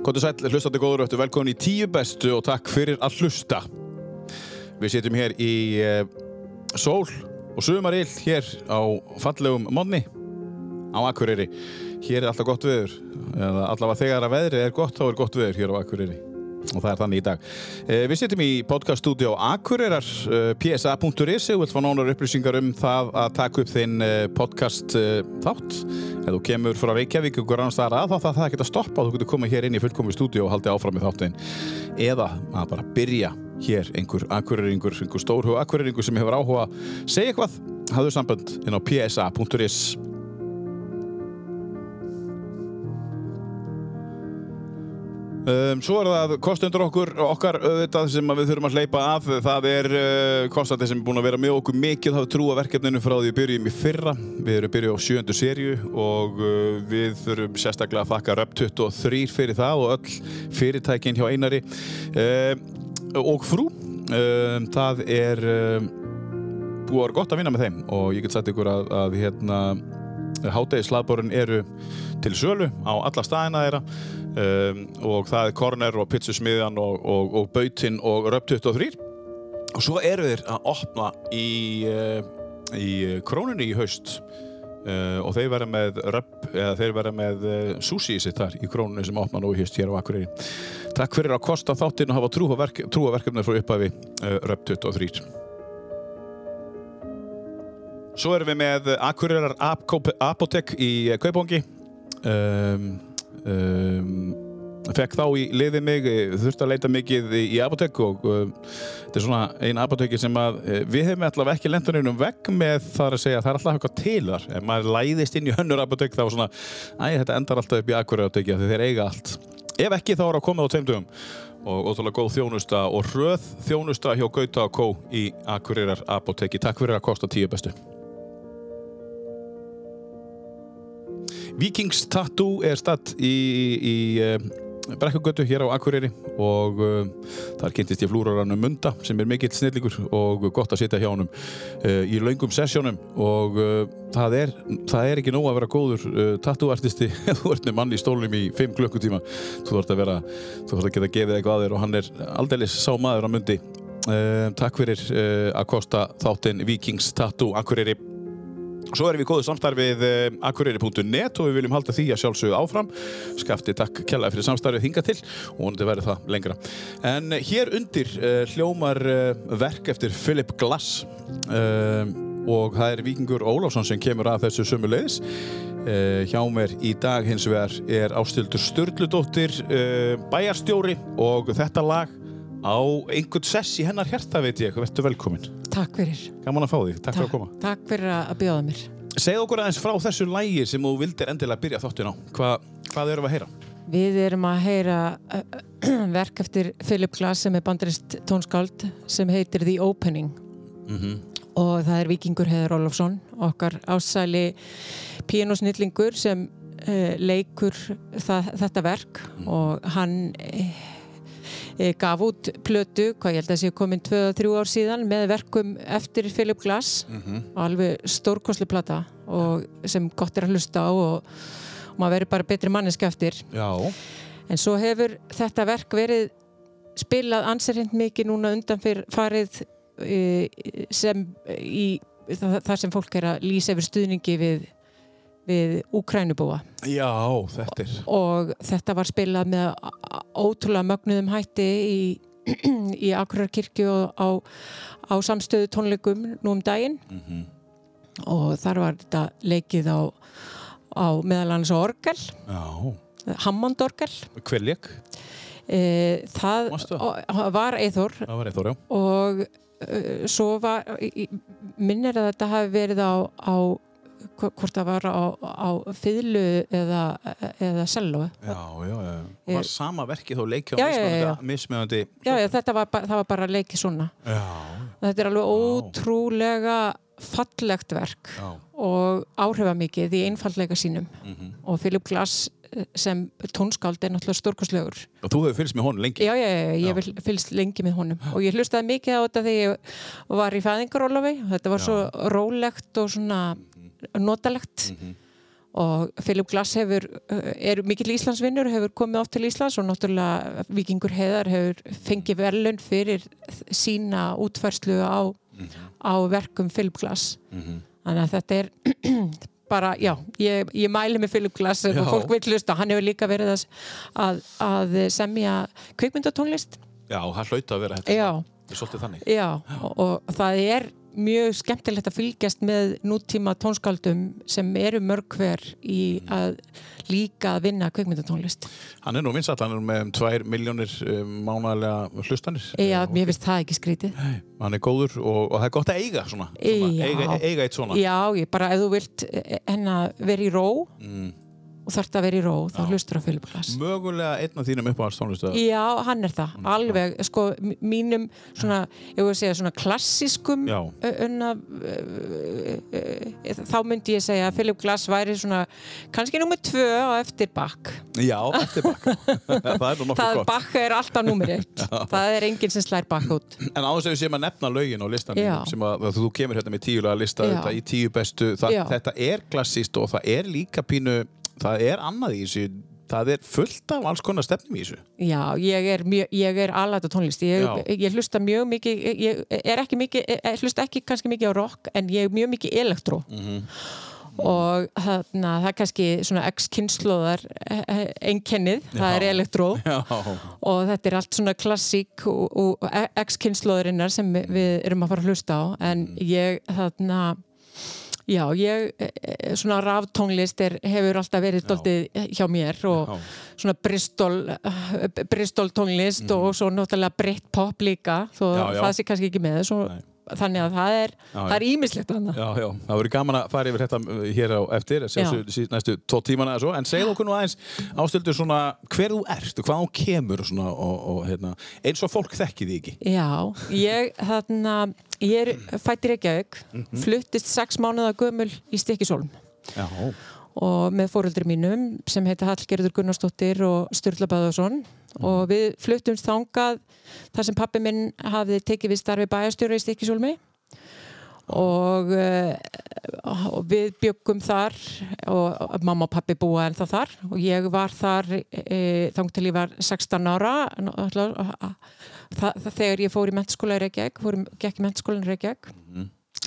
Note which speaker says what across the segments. Speaker 1: Kontur sæll, hlustandi góður öttu, velkomin í tíu bestu og takk fyrir að hlusta. Við sitjum hér í uh, sól og sumarill hér á fallegum monni á Akureyri. Hér er alltaf gott veður, eða allavega þegar að veðri er gott, þá er gott veður hér á Akureyri. Og það er þannig í dag. Uh, við sitjum í podcaststudio Akureyrar, uh, psa.is, ef þú vilt fá nánar upplýsingar um það að taka upp þinn uh, podcast uh, þátt. Ef þú kemur frá Reykjavík og hver annars þar að þá það, það geta stoppað, þú getur komið hér inn í fullkomið stúdíu og haldið áfram í þáttin. Eða að bara byrja hér einhver akureyringur, einhver stórhuga akureyringur sem hefur áhuga að segja eitthvað, hafðu samband inn á psa.is. Um, svo er það kostendur okkur, okkar auðvitað sem að við þurfum að hleypa af. Það er uh, kostandi sem er búin að vera með okkur mikið. Það er trú að verkefninu frá því við byrjum í fyrra. Við erum byrjuð á sjöndu sériu og uh, við þurfum sérstaklega að þakka Röp 23 fyrir það og öll fyrirtækin hjá Einari uh, og frú. Uh, það er uh, búið að vera gott að vinna með þeim og ég get sagt ykkur að, að hérna, hátegi eru til sölu á alla staðina þeirra um, og það er Corner og Pitsusmiðan og, og, og Bautinn og Röp 23 og svo eru þeir að opna í, uh, í krónunni í haust uh, og þeir verða með Röp eða þeir verða með uh, sushi sitt þar í krónunni sem opna nú í haust hér á Akureyri Takk fyrir að kosta þáttinn og hafa trú á verk, trú á verkefnið frá upphæfi uh, Röp 23 Svo erum við með Akureyrar Apkóp- Apotek í eh, Kaupangi um, um, fekk þá í liði mig eh, þurfti að leita mikið í, í apotek og um, þetta er svona eina apoteki sem að eh, við hefum allavega ekki lenduninum vegg með þar að segja að það er alltaf eitthvað til þar ef maður læðist inn í hönnur apotek þá er svona æ, þetta endar alltaf upp í Akureyrar apoteki af því þeir eiga allt ef ekki þá er að koma á tveim dögum og ótrúlega góð þjónusta og hröð þjónusta hjá Gauta og Kó í Akureyrar apoteki takk fyrir að kosta tíu bestu Vikings Tattoo er statt í, í uh, Brekkugötu hér á Akureyri og uh, þar kynntist ég flúraranum Munda sem er mikill snillingur og gott að sitja hjá honum uh, í laungum sessjónum og uh, það, er, það er ekki nóg að vera góður uh, tattooartisti ef þú ert með mann í stólnum í 5 klukkutíma þú þarf að vera, þú þarf að geta gefið eitthvað að þér og hann er aldeilis sá maður á Mundi uh, Takk fyrir uh, að kosta þáttinn Vikings Tattoo Akureyri Svo erum við í góðu samstarfið eh, akureyri.net og við viljum halda því að sjálfsögðu áfram. Skafti takk kjallaði fyrir samstarfið hinga til og vonandi verður það lengra. En eh, hér undir uh, hljómar uh, verk eftir Philip Glass uh, og það er Víkingur Ólafsson sem kemur að þessu sömu leiðis. Uh, hjá mér í dag hins vegar er Ástildur Sturludóttir, uh, bæjarstjóri og þetta lag á einhvern sess í hennar hjarta veit ég. Vertu velkomin.
Speaker 2: Takk fyrir.
Speaker 1: Gaman að fá þig. Takk fyrir að koma.
Speaker 2: Takk fyrir að að bjóða mér.
Speaker 1: Segð okkur aðeins frá þessu lægi sem þú vildir endilega byrja þáttin á. Hva, hvað erum við að heyra?
Speaker 2: Við erum að heyra uh, verk eftir Philip Glass sem er bandrist tónskáld sem heitir The Opening
Speaker 1: Mhm.
Speaker 2: og það er Víkingur Heður Ólafsson, okkar ásæli píanosnillingur sem uh, leikur það, þetta verk
Speaker 1: Mm.
Speaker 2: og hann eh, eh, gaf út plötu, hvað ég held að séu komin 2-3 ár síðan með verkum eftir Philip Glass alveg stórkosli plata og sem gott er að hlusta á og, og maður verður bara betri manneska eftir
Speaker 1: Já.
Speaker 2: En svo hefur þetta verk verið spilað anserhind mikið núna undan fyrir farið eh, sem í þa- þar sem fólk er að lýsa yfir stuðningi við, við Úkrænubúa
Speaker 1: Já, þetta er.
Speaker 2: og þetta var spilað með á- á- ótrúlega mögnuðum hætti í, í Akurarkirkju og á, á samstöðu tónleikum nú um daginn
Speaker 1: Mhm.
Speaker 2: og þar var þetta leikið á, á meðal annars á orgel,
Speaker 1: Já.
Speaker 2: Hammond orgel
Speaker 1: Hver leik?
Speaker 2: E, það
Speaker 1: Manstu
Speaker 2: o- var Eithor
Speaker 1: Það var eitthvað, já.
Speaker 2: og uh, svo var, í- í- minnir að þetta hafi verið á, á hvo- hvort það var á, á fýðlu eða, eða selló.
Speaker 1: Já, já, já.
Speaker 2: Eh,
Speaker 1: Var sama verkið þó leikja á
Speaker 2: já, já, já, já.
Speaker 1: mismunandi- mismunandi.
Speaker 2: Já, já, þetta var, ba- það var bara leikið svona.
Speaker 1: Já.
Speaker 2: Þetta er alveg
Speaker 1: Vá.
Speaker 2: ótrúlega fallegt verk
Speaker 1: Já.
Speaker 2: og áhrifamikið í einfallega sínum
Speaker 1: Mhm.
Speaker 2: og Philip Glass eh, sem tónskáld er náttúrulega stórkoslegur
Speaker 1: Og þú hefur fylgst með honum lengi.
Speaker 2: Já, já, já,
Speaker 1: Já.
Speaker 2: ég vil fylgst lengi með honum og ég hlustaði mikið á þetta þegar ég var
Speaker 1: Mm. Mhm.
Speaker 2: í fæðingarólofi og þetta var svo rólegt og svona notalegt og Philip Glass hefur, eh, er mikill Íslandsvinnur hefur komið oft til Íslands og náttúrulega Vikingur Heðar hefur
Speaker 1: Mm.
Speaker 2: fengið verðlun fyrir sína útfærslu á,
Speaker 1: Mhm.
Speaker 2: á verkum Philip Glass þannig að þetta er bara, já, ég, ég mæli með Philip Glass
Speaker 1: Já.
Speaker 2: og fólk vil hlusta, hann hefur líka verið að, að, að semja kvikmyndatónlist
Speaker 1: Já, það hlaut að vera þetta.
Speaker 2: já,
Speaker 1: Það er svolítið þannig.
Speaker 2: Já, og, og það er mjög skemmtilegt að fylgjast með nútíma tónskáldum sem eru mörg hver í að líka að vinna kvikmyndatónlist.
Speaker 1: Hann er nú vinsall, hann er með um 2 miljónir um, mánalega hlustanir.
Speaker 2: Já, mér finnst það ekki skrítið.
Speaker 1: Hann er góður og, og það er gott að eiga svona. svona
Speaker 2: Já.
Speaker 1: eiga, eiga eitt svona.
Speaker 2: Já, ég bara ef þú vilt eh, hennar vera í ró og þarft að vera í ró, þá hlustur á Philip Glass.
Speaker 1: Mögulega einn af þínum uppáðarstónlistu.
Speaker 2: Mm. Já, hann er það, alveg, sko, m- mínum svona, ég voru að segja, svona klassískum
Speaker 1: Já.
Speaker 2: ö- unna, ö, ö, ö, þá myndi ég segja að Philip Glass væri svona, kannski nummer tvö á eftir Bach.
Speaker 1: Já, eftir bakka. það er nú nokkuð
Speaker 2: það
Speaker 1: gott.
Speaker 2: bakka er alltaf nummer eitt það er enginn sem slær bakka út
Speaker 1: En á þess að við séum að nefna lögin og listan
Speaker 2: Já.
Speaker 1: sem að, að þú kemur hérna með tíulega lista
Speaker 2: Já.
Speaker 1: þetta í tíu bestu, það,
Speaker 2: Já.
Speaker 1: þetta er klassist og það er líka pínu það er annað í þessu, það er fullt af alls konar stefnum í þessu
Speaker 2: já, ég er, mjö, ég er alætt á tónlist ég,
Speaker 1: Já.
Speaker 2: ég hlusta mjög mikið ég er ekki mikið, ég hlusta ekki kannski mikið á rock en ég er mjög mikið elektró
Speaker 1: Mhm.
Speaker 2: og þarna það er kannski svona ex-kynnslóðar eh, einkennið, það er elektró
Speaker 1: Já,
Speaker 2: og þetta er allt svona klassík og, og ex-kynnslóðurinnar sem við erum að fara að hlusta á en
Speaker 1: Mm.
Speaker 2: ég þarna já, ég eh, eh, svona ráftónlist er, hefur alltaf verið doldið hjá mér og
Speaker 1: Já.
Speaker 2: svona Bristol eh, Bristol tónlist og svo náttúrulega Brit pop líka þó
Speaker 1: Mm. Já, já.
Speaker 2: það sé kannski ekki með svo,
Speaker 1: Nei.
Speaker 2: þannig að það er,
Speaker 1: Já,
Speaker 2: það er ímislegt annað
Speaker 1: já, já, það verður gaman að fara yfir þetta uh, hér á eftir, að sjálfsögðu síð- næstu tvo tímana eða svo, en segð okkur nú aðeins ástöldur svona hver þú ert og hvað hún kemur og svona, og, og hérna, eins og fólk þekki því ekki
Speaker 2: Já, ég þarna ég er fætt í Reykjavík
Speaker 1: Mhm.
Speaker 2: fluttist sex mánuða gömul í Stikisólm
Speaker 1: Já,
Speaker 2: og með fóreldri mínum sem heita Hallgerður Gunnarsdóttir og Sturla Böðarsson og við fluttumst þangað þar sem pappi minn hafði tekið við starfi bæjarstjóra í Stikkisólmi og, eh, og við byggum þar og og mamma og pappi búa ennþá þar og ég var þar e, þang til ég var 16 ára ná- náttúrulega, eh, þa- þa- þegar ég fór í mentaskóla í Reykjavík fór, í- gekk í mentaskólan í Reykjavík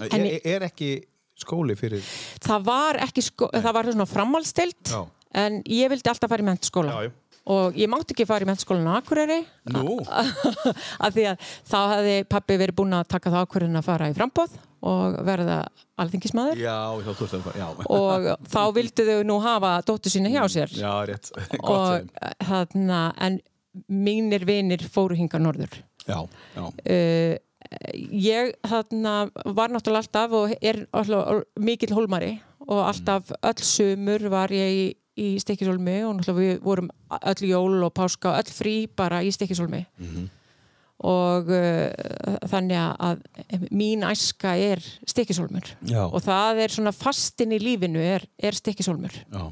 Speaker 1: er, er ekki skóli fyrir
Speaker 2: það var ekki sko, það var svona framhalstild
Speaker 1: Já.
Speaker 2: en ég vildi alltaf fara í mentaskóla
Speaker 1: Já, já.
Speaker 2: og ég mátti ekki fara í mentaskólan á Akureyri
Speaker 1: Nú,
Speaker 2: af því að þá hefði pappi verið búinn að taka það ákvörðin að fara í frambóð og verða alþingismæður
Speaker 1: já, þá þú ert að fara, já
Speaker 2: og þá vildu þau nú hafa dóttu sína hjá sér
Speaker 1: Já, rétt, gott
Speaker 2: og
Speaker 1: þeim
Speaker 2: þarna en mínir vinir fóru hinga norður
Speaker 1: Já, já,
Speaker 2: uh, ég þarna var náttúrulega alltaf og er alltaf mikill hólmari og alltaf öll sumur var ég í, í Stikisólmi og náttúrulega við vorum öll jól og páska og öll frí bara í Stikisólmi og uh, þannig að mín æska er Stikisólmur
Speaker 1: Já.
Speaker 2: og það er svona fastin í lífinu er, er Stikisólmur
Speaker 1: já,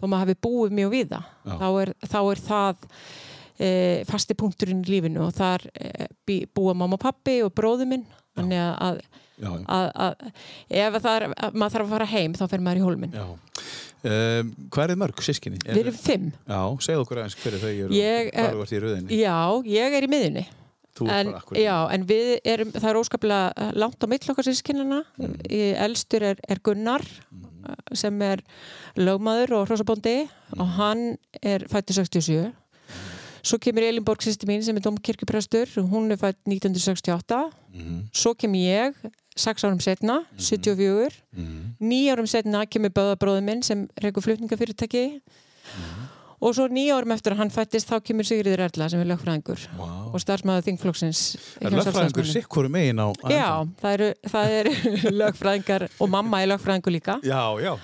Speaker 2: þó maður hafi búið mjög við það þá er, þá er það e, fasti punkturinn í lífinu og þar e, bí, búa mamma og pappi og bróður minn þannig að,
Speaker 1: já, já.
Speaker 2: að, að ef það er, að maður þarf að fara heim þá fer maður í hólminn
Speaker 1: já. Um, hvað er þið mörg sískinni?
Speaker 2: við erum fimm
Speaker 1: Já, segð okkur aðeins hverju þau eru
Speaker 2: Ég,
Speaker 1: og hvað
Speaker 2: eh,
Speaker 1: þú ert í rauðinni
Speaker 2: já, ég er í miðunni
Speaker 1: Þú ert
Speaker 2: en,
Speaker 1: bara akkur
Speaker 2: já, en við erum, það er óskaplega eh, langt á mill okkar sískinnina
Speaker 1: Mm.
Speaker 2: elstur er, er Gunnar eh, sem er lögmaður og hrósabóndi
Speaker 1: Mm.
Speaker 2: og hann er fættur 67 svo kemur Elin Borg sýsti mín sem er domkirkjuprestur hún er fætt 1968
Speaker 1: Mhm,
Speaker 2: svo kemur ég sex árum setna,
Speaker 1: Mm.
Speaker 2: 74
Speaker 1: mhm.
Speaker 2: níu árum setna kemur böðabróðum minn sem reyku flutningafyrirtæki
Speaker 1: Mm.
Speaker 2: og svo níu árum eftir að hann fættist þá kemur Sigriður Erla sem er lögfræðingur
Speaker 1: Vá.
Speaker 2: og starfsmæður þingflokksins hjá
Speaker 1: Er lögfræðingur
Speaker 2: Sjálfstæðismönnum.
Speaker 1: sikkur megin á á
Speaker 2: Já,
Speaker 1: endanum?
Speaker 2: það eru, það eru lögfræðingar og mamma er lögfræðingur líka
Speaker 1: Já, já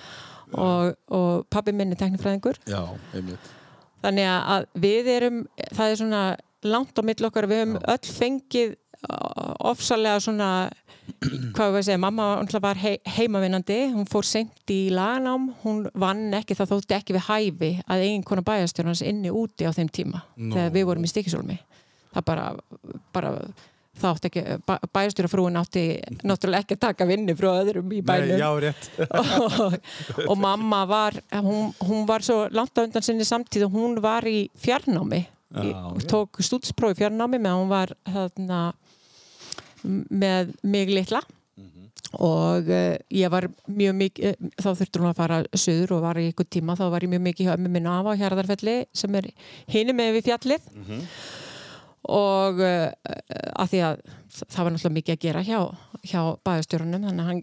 Speaker 2: og, og pabbi minn er teknifræðingur
Speaker 1: Já, einmitt
Speaker 2: þannig að við erum það er svona langt á milli okkar við höfum öll fengið uh, ofsalega svona hvað við segja, mamma náttúrulega var hei, heimavinnandi hún fór seint í laganám hún vann ekki, það þótti ekki við hæfi að eigin konar bæjarstjórnans inni úti á þeim tíma þegar við vorum í stikisólmi það bara, bara þá átti ekki, bæ, bæjarstjórafrúin átti náttúrulega ekki að taka vinnu frá öðrum í bænum
Speaker 1: já, rétt.
Speaker 2: og, og mamma var hún, hún var svo langt á undan sinni samtíð og hún var í fjarnámi
Speaker 1: Já,
Speaker 2: í,
Speaker 1: já.
Speaker 2: tók stúdspróf í fjarnámi meðan hún var þarna, m- með mig litla og uh, ég var mjög mikið eh, þá þurftur hún að fara söður og var í ykkur tíma þá var ég mjög mikið hjá ömmu minna af á Hjarðarfelli sem er hinum með við fjallið og uh, að því að það var náttúrulega mikið að gera hjá, hjá bæðastjórunum þannig að hann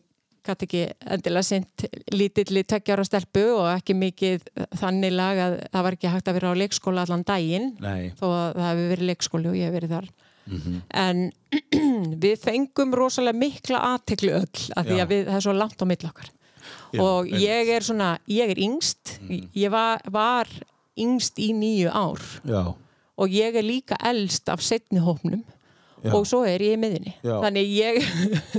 Speaker 2: gæti ekki endilega sint lítilli tveggjara stelpu og ekki mikið þannig lag að það var ekki hægt að vera á leikskóla allan daginn
Speaker 1: Nei.
Speaker 2: þó að það hefur verið leikskóli og ég hef verið þar
Speaker 1: Mhm.
Speaker 2: en við fengum rosalega mikla aðtekli öll af því
Speaker 1: Já.
Speaker 2: að við, það er svo langt á milli okkar
Speaker 1: Já,
Speaker 2: og
Speaker 1: einmitt. Mhm.
Speaker 2: ég er svona, ég er yngst ég var, var yngst í nýju ár
Speaker 1: Já,
Speaker 2: og ég er líka elst af setni hópnum
Speaker 1: Já.
Speaker 2: og svo er ég í miðinni
Speaker 1: Já.
Speaker 2: þannig ég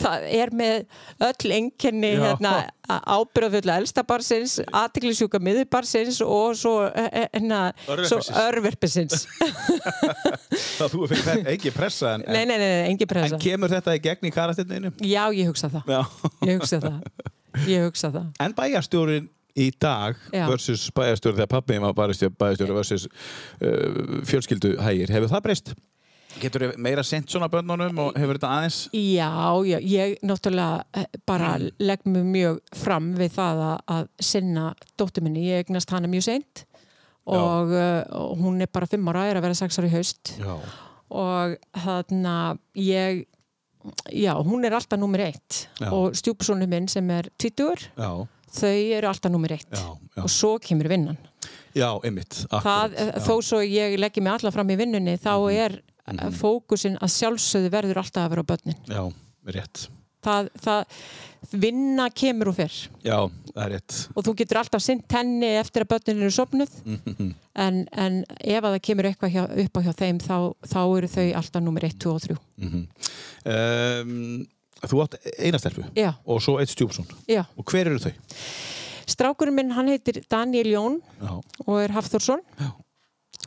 Speaker 2: það er með öll enkenni
Speaker 1: Já.
Speaker 2: hérna, ábyrðafullu elsta barsins aðtiklisjúka miðubarsins og svo, eh, hérna, svo
Speaker 1: Örverpisins.
Speaker 2: örverpisins
Speaker 1: það þú fyrir þetta ekki pressa en,
Speaker 2: nei,
Speaker 1: en,
Speaker 2: nei, nei, nei, engi pressa
Speaker 1: en kemur þetta í gegn í karatirninu?
Speaker 2: já, ég hugsa það
Speaker 1: Já.
Speaker 2: ég hugsa það, ég hugsa það.
Speaker 1: En bæjarstjórin í dag
Speaker 2: Já.
Speaker 1: versus bæjarstjóri þegar pappi var bæjarstjóri, bæjarstjóri versus uh, fjölskylduhægir, hefur það breyst? Getur þau meira sent svona bönnunum og hefur þetta aðeins?
Speaker 2: Já, já, ég náttúrulega eh, bara
Speaker 1: Mm.
Speaker 2: legg mig mjög fram við það að, að sinna dóttur minni, ég egnast hana mjög seint og uh, og hún er bara fimm ára, er að vera sex ára í haust
Speaker 1: Já.
Speaker 2: og þarna ég, já, hún er alltaf númer eitt
Speaker 1: Já.
Speaker 2: og stjúpsónu minn sem er tvítur,
Speaker 1: Já,
Speaker 2: þau eru alltaf númer eitt
Speaker 1: Já, já.
Speaker 2: og svo kemur vinnan
Speaker 1: já, einmitt.
Speaker 2: það, eh,
Speaker 1: akkurat, já. Mhm.
Speaker 2: þó svo ég leggi mig alla fram í vinnunni þá er mm fókusin að sjálfsögðu verður alltaf að vera á börnin
Speaker 1: Já, rétt.
Speaker 2: það, það, vinna kemur og fyrr
Speaker 1: Já, það er rétt.
Speaker 2: og þú getur alltaf sint henni eftir að börnin eru sopnuð
Speaker 1: Mm. Mhm,
Speaker 2: en, en ef að það kemur eitthvað hjá, upp á hjá þeim þá, þá eru þau alltaf nummer 1, 2 og 3
Speaker 1: Um, mhm. þú átt eina stelpu
Speaker 2: Já.
Speaker 1: og svo eitt stjúpsson.
Speaker 2: Já,
Speaker 1: Og hver eru þau?
Speaker 2: strákurinn minn hann heitir Daniel Jón
Speaker 1: Já,
Speaker 2: og er Hafþórsson
Speaker 1: Já.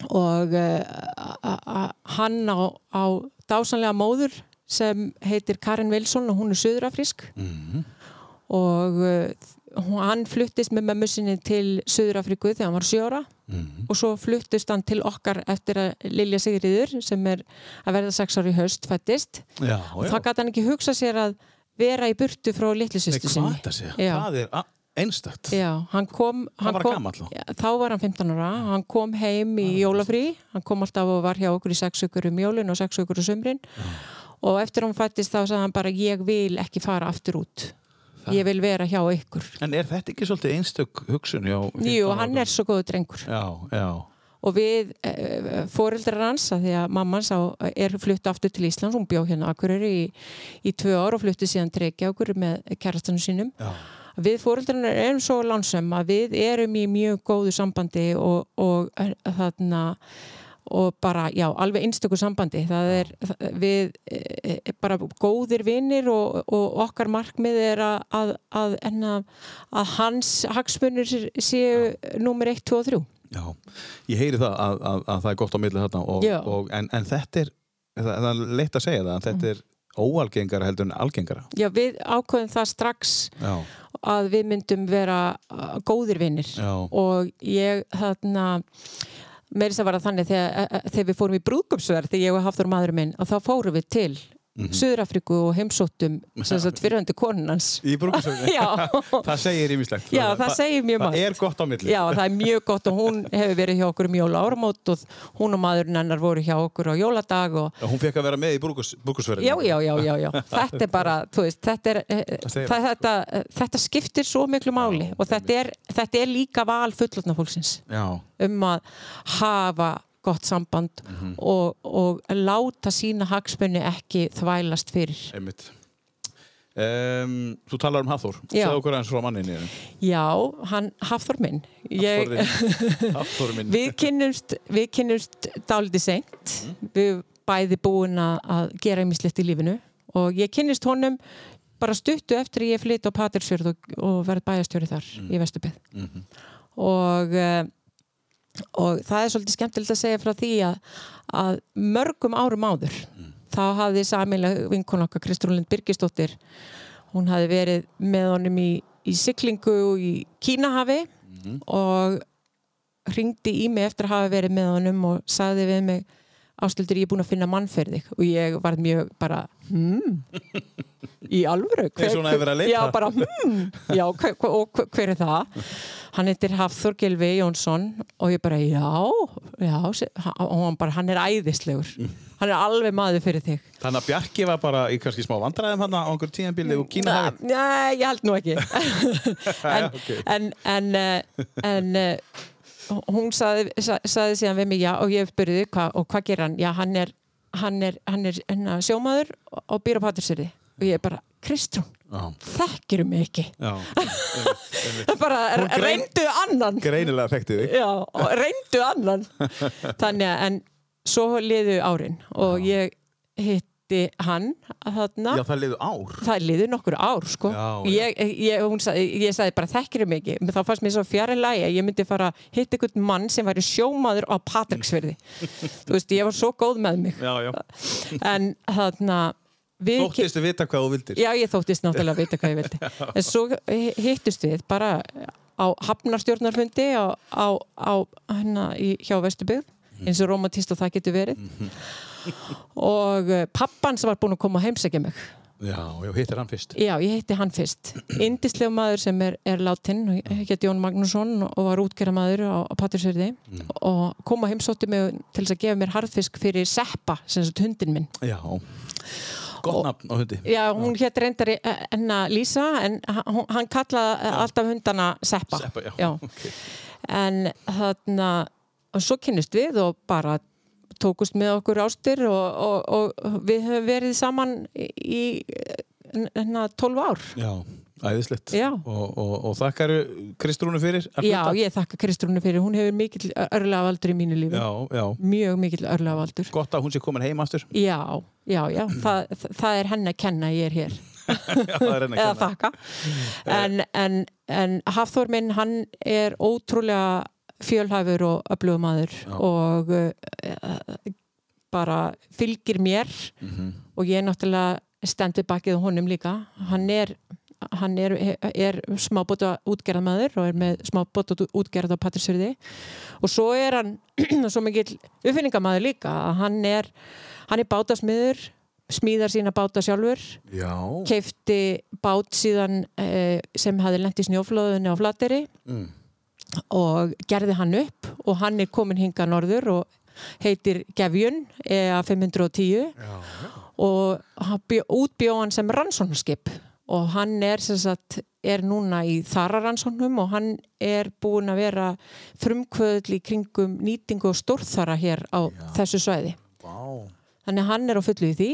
Speaker 2: og uh, a- a- hann á, á dásanlega móður sem heitir Karin Wilson og hún er söðurafrísk
Speaker 1: Mhm.
Speaker 2: og uh, hún- hann fluttist með mömmu sinni til Suðurafriku þegar hann var sjóra mm.
Speaker 1: Mhm.
Speaker 2: og svo fluttist hann til okkar eftir að Lilja Sigriður sem er að verða sex ári í haust fættist
Speaker 1: já,
Speaker 2: og
Speaker 1: já.
Speaker 2: það gæti hann ekki hugsa sér að vera í burtu frá litlu
Speaker 1: Nei,
Speaker 2: sýstu
Speaker 1: hvað
Speaker 2: sinni
Speaker 1: þetta segja?
Speaker 2: Já.
Speaker 1: Það er a- einstakt.
Speaker 2: Já, hann kom hann
Speaker 1: var hann
Speaker 2: kom-
Speaker 1: gamall þá?
Speaker 2: Já, Þá var hann 15 ára, hann kom heim í jólafrí hann kom alltaf og var hjá okkur í sex ökur um jólin og sex ökur um sumrin og eftir hann fættist þá sagði hann bara ég vil ekki fara aftur út ég vil vera hjá ykkur
Speaker 1: En er þetta ekki svolítið einstök hugsun? Já,
Speaker 2: Jú, hann er svo góður drengur
Speaker 1: Já, já.
Speaker 2: og við e, fóreldrar hans að því að mamma hans á, er flutt aftur til Íslands, hún bjó hérna á Akureyri í, í tvö ár og flutti síðan treykja okkur með kærastanum sínum
Speaker 1: Já.
Speaker 2: við fóreldrarnir erum svo lánsum að við erum í mjög góðu sambandi og, og eh, þarna og bara, já, alveg einstöku sambandi það er, það- við e, e, bara góðir vinir og, og okkar markmið er að að, að, en að, að hans hagsmunir séu númer 1, 2 og 3
Speaker 1: Já, ég heyri það að, að, að það er gott á milli þarna og,
Speaker 2: Já.
Speaker 1: og, en, en þetta er, það, það er leitt að segja það, en þetta er óalgengara heldur en algengara.
Speaker 2: Já, við ákveðum það strax
Speaker 1: Já,
Speaker 2: að við myndum vera uh, góðir vinnir
Speaker 1: Já.
Speaker 2: og ég þarna meiri sem var það þannig þegar, eh, eh, þegar við fórum í brúðgumsverð þegar ég og Hafþór maður minn að þá fórum við til mm
Speaker 1: Mhm.
Speaker 2: Suðrafriku og heimsóttum sem sagt fyrrandi konunans
Speaker 1: í brúkusöfni.
Speaker 2: Já.
Speaker 1: það segir ýmislegt.
Speaker 2: Já, það segir mjög
Speaker 1: Það
Speaker 2: margt.
Speaker 1: er gott á milli.
Speaker 2: Já, það er mjög gott og hún hefur verið hjá okkur um jóla áramót og hún og maðurinn hennar voru hjá okkur á jóladag og
Speaker 1: Og Hún fekk að vera með í brúkusverðinu.
Speaker 2: Já, já, já, já, já. Þetta er bara, þú veist, þetta, er, eh,
Speaker 1: segir
Speaker 2: það, þetta, þetta skiptir svo miklu máli og þetta er, þetta er líka val fullotna fólksins
Speaker 1: Já,
Speaker 2: um að hafa gott samband og, og láta sína hagsmunni ekki þvælast fyrir.
Speaker 1: einmitt. Um, þú talar um Hathor.
Speaker 2: Já.
Speaker 1: Sæðu okkur aðeins frá manninni.
Speaker 2: Já, hann Hafþór minn. Ég,
Speaker 1: Hathor minn.
Speaker 2: við kynnumst, við kynnumst dálítið seint við bæði búin að, að gera ýmislegt í lífinu og ég kynnist honum bara stuttu eftir að ég flytt á Patersfjörð og, og verð bæjastjóri þar í Vesturbið og eh, og það er svolítið skemmtilegt að segja frá því að, að mörgum árum áður þá hafði samilega vinkon okkar Kristrúlind Birgisdóttir hún hafði verið með honum í, í siglingu í Kínahafi og ringdi í mig eftir að hafa verið með honum og sagði við mig ástöldur ég er búin að finna mann fyrir þig og ég var mjög bara hmm, í alvöru
Speaker 1: Eins og hún hafi verið að leita.
Speaker 2: já, bara hmm, já, hver, hver, og hver, hver er það hann heitir Hafþór Gilvi Jónsson og ég bara já, já se- ha- og hann bara hann er æðislegur hann er alveg maður fyrir þig
Speaker 1: Þannig að Bjarki var bara í kannski smá vandræðum hann á einhverjum tíðanbíli og kína
Speaker 2: Nei, nei, ég held nú ekki en,
Speaker 1: Ok.
Speaker 2: en, en, eh, en eh, hún sagði, sa- sagði síðan við mig já og ég spurði hva, og hvað gerir hann já hann er, hann er, hann er, hann sjómaður og, og býr á Patrísirði og ég bara Kristrún,
Speaker 1: Já.
Speaker 2: þekkir mig ekki
Speaker 1: Já,
Speaker 2: það er bara
Speaker 1: Hún grein-
Speaker 2: reyndu annan
Speaker 1: greinilega þekkti þig.
Speaker 2: já, og reyndu annan þannig að en svo liðu árin og ég hitti hann þarna
Speaker 1: Já, það liðu ár.
Speaker 2: það liði nokkur ár sko.
Speaker 1: Já, já.
Speaker 2: ég, ég, hún sagði, ég sagði bara þekkir um ekki þá fannst mér svo fjari lagi að ég myndi fara að hitta einhvern mann sem væri sjómaður á Patricksverði þú veist, ég var svo góð með mig
Speaker 1: Já, já.
Speaker 2: en þarna við
Speaker 1: Þóttistu vita hvað þú vildir.
Speaker 2: Já, ég þóttist náttúrulega að vita hvað ég vildi. En svo hittust við bara á hafnarstjórnarfundi á, á, á hérna í, hjá Vesturbyggð,
Speaker 1: Mhm.
Speaker 2: eins og romantist og það getur verið. Og pappan sem var búin að koma að heimsækja mig.
Speaker 1: Já, já, hittir hann fyrst.
Speaker 2: Já, ég hitti hann fyrst. Indislega maður sem er, er látin, hétt Jón Magnússon og var útgerra maður á, á Patrísverði og kom að heimsótti mig til þess að gefa mér harðfisk fyrir Seppa, sem sagt hundin minn.
Speaker 1: Já. Gott nafn á hundi.
Speaker 2: Já, hún hétt reyndar eh, enna Lísa en h- hún- hann kallaði eh, alltaf hundana Seppa.
Speaker 1: Seppa, já. Ok.
Speaker 2: En þarna, og svo kynnist við og bara tókust með okkur ástir og, og, og við höfum verið saman í hérna 12 ár.
Speaker 1: Já, æðislegt.
Speaker 2: Já.
Speaker 1: Og, og, og þakkaru Kristrúnu fyrir. að
Speaker 2: Já,
Speaker 1: hluta?
Speaker 2: ég þakka Kristrúnu fyrir, hún hefur mikill örlavaldur í mínu lífi.
Speaker 1: Já, Sko. já.
Speaker 2: Mjög mikill örlavaldur.
Speaker 1: Gott að hún sé komin heim aftur.
Speaker 2: Já, já, já, það, það er henni að kenna að ég er hér.
Speaker 1: Já, það er henni að
Speaker 2: eða
Speaker 1: kenna.
Speaker 2: þakka en, en, en Hafþór minn hann er ótrúlega fjölhæfur og öflugumadur og uh, bara fylgir mér
Speaker 1: Mhm.
Speaker 2: og ég náttúrulega stendur bakið á honum líka hann er hann er, er smábóta útgerðamaður og er með smábóta útgerð á Patrísfjörði og svo er hann svo mikill uppfinningamaður líka að hann er, hann er bátasmiður smíðar sína báta sjálfur
Speaker 1: Já.
Speaker 2: keifti bát síðan eh, sem hafði lent í snjóflóðunni á Flateri
Speaker 1: Mm.
Speaker 2: og gerði hann upp og hann er komin hinga norður og heitir Gefjun E EA 510
Speaker 1: Já.
Speaker 2: og hann bjó- útbjó hann sem rannsóknarskip og hann er sem sagt er núna í þara rannsóknum og hann er búin að vera frumkvöðl í kringum nýtingu og stórþara hér á þessu svæði
Speaker 1: Vá.
Speaker 2: þannig að hann er á fullu í því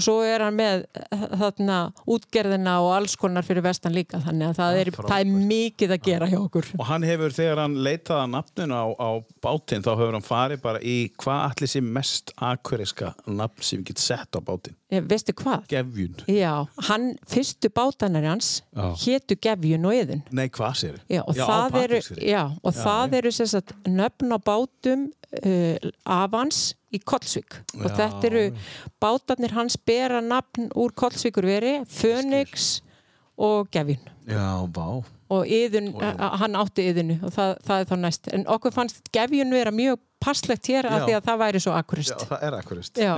Speaker 2: og svo er hann með eh, þarna útgerðina og alls konar fyrir vestan líka þannig að það er, það er mikið að gera hjá okkur
Speaker 1: Og hann hefur, þegar hann leitaði að nafninu á, á bátinn, þá hefur hann farið bara í hvað allir sé mest akuriska nafn sem við getum sett á bátinn.
Speaker 2: Ég, Eh, veistu hvað?
Speaker 1: Gefjun.
Speaker 2: Já, hann, fyrstu bátanar hans
Speaker 1: Já.
Speaker 2: hétu Gefjun og Eðun
Speaker 1: Nei, hvað sér?
Speaker 2: Já, og
Speaker 1: á
Speaker 2: það eru,
Speaker 1: Patreksfirði.
Speaker 2: já, og það eru sem sagt nöfn á bátum uh, afans í Kollsvík og
Speaker 1: Já,
Speaker 2: þetta eru bátarnir hans bera nafn úr Kollsvíkurveri Fönix og Gefjun
Speaker 1: Já, vá.
Speaker 2: og yðun, a- hann átti yðinu og það, það er þá næst, en okkur fannst gefjun vera mjög passlegt hér
Speaker 1: Já.
Speaker 2: af því að það væri svo akkurist
Speaker 1: Já, það er akkurist.
Speaker 2: Já.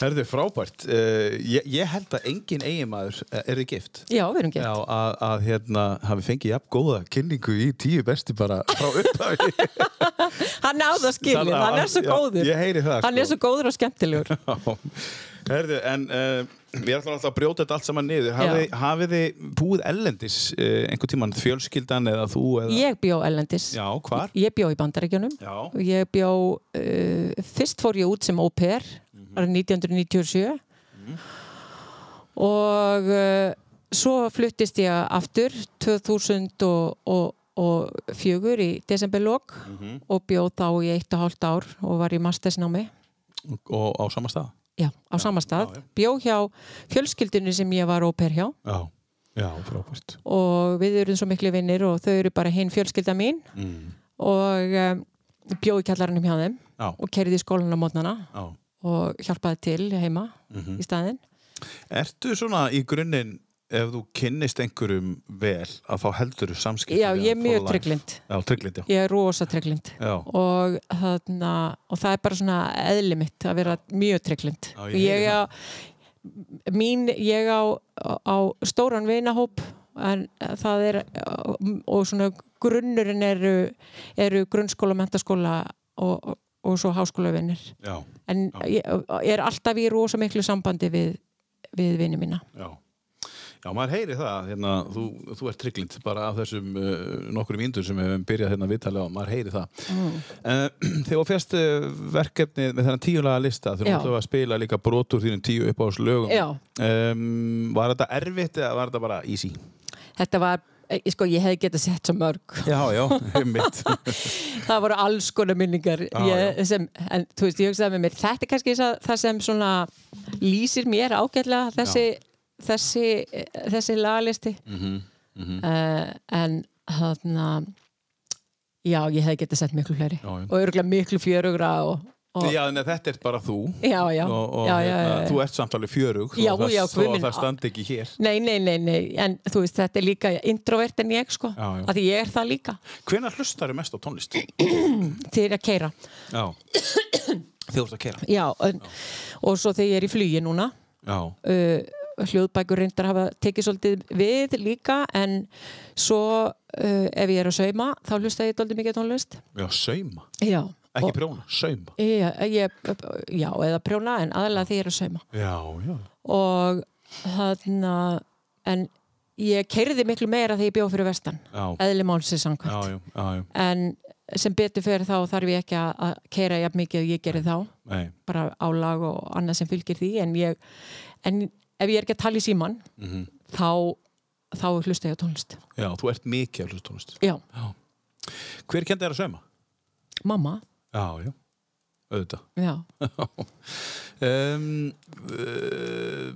Speaker 1: Herðu, frábært. Uh, ég, ég held að engin eiginmaður eru gift.
Speaker 2: Já, við erum
Speaker 1: Já,
Speaker 2: gett
Speaker 1: að, að hérna hafi fengið jafn góða kynningu í tíu besti bara frá upphafi.
Speaker 2: Hann á það skilið,
Speaker 1: Þannig að-
Speaker 2: hann er svo
Speaker 1: já,
Speaker 2: góður
Speaker 1: ég heyri það,
Speaker 2: Hann
Speaker 1: sko.
Speaker 2: er svo góður og skemmtilegur
Speaker 1: Já. Herðu, en uh, ég ætla alltaf að brjóta þetta allt saman niður. Hafið,
Speaker 2: Já.
Speaker 1: hafið þið búið ellendis uh, einhvern tíman fjölskyldan eða þú eða...
Speaker 2: Ég bjó ellendis
Speaker 1: Já, hvar?
Speaker 2: Ég bjó í Bandaríkjunum
Speaker 1: Já.
Speaker 2: og ég bjó, uh, fyrst fór ég út sem au-pair
Speaker 1: Mhm.
Speaker 2: árið 1997 og uh, svo fluttist ég aftur 2004 í desemberlok
Speaker 1: Mhm.
Speaker 2: og bjó þá í eitt og hálft ár og var í mastersnámi
Speaker 1: Og á sama stað?
Speaker 2: já, á sama stað,
Speaker 1: já.
Speaker 2: bjó hjá fjölskyldinu sem ég var au-pair hjá
Speaker 1: Já. Já, frábært.
Speaker 2: og við erum svo miklu vinnir og þau eru bara hinn fjölskylda mín
Speaker 1: Mm.
Speaker 2: og um, bjó í kjallaranum hjá þeim
Speaker 1: Já.
Speaker 2: og kerði í skólan á mótnana
Speaker 1: Já.
Speaker 2: og hjálpaði til heima
Speaker 1: Mhm.
Speaker 2: í staðinn.
Speaker 1: Ertu svona í grunninn ef þú kynnist einhverjum vel að fá heldur samskipt
Speaker 2: Já, ég er mjög trygglind.
Speaker 1: Já, trygglind, já.
Speaker 2: Ég er rosa trygglind.
Speaker 1: Já,
Speaker 2: Og, þarna, og það er bara svona eðli mitt að vera mjög trygglind.
Speaker 1: Já,
Speaker 2: Og
Speaker 1: ég heyri
Speaker 2: ég á, mín, ég á, á stóran vinahóp en það er og svona grunnurinn eru, eru grunnskóla, mentaskóla og, og, og svo háskólavinnir.
Speaker 1: já,
Speaker 2: En ég, ég er alltaf í rosa miklu sambandi við, við vinni mína.
Speaker 1: já. Já, maður heyri það, hérna, þú, þú ert trygglind bara af þessum uh, nokkur mínútur sem við hefum byrjað hérna viðtalið á, maður heyri það. Mm. þegar þú férst uh, verkefnið með þennan tíulega lista,
Speaker 2: Já.
Speaker 1: þegar þú ætlaði að spila líka brotur þínum tíu upp á þessu lögum,
Speaker 2: Já.
Speaker 1: Em, var þetta erfitt eða var þetta bara easy?
Speaker 2: Þetta var, eh, sko, ég hefði getað sett svo mörg.
Speaker 1: Já, já, mitt.
Speaker 2: það voru alls konar minningar
Speaker 1: Já,
Speaker 2: ég, sem, en þú veist, ég hugsaði með mér þetta er kannski sa- það sem svona lýsir mér ágætlega þessi, þessi, þessi lagalisti
Speaker 1: Mhm,
Speaker 2: uh, en þarna já, ég hefði getað sett miklu fleiri
Speaker 1: Já, já.
Speaker 2: og örgulega miklu fjörugra og, og
Speaker 1: Já, en þetta er bara þú.
Speaker 2: já, já,
Speaker 1: og, og
Speaker 2: já, já,
Speaker 1: hérna,
Speaker 2: já, já.
Speaker 1: þú ert samt alveg fjörug
Speaker 2: Já,
Speaker 1: og það,
Speaker 2: já, guð
Speaker 1: og
Speaker 2: minn.
Speaker 1: það standi ekki hér
Speaker 2: Nei, nei, nei, nei, en þú veist, þetta er líka introvert en ég, sko,
Speaker 1: Já, já.
Speaker 2: að því ég er það líka
Speaker 1: Hvenær hlustar mest á tónlist?
Speaker 2: til að keira.
Speaker 1: Já Þú ert að kera
Speaker 2: Já, en, og svo þegar ég er í flugi núna,
Speaker 1: Já,
Speaker 2: uh, hljóðbækur reyndar hafa tekið svolítið við líka en svo uh, ef ég er að sauma þá hlusta ég dóldi mikið á tónlist
Speaker 1: já sauma,
Speaker 2: Já,
Speaker 1: ekki
Speaker 2: og,
Speaker 1: prjóna, sauma
Speaker 2: já, ég, já eða prjóna en aðalega því ég er að sauma
Speaker 1: Já, já
Speaker 2: og þarna en ég keiriði miklu meira þegar ég bjó fyrir vestan
Speaker 1: Já,
Speaker 2: eðli málsins
Speaker 1: já,
Speaker 2: samkvæmt
Speaker 1: já, já, já.
Speaker 2: en sem betur fyrir þá þarf ég ekki að- að keira jafn mikið og ég gerði þá
Speaker 1: Nei,
Speaker 2: bara álag og annað sem fylgir því en, ég, en ef ég er ekki að tala í síman
Speaker 1: Mhm.
Speaker 2: þá, þá hlusta ég á tónlist
Speaker 1: já, þú ert mikið að hlusta tónlist
Speaker 2: Já,
Speaker 1: Hver kendi þér að sauma?
Speaker 2: mamma
Speaker 1: Já, já, auðvitað
Speaker 2: já.
Speaker 1: um, uh,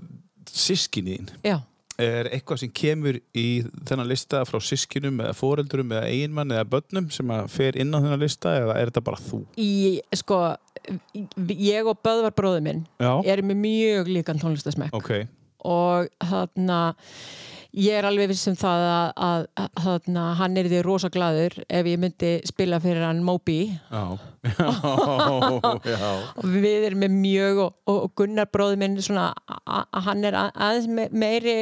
Speaker 1: Sískinin
Speaker 2: já,
Speaker 1: er eitthvað sem kemur í þennan lista frá sískinum eða foreldurum eða eiginmann eða börnum sem að fer inn á þennan lista eða er þetta bara þú?
Speaker 2: í, sko í- ég og Böðvar bróður minn
Speaker 1: Já,
Speaker 2: erum með mjög líkan tónlistasmekk
Speaker 1: ok
Speaker 2: og þarna ég er alveg viss um það að, að, að þarna, hann er því rosa glaður ef ég myndi spila fyrir hann Moby
Speaker 1: Já, já, já.
Speaker 2: og við erum með mjög og, og og Gunnar bróður minn svona, a, a, hann er a- aðeins me- meiri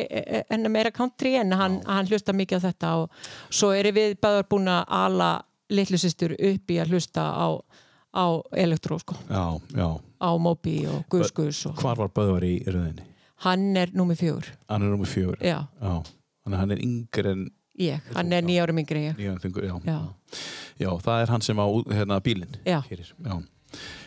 Speaker 2: enn meira country en hann, hann hlusta mikið á þetta og svo erum við bæður búin að ala litlu systur upp í að hlusta á, á elektró sko,
Speaker 1: Já, já.
Speaker 2: á Moby og Gus Gus og
Speaker 1: Hvar var Böðvar í röðinni?
Speaker 2: hann er númið fjögur,
Speaker 1: Hann er nummer fjögur.
Speaker 2: já,
Speaker 1: Já, þannig að hann er yngri en
Speaker 2: ég hann er nýja árum yngri en ég,
Speaker 1: nýjan þingur, já.
Speaker 2: já,
Speaker 1: Já, það er hann sem á hérna, bílinn.
Speaker 2: Já.
Speaker 1: Keyrir, já.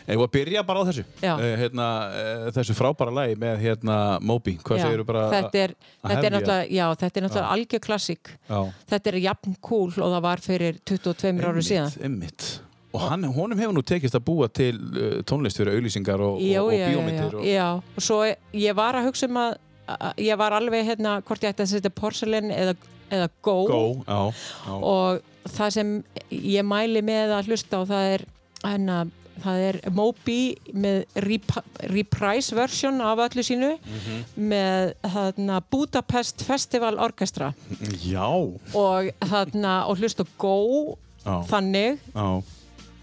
Speaker 1: Eða að byrja bara á þessu,
Speaker 2: Já.
Speaker 1: Eh, hérna, eh, þessu frábæra lagi með hérna, Moby, hvað
Speaker 2: já.
Speaker 1: segirðu bara?
Speaker 2: þetta er,
Speaker 1: að
Speaker 2: þetta er
Speaker 1: hefja?
Speaker 2: náttúrulega já, þetta er náttúrulega algjör klassik
Speaker 1: Já,
Speaker 2: þetta er jafn cool og það var fyrir 22 árum síðan
Speaker 1: Emmitt. Og hann, honum hefur nú tekist að búa til uh, tónlist fyrir auðlýsingar og,
Speaker 2: já,
Speaker 1: og, og
Speaker 2: já,
Speaker 1: bíómyndir.
Speaker 2: já, já, og svo ég var að hugsa um að, að ég var alveg hérna hvort ég ætti að setja porcelain eða, eða go,
Speaker 1: Og, Go, já, já.
Speaker 2: og það sem ég mæli með að hlusta á það er hérna, það er Moby með rep- reprise version af öllu sínu
Speaker 1: Mhm.
Speaker 2: með þarna, Budapest Festival Orkestra
Speaker 1: já,
Speaker 2: og, þarna, og hlusta á Go
Speaker 1: Já.
Speaker 2: þannig,
Speaker 1: já.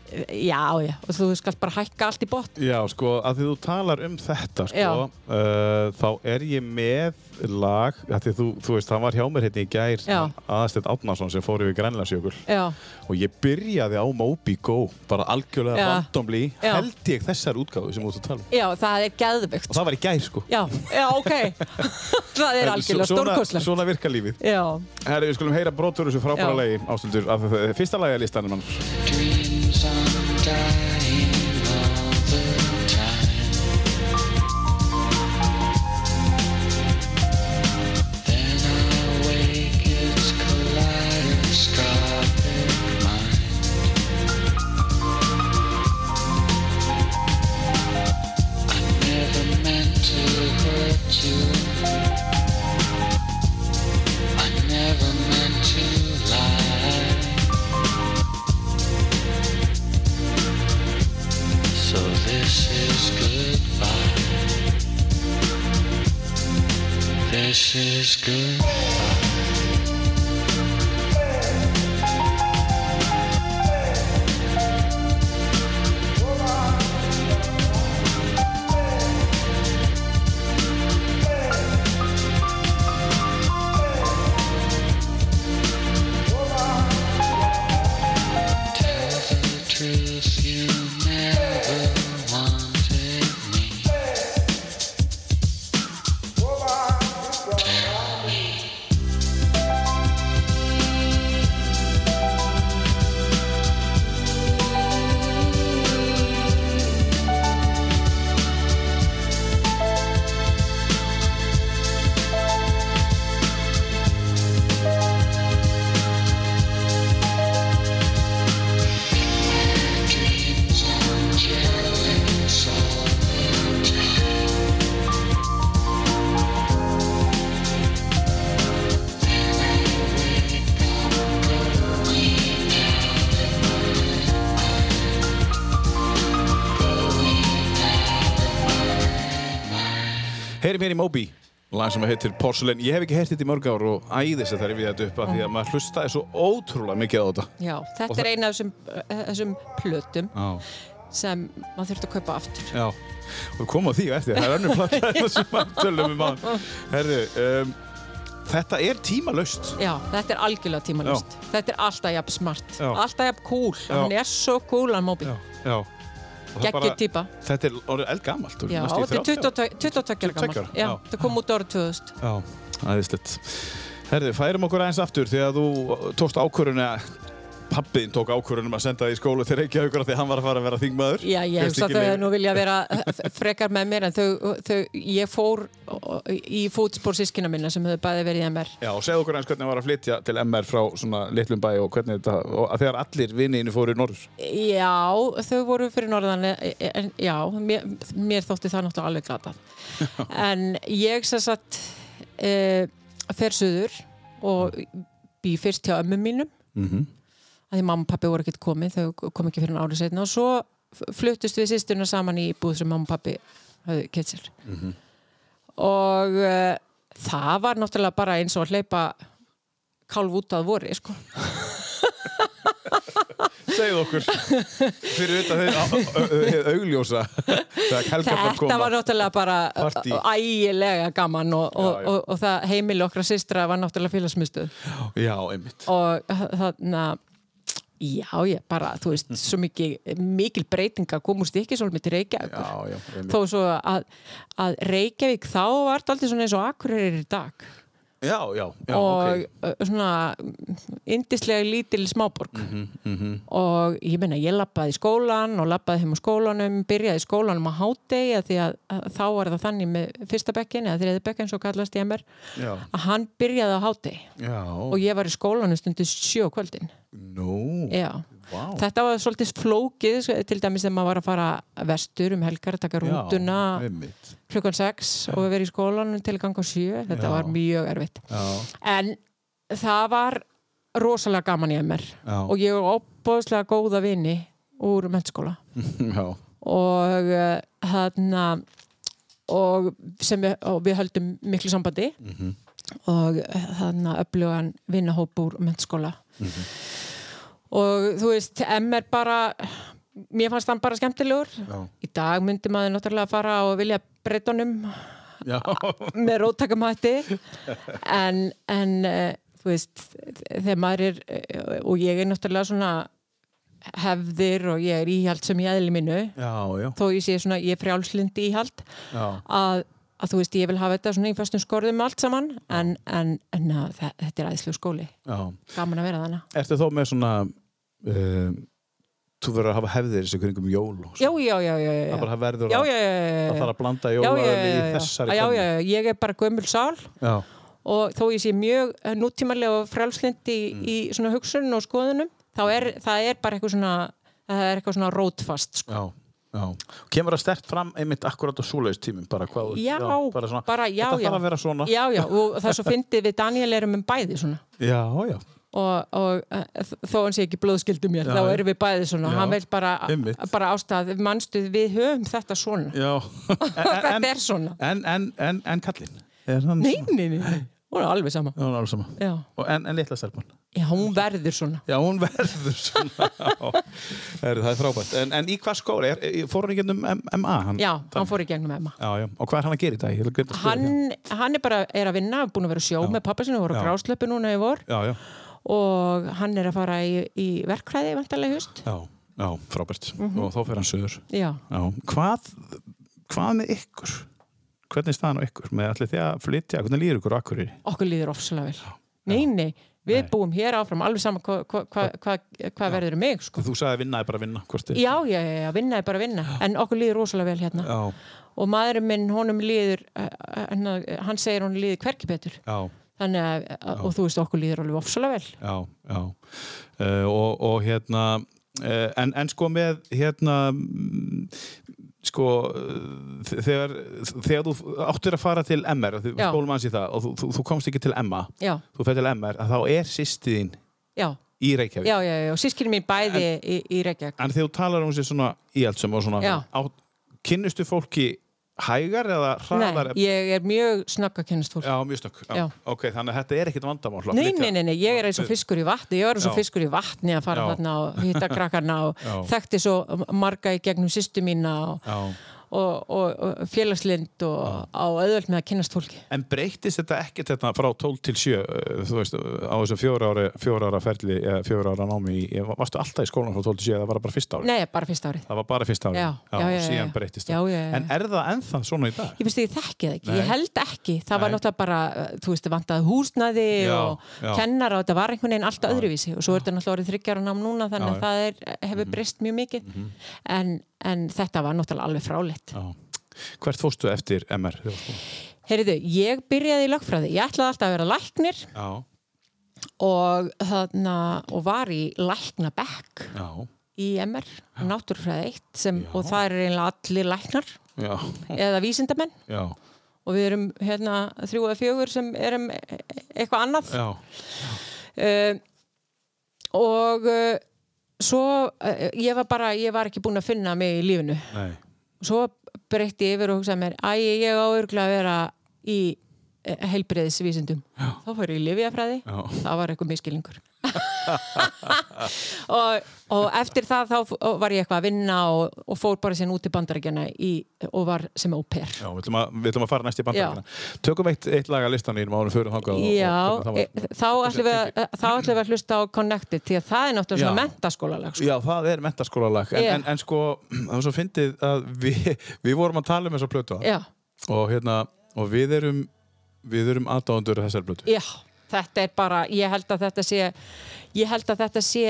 Speaker 2: já, já og þú skalt bara hækka allt í botn
Speaker 1: Já, sko, að því þú talar um þetta,
Speaker 2: Já.
Speaker 1: sko, uh, þá er ég með lag, að því þú, þú veist, það var hjá mér hérna í gær,
Speaker 2: Já.
Speaker 1: aðastett Átnarsson sem fór yfir Grænlandsjökul
Speaker 2: já,
Speaker 1: og ég byrjaði á Moby Go, bara algjörlega
Speaker 2: Já.
Speaker 1: randomly,
Speaker 2: Já.
Speaker 1: held ég þessar útgáðu sem þú ert að tala um.
Speaker 2: já, það er geðvögt
Speaker 1: Og það var í gær, sko. Eh,
Speaker 2: Já, já, ok. það er
Speaker 1: Svo-
Speaker 2: algjörlega
Speaker 1: svona-
Speaker 2: stórkoslega.
Speaker 1: Svona virka lífið.
Speaker 2: Já.
Speaker 1: Herri, við skulum heyra brotur þessu frábæra
Speaker 2: Já.
Speaker 1: lagi, ástöldur, af eh, fyrsta lagi að listanum hans.
Speaker 3: dreams are dying all the time. Then I wake, it's kaleidoscopic mind. I never meant to hurt you. I never meant to lie. This is goodbye. This is goodbye. Tell the truth, you never wanted me. Tell me. Dreams are jealous all the time. Then I wake up going down the mine, going down the mine.
Speaker 1: Heyrim hér í Moby lag sem heitir Porcelain ég hef ekki heyrt þetta í mörg ár og æðis að það er við þetta upp af því að maður hlustaði svo ótrúlega mikið á þetta
Speaker 2: Já,
Speaker 1: Og
Speaker 2: þetta
Speaker 1: það-
Speaker 2: er eina af þessum, eh, þessum plötum
Speaker 1: Já,
Speaker 2: sem maður þurft að kaupa aftur.
Speaker 1: já og við komum á því á eftir, það er önnur platta en það sem maður tölum um að Herðu, um, þetta er tímalaust
Speaker 2: Já, þetta er algjörlega tímalust. Þetta er alltaf jafn smart,
Speaker 1: Já.
Speaker 2: alltaf jafn cool. Hann er svo cool hann móbi,
Speaker 1: já Og það
Speaker 2: geggir
Speaker 1: bara-
Speaker 2: týpa.
Speaker 1: Þetta er orðið eldgamalt þú
Speaker 2: Já,
Speaker 1: næstu í
Speaker 2: þetta
Speaker 1: 30 ára.
Speaker 2: er 22 ára
Speaker 1: 22
Speaker 2: gammal.
Speaker 1: ára,
Speaker 2: Já,
Speaker 1: já.
Speaker 2: það kom út árið 2000.
Speaker 1: Já, aðeinslegt. Herði, færum okkur aðeins aftur þegar þú uh, tókst ákvörðun að pappiðin tók ákvörðunum að senda þig í skólu til Reykjavíkur af því að hann var að fara að vera þingmaður.
Speaker 2: Já, ég
Speaker 1: Fékkst
Speaker 2: hugsa að
Speaker 1: ekki
Speaker 2: þau
Speaker 1: leyfi.
Speaker 2: nú vilja vera eh, frekar með mér en þau, þau ég fór í fótspór sískina minna sem höfðu bæði verið í MR.
Speaker 1: Já, og segðu okkur aðeins hvernig það var að flytja til MR frá svona litlum bæ og hvernig þetta, og að þegar allir vinniðinu fóru í Norður.
Speaker 2: Já, þau voru fyrir norðan eh, en, Já, mér, mér þótti það náttúrulega alveg glatað En ég sem sagt e, fer suður og bý fyrst hjá ömmu mínum
Speaker 1: Mm -hmm.
Speaker 2: að því mamma og pappi voru ekkert komið þau kom ekki fyrir en árið setna og svo f- fluttust við sýsturna saman í búð sem mamma og pappi hafði kett sér og uh, það var náttúrulega bara eins og að hleypa kálf út að vori sko.
Speaker 1: Segðu okkur fyrir þetta þegar augljósa þegar kelkarnar
Speaker 2: Þetta
Speaker 1: koma.
Speaker 2: var náttúrulega bara
Speaker 1: Partí.
Speaker 2: ægilega gaman og, og,
Speaker 1: Já, já.
Speaker 2: Og, og það heimili okkra systra var náttúrulega félagsmyndstöð
Speaker 1: Já, einmitt.
Speaker 2: og þarna já, ég bara, þú veist,
Speaker 1: Mhm.
Speaker 2: svo mikið mikil breytinga komust ekki svolítið til Reykjavíkur
Speaker 1: Já, já, einmitt.
Speaker 2: þó svo að, að Reykjavík þá var þetta aldrei svona eins og Akureyri er í dag
Speaker 1: Já, já, já,
Speaker 2: og
Speaker 1: ok.
Speaker 2: okay. svona indislega lítil smáborg
Speaker 1: Mhm,
Speaker 2: og ég meina ég lappaði í skólan og lappaði heim á skólanum byrjaði í skólanum á hádegi af því að, að þá var það þannig með fyrsta bekkin eða þriði bekkin svo kallast ég mér
Speaker 1: Já,
Speaker 2: að hann byrjaði á hádegi
Speaker 1: já.
Speaker 2: og ég var í skólanum stundu sjö á kvöldin
Speaker 1: Nú,
Speaker 2: Já.
Speaker 1: vá.
Speaker 2: Þetta var svolítið flókið sko, til dæmis þegar maður var að fara vestur um helgar að taka
Speaker 1: Já,
Speaker 2: rútuna
Speaker 1: einmitt.
Speaker 2: klukkan 6 og verið í skólanum til ganga 7 þetta
Speaker 1: Já.
Speaker 2: var mjög erfitt
Speaker 1: Já.
Speaker 2: en það var rosalega gaman í MR
Speaker 1: Já.
Speaker 2: og ég var opbóðslega góða vini úr mennskóla
Speaker 1: Já,
Speaker 2: og uh, þarna og, sem við, og við höldum miklu sambandi
Speaker 1: Mm. Mhm.
Speaker 2: og eh, þarna öflugan vinnahóp úr mennskóla og þú veist, MR bara mér fannst hann bara skemmtilegur
Speaker 1: já,
Speaker 2: í dag myndi maður náttúrulega fara og vilja breytunum
Speaker 1: já,
Speaker 2: með róttakamætti en, en eh, þú veist, þegar maður er eh, og ég er náttúrulega svona hefðir og ég er íhjald sem ég eðli minnu,
Speaker 1: já, já,
Speaker 2: þó ég sé svona ég er frjálslindi íhald
Speaker 1: já,
Speaker 2: að, að þú veist, ég vil hafa þetta svona í föstum skorðum allt saman, en, en, en na, þetta er aðeinslu skóli,
Speaker 1: já.
Speaker 2: gaman að vera þannig
Speaker 1: Ertu þá með svona, um, þú verður að hafa hefðir þessu kringum jól og
Speaker 2: Já,
Speaker 1: svona.
Speaker 2: já, já, já, já.
Speaker 1: Það bara verður
Speaker 2: já,
Speaker 1: að,
Speaker 2: já, já, já, já.
Speaker 1: það þarf að blanda
Speaker 2: já, já,
Speaker 1: jólaðinni í
Speaker 2: já, já,
Speaker 1: þessari
Speaker 2: já, já, já, ég er bara gömul sál
Speaker 1: já, já.
Speaker 2: og þó ég sé mjög eh, nútímalega og frálslindi
Speaker 1: Mm.
Speaker 2: í, í svona hugsun og skoðunum, þá er það er bara eitthvað svona, það er eitthvað svona rótfast sko.
Speaker 1: Já, já. Kemur það stert fram einmitt akkurat á súleis tímum, bara hvað, þú-
Speaker 2: Já,
Speaker 1: bara svona,
Speaker 2: bara já,
Speaker 1: þetta
Speaker 2: já.
Speaker 1: þarf að vera svona.
Speaker 2: Já, já, og það er svo fyndið við Daniel erum um bæði svona
Speaker 1: já, já.
Speaker 2: og, og eh, þó hann sé ekki blóðskildu mér,
Speaker 1: Já,
Speaker 2: þá
Speaker 1: já.
Speaker 2: erum við bæði svona
Speaker 1: Já.
Speaker 2: hann vil bara,
Speaker 1: Einmitt.
Speaker 2: bara ástæð mannstu, við höfum þetta svona
Speaker 1: Já.
Speaker 2: þetta
Speaker 1: en,
Speaker 2: er svona
Speaker 1: en, en, en, en kallinn? Er hann svona?
Speaker 2: neyninni, hún er alveg sama
Speaker 1: Já, hún er alveg sama.
Speaker 2: já,
Speaker 1: Og en, en litla stelpan?
Speaker 2: já hún verður svona
Speaker 1: Já, hún verður svona. Já. Heyrðu, það er frábært. En, en í hvað skóla? Er, er, fór hann í gennum MA? Hann,
Speaker 2: já, hann fór í gegnum Emma
Speaker 1: Já, já. Og hvað er hann að gera í dag? Ég ætla að gleymd að spyrja
Speaker 2: hann,
Speaker 1: þig.
Speaker 2: hann er bara er að vinna, búin að vera á sjó með pappa sinu, voru
Speaker 1: Já.
Speaker 2: á gráslöpu núna í vor
Speaker 1: Já, já.
Speaker 2: og hann er að fara í, í verkfræði vantarlega hust
Speaker 1: Já, já, frábært.
Speaker 2: Mhm.
Speaker 1: Og þá fer hann sögur.
Speaker 2: já,
Speaker 1: Já. Hvað, hvað með ykkur? Hvernig er staðan á ykkur? Með allir því að flytja, hvernig líður ykkur á akkurir?
Speaker 2: okkur líður ofsalega vel nei, nei, við
Speaker 1: Nei.
Speaker 2: búum hér áfram alveg saman hvað hva, hva, hva, hva verður um mig sko.
Speaker 1: Þú sagði að vinna er bara að vinna, hvort er?
Speaker 2: já, já, já, já, vinna er bara að vinna en okkur líður rosalega vel hérna
Speaker 1: Já,
Speaker 2: og maðurinn minn, honum líður eh, eh, hann segir honum líður hverki betur
Speaker 1: já.
Speaker 2: þannig að, eh, og þú veist, okkur líður alveg ofsalega vel
Speaker 1: já, já. Uh, og, og hérna uh, en, en sko með hérna mm, sko uh, þ- þegar, þegar þú áttur að fara til MR, þú
Speaker 2: Já.
Speaker 1: spólum aðeins í það og þú, þú, þú komst ekki til MA,
Speaker 2: já,
Speaker 1: þú fer til MR að þá er sýstiðin
Speaker 2: já,
Speaker 1: í
Speaker 2: já,
Speaker 1: Reykjavík
Speaker 2: já, já, og sískinni mín bæði í, í Reykjavík
Speaker 1: en þegar þú talar um sér svona íhaldsum og svona
Speaker 2: Já.
Speaker 1: á, kynnustu fólki hægar eða hraðar
Speaker 2: Nei, ég er mjög snöggakennist fólk
Speaker 1: já, mjög snögg, já.
Speaker 2: Já.
Speaker 1: ok, þannig að þetta er ekkit vandamál að
Speaker 2: Nei,
Speaker 1: flytja.
Speaker 2: nei, nei, nei, ég er eins og fiskur í vatni ég var eins og
Speaker 1: Já.
Speaker 2: fiskur í vatni að fara
Speaker 1: Já.
Speaker 2: þarna og hitta krakkarna og
Speaker 1: Já.
Speaker 2: þekkti svo marga í gegnum sýstu mína og,
Speaker 1: Já.
Speaker 2: og, og, og félagslind og á auðvöld með að kynnast fólki
Speaker 1: En breytist þetta ekkert þetta frá 12 til 7, uh, þú veist, uh, á þessum fjóra ára, fjóra ára ferli, eða fjóra ára námi, í, eh, varstu alltaf í skólan frá 12 til 7 eða var það bara fyrsta ári?
Speaker 2: Nei, bara fyrsta árið
Speaker 1: Það var bara fyrsta ári?
Speaker 2: Já, já, já,
Speaker 1: og
Speaker 2: já,
Speaker 1: síðan
Speaker 2: já.
Speaker 1: breytist
Speaker 2: Já,
Speaker 1: það.
Speaker 2: já, já, já.
Speaker 1: En er það ennþá svona í dag?
Speaker 2: Ég veist ég þekki það ekki,
Speaker 1: Nei.
Speaker 2: ég held ekki það var
Speaker 1: Nei.
Speaker 2: náttúrulega bara, uh, þú veist, vantaði húsnaði
Speaker 1: Já,
Speaker 2: og
Speaker 1: já.
Speaker 2: kennara og þetta var einhvern veginn alltaf öðruvísi og svo er þetta náttúrulega orðið þryggjar og nám núna þannig
Speaker 1: Já, Mhm. já.
Speaker 2: að það er, hefur breyst mjög mikið en, en þetta var náttúrulega alveg fráleitt
Speaker 1: Mhm, Já. Hvert fórstu eftir MR? þegar þú-
Speaker 2: Heyriðu, ég byrjaði í lögfræði, ég ætlaði alltaf að vera læknir
Speaker 1: Já,
Speaker 2: og, þarna, og var í læknabekk
Speaker 1: já,
Speaker 2: í MR, náttúrfræði 1 sem,
Speaker 1: Já.
Speaker 2: og það er eiginlega allir læknar
Speaker 1: já,
Speaker 2: eða vísindamenn
Speaker 1: já,
Speaker 2: og við erum hérna þrjú eða fjögur sem erum e- e- eitthvað annað
Speaker 1: já,
Speaker 2: uh, og uh, svo uh, ég var bara, ég var ekki búin að finna mig í lífinu
Speaker 1: nei,
Speaker 2: svo breytti ég yfir og hugsaði mér æ, ég á örgulega að vera í uh, helbriðisvísindum þá fór ég í lifjafræði
Speaker 1: Já.
Speaker 2: það var eitthvað miskilingur og, og eftir það þá f- var ég eitthvað að vinna og, og fór bara síðan út í bandarækjana í, og var sem au pair
Speaker 1: já, við ætlum að, við ætlum að fara næst í bandarækina. Tökum eitt, eitt lag að listan í mánu fyrir þangað. og- og
Speaker 2: Já,
Speaker 1: hvernig það var.
Speaker 2: e- þá ætlum við að- þá ætlum við að hlusta á Connected því að það er náttúrulega
Speaker 1: Já.
Speaker 2: svona mentaskólalag sko.
Speaker 1: Já, það er mentaskólalag en,
Speaker 2: Já.
Speaker 1: en, en sko, það var svo fyndið að við, við vorum að tala um þessa plötu
Speaker 2: Já,
Speaker 1: og hérna, og við erum við erum aðdáðundur þessar plötu
Speaker 2: já, þetta er bara ég held að þetta sé ég held að þetta sé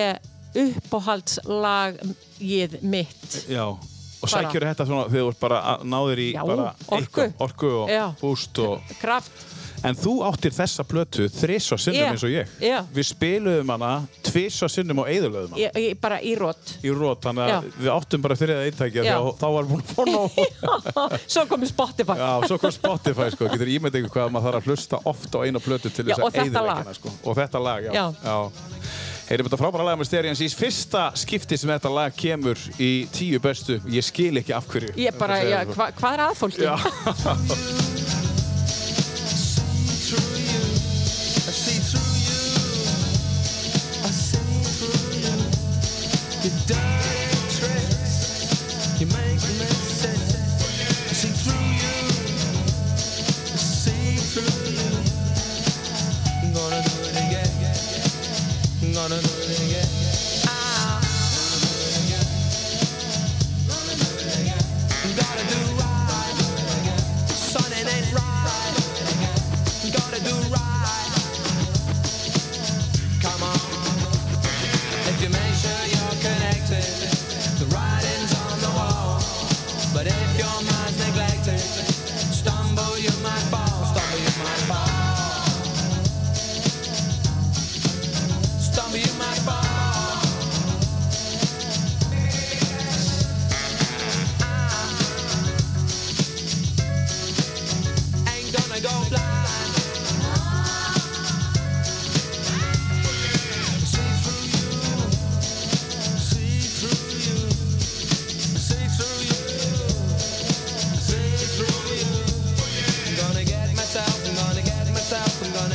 Speaker 2: uppáhaldslag ég mitt
Speaker 1: Já, og
Speaker 2: Bara.
Speaker 1: sækjur þetta svona þegar þú ert bara að- náðir í
Speaker 2: Já,
Speaker 1: bara
Speaker 2: orku.
Speaker 1: eitthvað, orku og
Speaker 2: Já.
Speaker 1: búst og,
Speaker 2: kraft,
Speaker 1: en þú áttir þessa plötu þrisvar sinnum
Speaker 2: Já.
Speaker 1: eins og ég
Speaker 2: Já.
Speaker 1: við spiluðum hana tvisvar sinnum og eðurlöðum hana
Speaker 2: ég, ég, bara í rót
Speaker 1: í rót, þannig að
Speaker 2: Já.
Speaker 1: við áttum bara þriða eintæki
Speaker 2: Já.
Speaker 1: þá, þá var búin að fóna á
Speaker 2: svo komið Spotify
Speaker 1: Já, svo kom Spotify, sko, getur ímynd ykkur hvað maður þarf að hlusta oft á eina plötu til
Speaker 2: Já,
Speaker 1: þess
Speaker 2: og
Speaker 1: að
Speaker 2: þetta
Speaker 1: eyðileggja
Speaker 2: lag.
Speaker 1: hana, sko. Og þetta lag, já.
Speaker 2: Já.
Speaker 1: já. Heyrim þetta frábæra lag með Sterians í fyrsta skipti sem þetta lag kemur í tíu bestu. Ég skil ekki af hverju.
Speaker 2: ég bara, já, hva, hvað er að fólki?
Speaker 1: Já.
Speaker 4: through you. I see through you. I see through you. Your dirty tricks. You make me sick. I see through you. I see through you. I'm gonna do it again. I'm gonna do it again. Ah. Gotta do right, son. It ain't right gotta do right. Come on. If you make sure you're connected,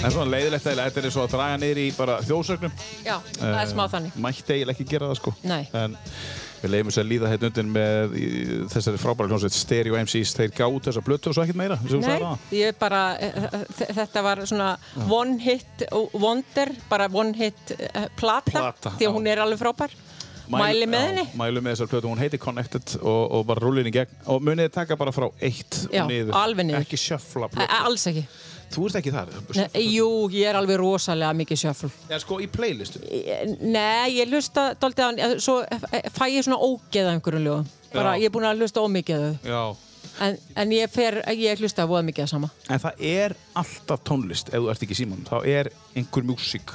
Speaker 1: En svona leiðilegt eða þetta er eins og að draga niður í bara þjóðsögnum.
Speaker 2: Já, það er smá þannig.
Speaker 1: Eh, Mætti eiginlega ekki gera það sko.
Speaker 2: Nei.
Speaker 1: En við leiðum þess að líða hérna undir með í, þessari frábæra hljómsveit Stereo MCs. Þeir gáðu þessa blötu og svo ekkert meira. sem þú
Speaker 2: Nei,
Speaker 1: sagðir áðan.
Speaker 2: ég bara, eh, þ- þetta var svona one hit wonder, bara one hit eh, plata,
Speaker 1: Plata,
Speaker 2: því að hún
Speaker 1: já.
Speaker 2: er alveg frábær. Mæli, með
Speaker 1: já,
Speaker 2: henni.
Speaker 1: Mælu með þessar blötu. Hún heitir Connected og, og bara rúlir henni í gegn. Og munið þið taka bara frá eitt
Speaker 2: Já,
Speaker 1: og niður.
Speaker 2: alveg niður.
Speaker 1: Ekki sjöfla
Speaker 2: Æ,
Speaker 1: blötu.
Speaker 2: Alls ekki.
Speaker 1: Þú ert ekki þar.
Speaker 2: Nei, jú, ég er alveg rosalega mikið sjöfl.
Speaker 1: Eða sko í playlistu.
Speaker 2: Nei, ég hlusta dálítið á hann, eh, svo eh, fæ ég svona ógeða einhverjum lögum. Bara,
Speaker 1: Já.
Speaker 2: ég er búin að hlusta ómikið á þau.
Speaker 1: Já.
Speaker 2: En, en ég fer, ég hlusta voða mikið að sama.
Speaker 1: En það er alltaf tónlist ef þú ert ekki í símanum. Þá er einhver músík.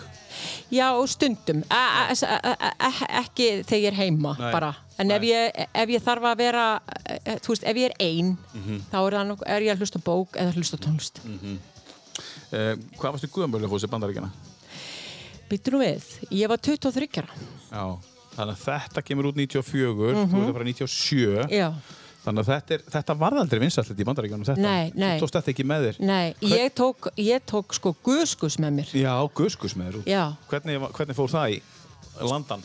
Speaker 2: Já, stundum. A, a, a, a, a, ekki þegar ég er heima
Speaker 1: Nei.
Speaker 2: bara. En ef
Speaker 1: Nei.
Speaker 2: ég, ef ég þarf að vera, eh, eh, þú veist, ef ég er ein,
Speaker 1: Mhm.
Speaker 2: þá er, það, nok- er ég að hlusta á bók eða hlusta á tónlist. Mm.
Speaker 1: Uh, hvað varstu guðamölu fóðs í bandaríkjana?
Speaker 2: Býtur nú við, ég var 23 ára.
Speaker 1: Já. Þannig að þetta kemur út 94, þú ert að fara 97.
Speaker 2: Já.
Speaker 1: Þannig að þetta, er, þetta varð aldrei vinsallið í bandaríkjunum. Þetta.
Speaker 2: Nei, nei.
Speaker 1: Þú tókst þetta ekki með þér.
Speaker 2: Nei,
Speaker 1: Hvern-
Speaker 2: ég tók, ég tók sko guðskus með mér.
Speaker 1: Já, guðskus með þér. út.
Speaker 2: Já.
Speaker 1: Hvernig, var- hvernig fór það í landan?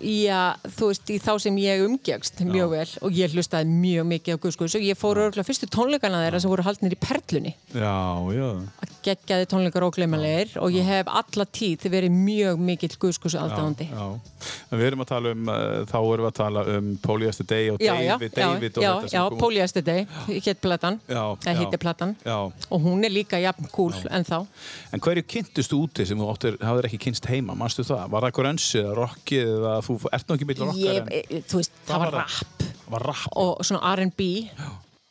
Speaker 2: Já, þú veist, í þá sem ég umgegst mjög vel og ég hlustaði mjög mikið á guðskus og ég fór örgulega fyrstu tónleikana þeirra sem voru haldnir í Perlunni.
Speaker 1: Já, já.
Speaker 2: geggjaði tónleikar óglemalegir og ég hef alla tíð verið mjög mikill guðskus aðdáðandi.
Speaker 1: já. En við erum að tala um, uh, þá erum við að tala um Póliðastu Day og
Speaker 2: Já, já,
Speaker 1: David,
Speaker 2: já,
Speaker 1: David og
Speaker 2: já,
Speaker 1: þetta sem
Speaker 2: já,
Speaker 1: kom út.
Speaker 2: Póliasti Day, hétt platan,
Speaker 1: Já, já.
Speaker 2: eða hétti platan
Speaker 1: Já.
Speaker 2: og hún er líka jafn kúl en þá.
Speaker 1: En hverju kynntist þú úti sem þú áttir, hafðir ekki kynst heima, manstu það? Var það grönsið eða rockið eða þú ert nú ekki mitt rockar
Speaker 2: Ég, e, þú veist, það var rap
Speaker 1: Það var rap.
Speaker 2: og svona R&B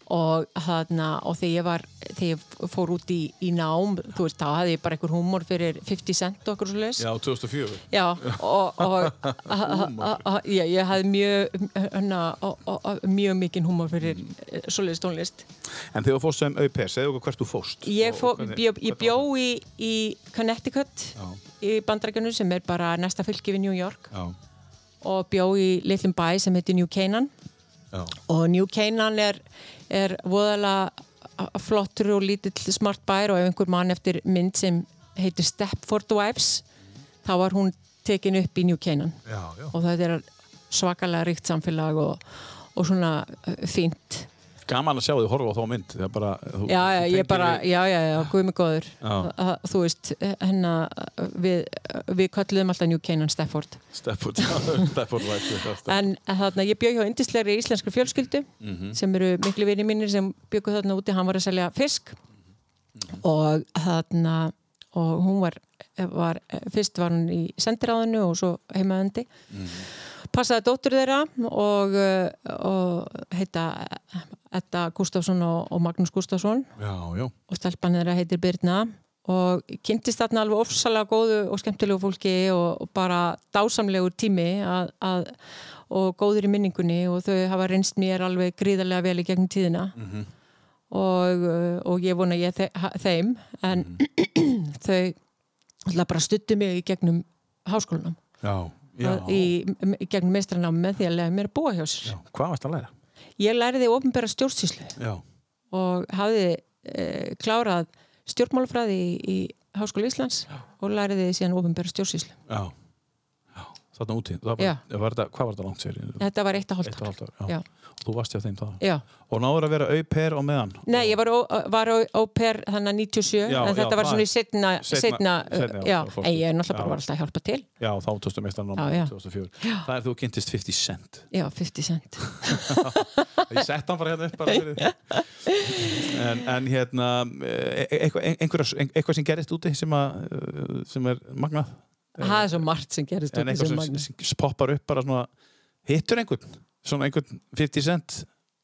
Speaker 2: og þarna, og þegar ég var, þegar ég fór út í, í nám, þú veist, þá hafði ég bara einhver humor fyrir 50 cent og okkur svo leis.
Speaker 1: Já, 2004.
Speaker 2: Já, og, og já, ég hafði mjög, hana, og, og, og, mjög mikinn húmor fyrir mm. svoleiðist tónlist.
Speaker 1: En þegar þú fórst sem au pair, segðu okkur hvert þú fórst.
Speaker 2: Ég,
Speaker 1: Og
Speaker 2: fó,
Speaker 1: hvernig-
Speaker 2: bjó, ég
Speaker 1: hvernig
Speaker 2: bjó
Speaker 1: var það?
Speaker 2: í, í Connecticut
Speaker 1: Já.
Speaker 2: í bandrækjunum sem er bara næsta fylgi við New York
Speaker 1: Já,
Speaker 2: og bjó í litlum bæ sem heitir New Canaan
Speaker 1: já,
Speaker 2: og New Canaan er, er voðalega flottur og lítill smart bær og ef einhver mann eftir mynd sem heitir Stepford Wives þá var hún tekin upp í New Canaan
Speaker 1: já, já.
Speaker 2: og þetta er svakalega ríkt samfélag og, og svona eh, fínt
Speaker 1: Gaman að sjá því, horfa á þá mynd. Það er bara... Þú,
Speaker 2: já, já,
Speaker 1: þú
Speaker 2: ég
Speaker 1: tengir
Speaker 2: bara,
Speaker 1: við-
Speaker 2: já, já, já, guðmi góður
Speaker 1: Já.
Speaker 2: Að- þú veist, hennar við, við kölluðum alltaf New Canaan Stafford
Speaker 1: Stepford, Stepford White.
Speaker 2: en þarna, ég bjög hjá indislegri íslenskri fjölskyldu
Speaker 1: Mhm.
Speaker 2: sem eru miklu vinni mínir sem bjöggu þarna úti, hann var að selja fisk
Speaker 1: Mhm.
Speaker 2: og þarna og hún var, var fyrst var hún í sendiráðinu og svo heimaðandi
Speaker 1: Mhm.
Speaker 2: passaði dóttur þeirra og, uh, og heita Edda Gustafsson og, og Magnús Gustafsson
Speaker 1: Já, já.
Speaker 2: og stelpan þeirra heitir Birna og kynntist þarna alveg ofsalega góðu og skemmtilegu fólki og, og bara dásamlegur tími að, að, og góður í minningunni og þau hafa reynst mér alveg gríðarlega vel í gegnum tíðina
Speaker 1: Mhm.
Speaker 2: og, uh, og ég vona ég þe ha- þeim en
Speaker 1: Mhm.
Speaker 2: þau alltaf bara stuttu mig í gegnum háskólanum
Speaker 1: Já, já.
Speaker 2: að- í, í gegnum meistranámi með því að lega mér að búa hjá sér.
Speaker 1: já. Hvað varst að læra?
Speaker 2: Ég læriði ofinbæra stjórnsýslu
Speaker 1: Já.
Speaker 2: og hafði e, klárað stjórnmálafræði í, í Háskóla Íslands og læriði síðan ofinbæra stjórnsýslu.
Speaker 1: Já. Já. Þarna úti. Það var,
Speaker 2: Já.
Speaker 1: var þetta, hvað var þetta langt sér?
Speaker 2: Þetta var eitt að
Speaker 1: Eitt og
Speaker 2: hálft.
Speaker 1: halvt ár. Já.
Speaker 2: Já.
Speaker 1: Og þú varst hjá þeim það.
Speaker 2: Já.
Speaker 1: Og náður að vera au pair og meðan.
Speaker 2: Nei, ég var, ó, var á, á per þannig að 97,
Speaker 1: Já,
Speaker 2: en þetta
Speaker 1: já,
Speaker 2: var
Speaker 1: það
Speaker 2: svona
Speaker 1: er-
Speaker 2: í setna,
Speaker 1: seinna-
Speaker 2: setna,
Speaker 1: seinna, já,
Speaker 2: já,
Speaker 1: þá fórstu.
Speaker 2: en ég er
Speaker 1: Já.
Speaker 2: náttúrulega bara var alltaf að hjálpa til.
Speaker 1: Já, þá tókstu meistarinn á
Speaker 2: Já, já.
Speaker 1: 2004. Það er þú kynntist 50 Cent.
Speaker 2: Já, 50 cent.
Speaker 1: Ég sett hann bara hérna upp bara fyrir þig. En, en hérna, e- e- eitthvað, einhver, eitthvað sem gerist úti sem, að, eh, sem er magnað? E,
Speaker 2: Það er svo margt sem gerist
Speaker 1: En
Speaker 2: út í
Speaker 1: eitthvað
Speaker 2: sem
Speaker 1: sem,
Speaker 2: magna.
Speaker 1: sem, poppar upp bara svona, hittur einhvern? Svona einhvern 50 Cent?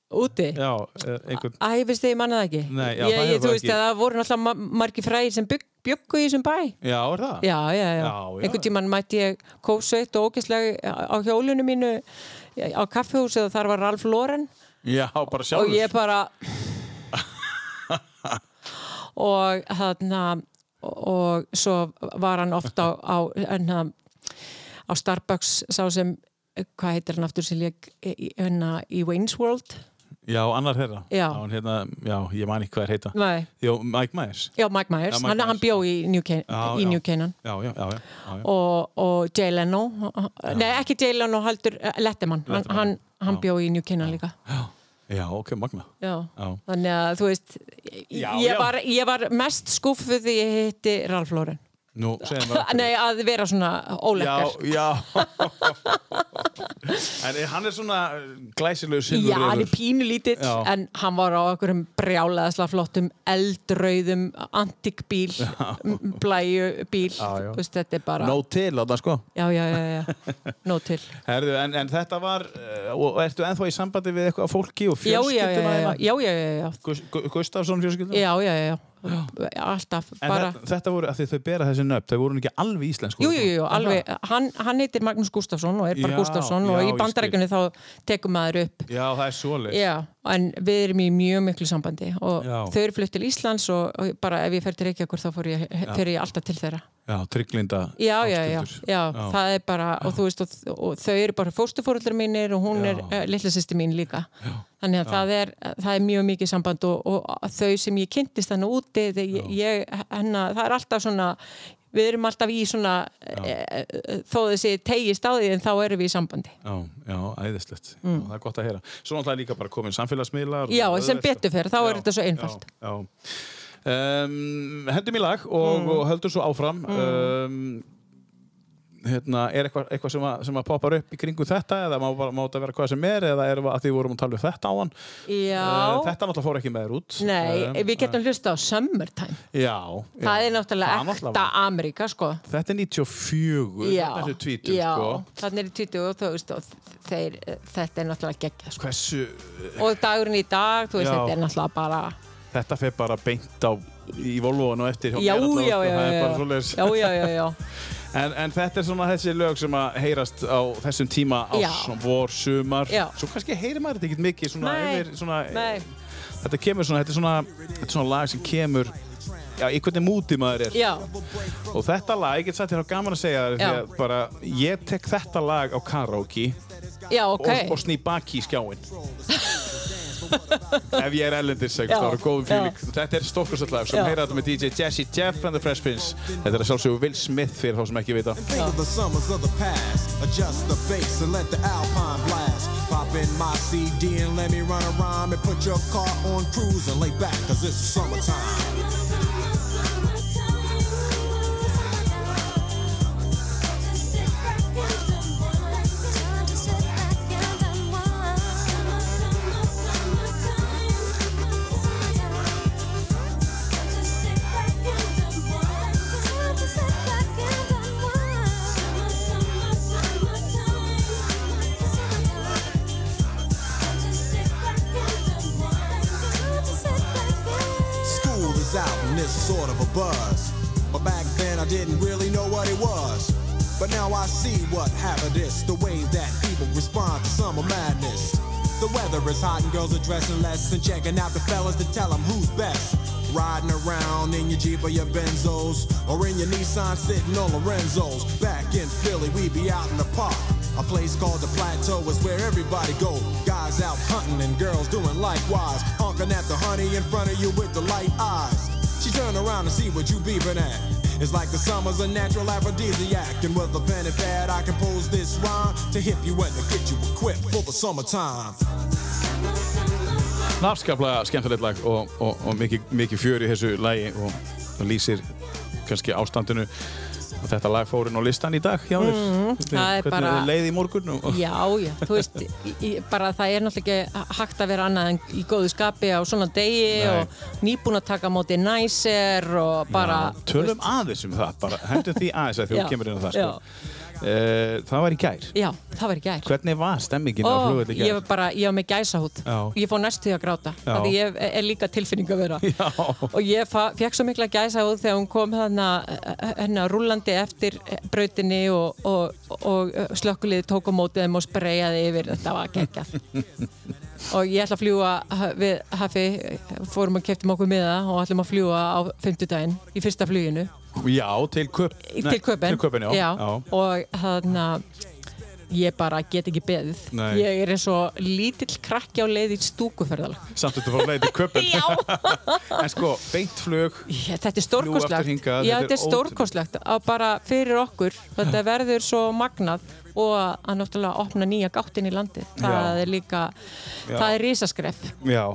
Speaker 2: Úti?
Speaker 1: Já, eh, einhvern.
Speaker 2: Æ, ég veist þið, ég manna það ekki.
Speaker 1: Nei, já,
Speaker 2: ég,
Speaker 1: það
Speaker 2: ég,
Speaker 1: hefur
Speaker 2: þú
Speaker 1: það
Speaker 2: veist
Speaker 1: ekki.
Speaker 2: að það voru náttúrulega ma- margir fræðir sem bygg, byggu í þessum bæ.
Speaker 1: Já, er það?
Speaker 2: já, já, já.
Speaker 1: Já, já.
Speaker 2: einhvern tímann mætti ég kósveitt og ógæslega á hjólinu mínu eh, á kaffihúsið og þar var Ralf Loren
Speaker 1: Já, bara sjálfur.
Speaker 2: og ég bara og þarna og svo var hann oft á, á, hana, á eh, Starbucks sá sem hvað heitir hann aftur sem ég hérna í hérna, Wayne's World
Speaker 1: Já, annar þeirra.
Speaker 2: Já.
Speaker 1: hann hérna, já, ég man ekki hvað þær heita.
Speaker 2: Nei.
Speaker 1: Jó, Mike Myers.
Speaker 2: Já, Mike
Speaker 1: Já,
Speaker 2: Myers,
Speaker 1: Mike
Speaker 2: hann,
Speaker 1: Myers.
Speaker 2: hann bjó í New, Can
Speaker 1: Já,
Speaker 2: í
Speaker 1: já.
Speaker 2: New Canaan
Speaker 1: Já, já, já, já. já, já.
Speaker 2: og, og Jay Leno uh, nei, ekki Jay Leno, haldur Letterman, hann,
Speaker 1: Letterman,
Speaker 2: hann, hann
Speaker 1: já.
Speaker 2: bjó í New Canaan líka
Speaker 1: já, ok, magna.
Speaker 2: já.
Speaker 1: Já.
Speaker 2: þannig að þú veist
Speaker 1: Já,
Speaker 2: ég,
Speaker 1: já.
Speaker 2: Var, ég var mest skúffuð því ég hitti Ralf Lauren
Speaker 1: Nú, segjum við.
Speaker 2: nei, að vera svona
Speaker 1: Já,
Speaker 2: ólekkar
Speaker 1: já. en eh, hann er svona glæsilegu silfur.
Speaker 2: Já, hann er pínulítill,
Speaker 1: Já.
Speaker 2: en hann var á okkurum brjálaðasla flottum, eldrauðum, antikbíl, blæju bíl,
Speaker 1: Já, já.
Speaker 2: þú veist, þetta er bara...
Speaker 1: Nó til á það, sko.
Speaker 2: Já, já, já, já, nó til.
Speaker 1: Herðu, en, en þetta var, eh, og ertu ennþá í sambandi við eitthvað af fólki og
Speaker 2: Já, já, já,
Speaker 1: fjölskylduna hérna.
Speaker 2: já, já, já, já, já,
Speaker 1: já. Gustafsson fjölskylduna?
Speaker 2: já, já, já, alltaf,
Speaker 1: En
Speaker 2: bara...
Speaker 1: þetta, þetta voru, af því þau bera þessi nöfn, þau voru nú ekki alveg íslensk. sko.
Speaker 2: Jú,
Speaker 1: voru
Speaker 2: jú,
Speaker 1: þau?
Speaker 2: jú,
Speaker 1: Er
Speaker 2: alveg,
Speaker 1: það?
Speaker 2: hann, hann heitir Magnús Gustafsson og er bara
Speaker 1: Já,
Speaker 2: Gustafsson
Speaker 1: já,
Speaker 2: og í
Speaker 1: ég skil.
Speaker 2: bandarækjunni þá tekum maður upp
Speaker 1: Já, það er svoleið.
Speaker 2: Já, en við erum í mjög miklu sambandi og
Speaker 1: Já.
Speaker 2: þau eru flutt til Íslands og, og bara ef ég fer til Reykjavíkur þá fer ég, fer ég alltaf til þeirra.
Speaker 1: Já, trygglinda.
Speaker 2: Já, já, já, já,
Speaker 1: ástundur.
Speaker 2: það er bara, og þú veist, og, og þau eru bara fóstufóröldrar mínir og hún
Speaker 1: Já.
Speaker 2: er uh, litlasýsti mín líka. Já. Þannig að það er, það er mjög mikið samband og, og þau sem ég kynntist þannig úti, þegar ég, hennar, það er alltaf svona, við erum alltaf í svona, e, e, þó þessi tegist á því en þá erum við í sambandi.
Speaker 1: Já, já, æðislegt. Já, það er gott að heyra. Svo náttúrulega líka bara komin samfélagsmiðlar. og
Speaker 2: Mm. Já,
Speaker 1: auðvelt
Speaker 2: sem
Speaker 1: að-
Speaker 2: betur fer, þá er
Speaker 1: Já,
Speaker 2: þetta svo einfalt.
Speaker 1: Já, já. Um, hendum í lag og,
Speaker 2: Mm.
Speaker 1: og höldum svo áfram. Um, hérna, er eitthvað eitthva sem, að- sem að poppar upp í kringum þetta eða má, bara- má þetta vera hvað sem er eða er að því vorum að tala um þetta á hann?
Speaker 2: Já.
Speaker 1: Uh, þetta náttúrulega fór ekki með þér út.
Speaker 2: Nei,
Speaker 1: Um,
Speaker 2: við getum hlusta á Summertime.
Speaker 1: Já, já.
Speaker 2: Það er náttúrulega
Speaker 1: Það
Speaker 2: ekta Ameríka, sko.
Speaker 1: Þetta er 94,
Speaker 2: Já,
Speaker 1: þarna þessu tvítum,
Speaker 2: já,
Speaker 1: sko.
Speaker 2: þannig er í tvítu og þú veist, og þeir, eh, þetta er náttúrulega geggja, sko.
Speaker 1: Hversu,
Speaker 2: Og dagurinn í dag, þú veist,
Speaker 1: Já.
Speaker 2: þetta er náttúrulega bara,
Speaker 1: þetta fer bara beint á í Volvoan og eftir hjá
Speaker 2: já,
Speaker 1: mér allavega, sko,
Speaker 2: já, já,
Speaker 1: það er bara
Speaker 2: já,
Speaker 1: svoleiðis.
Speaker 2: já, já, já, já,
Speaker 1: En, en þetta er svona þessi lög sem að heyrast á þessum tíma
Speaker 2: Já.
Speaker 1: árs, svona vor, sumar,
Speaker 2: Já.
Speaker 1: svo kannski heyrir maður þetta ekkert mikið svona
Speaker 2: Nei.
Speaker 1: yfir, svona,
Speaker 2: nei,
Speaker 1: þetta kemur svona, þetta er svona, þetta er svona lag sem kemur, já, í hvernig múti maður er.
Speaker 2: já,
Speaker 1: Og þetta lag, ég get sagt þér á gaman að segja þér, því
Speaker 2: Já.
Speaker 1: að bara, ég tek þetta lag á karaoke
Speaker 2: já, ok,
Speaker 1: og, og sný baki í skjáinn. Ef ég er ellendis,
Speaker 2: Já.
Speaker 1: það eru góðum fíling.
Speaker 2: Já.
Speaker 1: Þetta er stórkostallag sem
Speaker 2: Já.
Speaker 1: heyra þetta með DJ Jesse Jeff and the Fresh Prince. Þetta er að sjálfsögðu Will Smith fyrir þá sem ekki vita.
Speaker 5: Think of the summers of the past. Adjust the bass and let the alpine blast. Pop in my CD and let me run a rhyme and put your car on cruise and lay back, cause it's summertime. School is out and it's sort of a buzz. But back then I didn't really know what it was. But now I see what happened is the way that people respond to summer madness. The weather is hot and girls are dressing less and checking out the fellas to tell them who's best. Riding around in your Jeep or your Benzos, or in your Nissan sitting on Lorenzo's. Back in Philly, we be out in the park. A place called the Plateau is where everybody go. Guys out hunting and girls doing likewise. Honking at the honey in front of you with the light eyes. She turn around and see what you beeping at. It's like the summer's a natural aphrodisiac. And with a pen and pad, I compose this rhyme to hip you and to get you equipped for the summertime.
Speaker 1: Afskaplega skemmtilegt lag og, og, og mikið, mikið fjör í þessu lagi og það lýsir kannski ástandinu og þetta lag fór inn á listan í dag hjá þér Hvernig-
Speaker 2: Mhm, það er
Speaker 1: Hvernig
Speaker 2: bara-
Speaker 1: þið leið í morgun og,
Speaker 2: já, já, þú veist, í, í, bara það er náttúrulega ekki hægt að vera annað en í góðu skapi á svona degi
Speaker 1: Nei.
Speaker 2: og nýbúin að taka á móti næsir og bara,
Speaker 1: Já, Tölum aðeins um það, bara hendur því aðeins að því
Speaker 2: Já,
Speaker 1: þú kemur inn á það sko. uh, Það var í gær
Speaker 2: já, það var í gær.
Speaker 1: Hvernig var stemmingin á
Speaker 2: Ó,
Speaker 1: flugvöld í
Speaker 2: ég
Speaker 1: gær?
Speaker 2: var bara, ég var með gæsahút
Speaker 1: Já.
Speaker 2: ég fór næstu því að gráta
Speaker 1: Já.
Speaker 2: af því ég er líka tilfinning að vera
Speaker 1: Já.
Speaker 2: og ég fekk svo mikla gæsahút þegar hún kom þarna hennar rúlandi eftir eh, brautinni og, og, og slökkuliði tók á mótið þeim og spreyjaði yfir þetta var geggjað og ég ætla að fljúa við Hafi, fórum að keftum okkur miða og ætlum að fljúa á fimmtudaginn í fyrsta fluginu
Speaker 1: Já, til köp
Speaker 2: til köpen,
Speaker 1: til köpen já. Já.
Speaker 2: og þarna ég bara get ekki beðið.
Speaker 1: Nei.
Speaker 2: Ég er eins og lítill krakki á leið í stúkuferðalag.
Speaker 1: Samt þetta fór leið til köpun
Speaker 2: Já,
Speaker 1: En sko, beint flug
Speaker 2: Ég- þetta er
Speaker 1: Fljú aftur
Speaker 2: stórkostlegt.
Speaker 1: hingað,
Speaker 2: Já,
Speaker 1: þetta er
Speaker 2: þetta er stórkostlegt að bara fyrir okkur, þetta verður svo magnað og að náttúrulega opna nýja gáttin í landið. Það
Speaker 1: Já.
Speaker 2: er líka,
Speaker 1: Já.
Speaker 2: það er risaskref.
Speaker 1: Já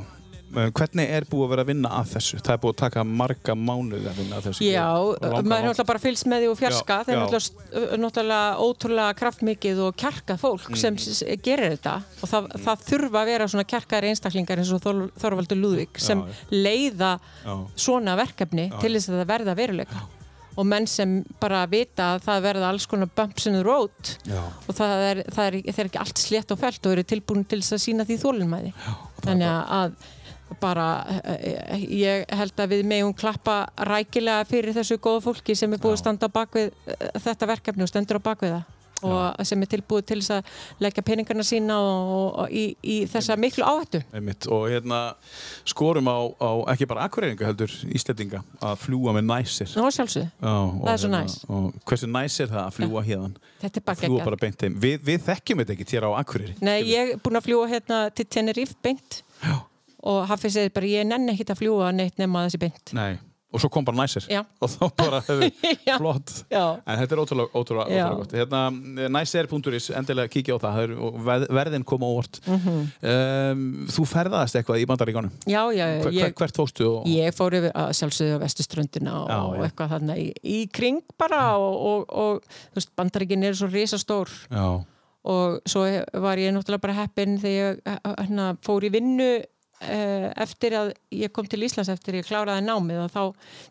Speaker 1: Eh, Hvernig er búið að vera að vinna að þessu? Það er búið að taka marga mánuði að vinna að þessu
Speaker 2: Já,
Speaker 1: Og
Speaker 2: maður
Speaker 1: langan
Speaker 2: er náttúrulega bara fylgst með því og fjarska
Speaker 1: Já,
Speaker 2: það er
Speaker 1: já.
Speaker 2: náttúrulega, st- náttúrulega ótrúlega kraftmikið og kjarkað fólk
Speaker 1: Mm.
Speaker 2: sem s- gerir þetta og það, það þurfa að vera svona kjarkaðir einstaklingar eins og Þor- Þorvaldur Lúðvík sem
Speaker 1: já.
Speaker 2: leiða
Speaker 1: Já.
Speaker 2: svona verkefni til þess að það verða veruleika og menn sem bara vita að það verða alls konar bumps in the road
Speaker 1: Já.
Speaker 2: og það er, það, er, það er ekki allt slétt og felt og eru tilbúin til þess að sína því þólinmæði þannig að bara eh, eh, ég held að við megum klappa rækilega fyrir þessu góða fólki sem er búið að standa á bak við eh, þetta verkefni og stendur á bak við það og sem er tilbúið til þess að leggja peningarna sína og, og, og í, í þessa miklu áhættu
Speaker 1: Einmitt. Og hérna skorum á, á ekki bara akkureyringa heldur Íslendinga að fljúa með næsir
Speaker 2: Ná sjálfsög,
Speaker 1: Já, og
Speaker 2: Það er svo
Speaker 1: hérna,
Speaker 2: næs.
Speaker 1: og Hversu næs er það að fljúa hérðan?
Speaker 2: þetta er bara
Speaker 1: Fljúa
Speaker 2: geggjað
Speaker 1: bara beint heim Við, við þekkjum þetta ekki þér á akkureyri
Speaker 2: Nei, ég er búin að fljúa hérna til Tenerife beint
Speaker 1: Já.
Speaker 2: og Hafi segir bara ég nenni ekkit að fljúa neitt nema þessi beint
Speaker 1: Nei, og svo kom bara næsir
Speaker 2: Já.
Speaker 1: og þá bara hefur
Speaker 2: Já.
Speaker 1: flott
Speaker 2: Já.
Speaker 1: en þetta er ótrúlega, ótrúlega,
Speaker 2: Já.
Speaker 1: ótrúlega gott hérna, næsir.is, endilega kíkja á það, það er, og verð- verðin koma óvart um, Þú ferðaðast eitthvað í bandaríkanum
Speaker 2: Já, já,
Speaker 1: Hver,
Speaker 2: Mhm. ég,
Speaker 1: Hvert fórstu? Og...
Speaker 2: ég fór yfir að sjálfsögðu á vestuströndina og,
Speaker 1: Já, já.
Speaker 2: og eitthvað þarna í, í kring bara og, og, og þú veist, bandaríkin eru svo risastór
Speaker 1: Já,
Speaker 2: og svo var ég náttúrulega bara heppin þegar ég eh, hérna, fór í vinnu eh, eftir að ég kom til Íslands eftir ég kláraði námið og þá,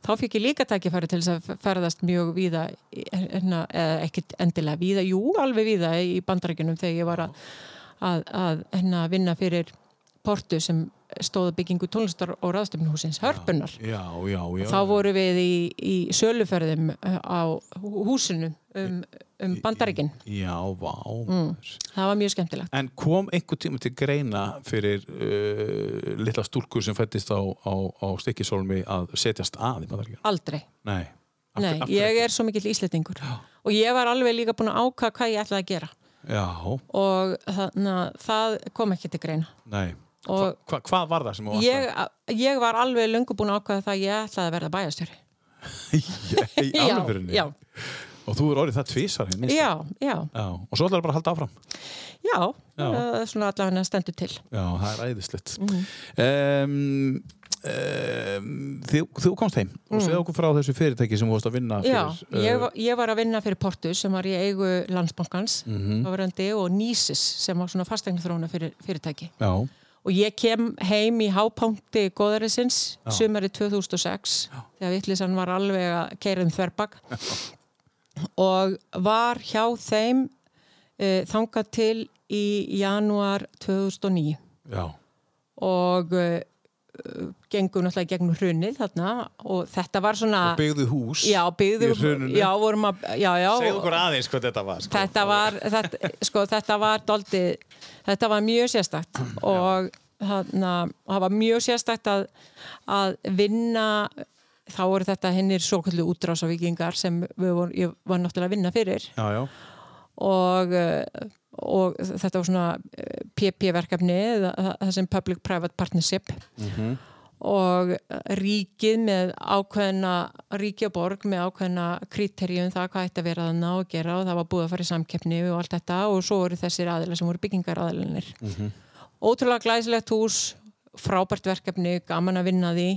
Speaker 2: þá fikk ég líka tækifæri til þess að ferðast mjög víða, í- hérna, eða ekkit endilega víða, jú, alveg víða í bandarækjunum þegar ég var að, að, að hérna, vinna fyrir Portu sem stóða byggingu tónlistar og ráðstöfnuhúsins Hörpunar
Speaker 1: já, já, já.
Speaker 2: þá voru við í, í söluferðum eh, á hú- húsinu um, um bandarækjun
Speaker 1: Já, vá mm.
Speaker 2: það var mjög skemmtilegt
Speaker 1: En kom einhver tíma til greina fyrir uh, litla stúlku sem fættist á, á, á stikkisólmi að setjast að í bandaríkjunum?
Speaker 2: aldrei
Speaker 1: Nei, af,
Speaker 2: Nei,
Speaker 1: af,
Speaker 2: ég er svo mikill íslendingur og ég var alveg líka búin að ákvaða hvað ég ætlaði að gera
Speaker 1: Já,
Speaker 2: og þannig að það kom ekki til greina
Speaker 1: nei hva,
Speaker 2: og
Speaker 1: hva, Hvað var það sem þú
Speaker 2: ég, ég var alveg löngu búin að ákvaða það að ég ætlaði að verða bæjastjóri
Speaker 1: ætlaði? Í
Speaker 2: Já,
Speaker 1: alvörunni?
Speaker 2: já.
Speaker 1: Og þú er orðið það tvísar hinn
Speaker 2: Já, já,
Speaker 1: já Og svo ætlaðu bara að halda áfram
Speaker 2: já,
Speaker 1: Já.
Speaker 2: eh, svona allavega stendur til
Speaker 1: Já, það er æðislegt
Speaker 2: Mhm.
Speaker 1: um, um, þú, þú komst heim og segðu okkur frá þessu fyrirtæki sem þú varst að vinna fyrir
Speaker 2: Mhm. Já, ég,
Speaker 1: eh,
Speaker 2: var- ég var að vinna fyrir Portu sem var í eigu landsbankans mm
Speaker 1: Mhm.
Speaker 2: og Nísis sem var svona fastegnarþróna fyrir, fyrirtæki
Speaker 1: Já,
Speaker 2: og ég kem heim í hápunkti góðarisins sumari 2006 þegar Vittlisann var alveg að keira um þverbak og var hjá þeim e, þangað til í janúar 2009
Speaker 1: já,
Speaker 2: og e, gengum náttúrulega í gegnum hrunið þarna og þetta var svona
Speaker 1: og byggðu hús
Speaker 2: já, byggðum,
Speaker 1: í hruninu.
Speaker 2: já, vorum að já, já,
Speaker 1: Segðu okkur aðeins hvað þetta var sko.
Speaker 2: þetta var þetta, sko, þetta var doldið, þetta var mjög sérstakt og þarna, það var mjög sérstakt að, að vinna þá voru þetta hinnir svo kallu útrásavíkingar sem við vorum, ég var náttúrulega að vinna fyrir
Speaker 1: Já, já,
Speaker 2: og, eh, og þetta var svona eh, PP-verkefni það sem Public-Private Partnership og eh, ríkið með ákveðna ríki og borg með ákveðna kriteríum það hvað ætti að vera þannig að gera og það var búið að fara í samkeppni og allt þetta og svo voru þessir aðilar sem voru byggingaraðilinir ótrúlega glæsilegt hús frábært verkefni, gaman að vinna því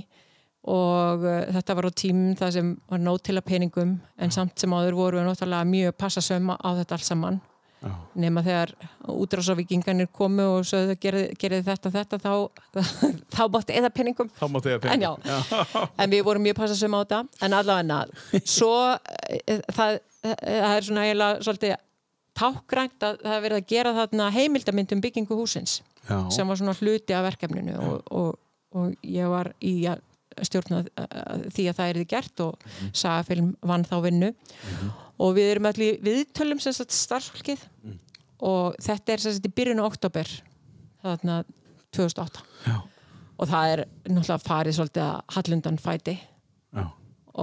Speaker 2: og uh, þetta var á tím það sem var nót til að peningum en samt sem áður voru við náttúrulega mjög passasöm á þetta allt saman
Speaker 1: Já.
Speaker 2: nema þegar útrásavíkingarnir komu og sögðu gerði, gerði þetta þetta þá, þá mátti eða peningum
Speaker 1: þá máttu ég að
Speaker 2: en já, en við vorum mjög passasum á þetta en allavega svo eh, það, eh, það er svona eiginlega svolítið tákgrænt að það er verið að gera þarna heimildamynd um byggingu húsins
Speaker 1: Já.
Speaker 2: sem var svona hluti af verkefninu og, og, og ég var í að stjórna eh, því að það erði gert og sagafilm vann þá vinnu og við erum allir viðtölum sem sagt starfsfólkið og þetta er sem sagt í byrjunu oktober þarna 2008 og það er náttúrulega farið svolítið að hallundan fæti
Speaker 1: Já,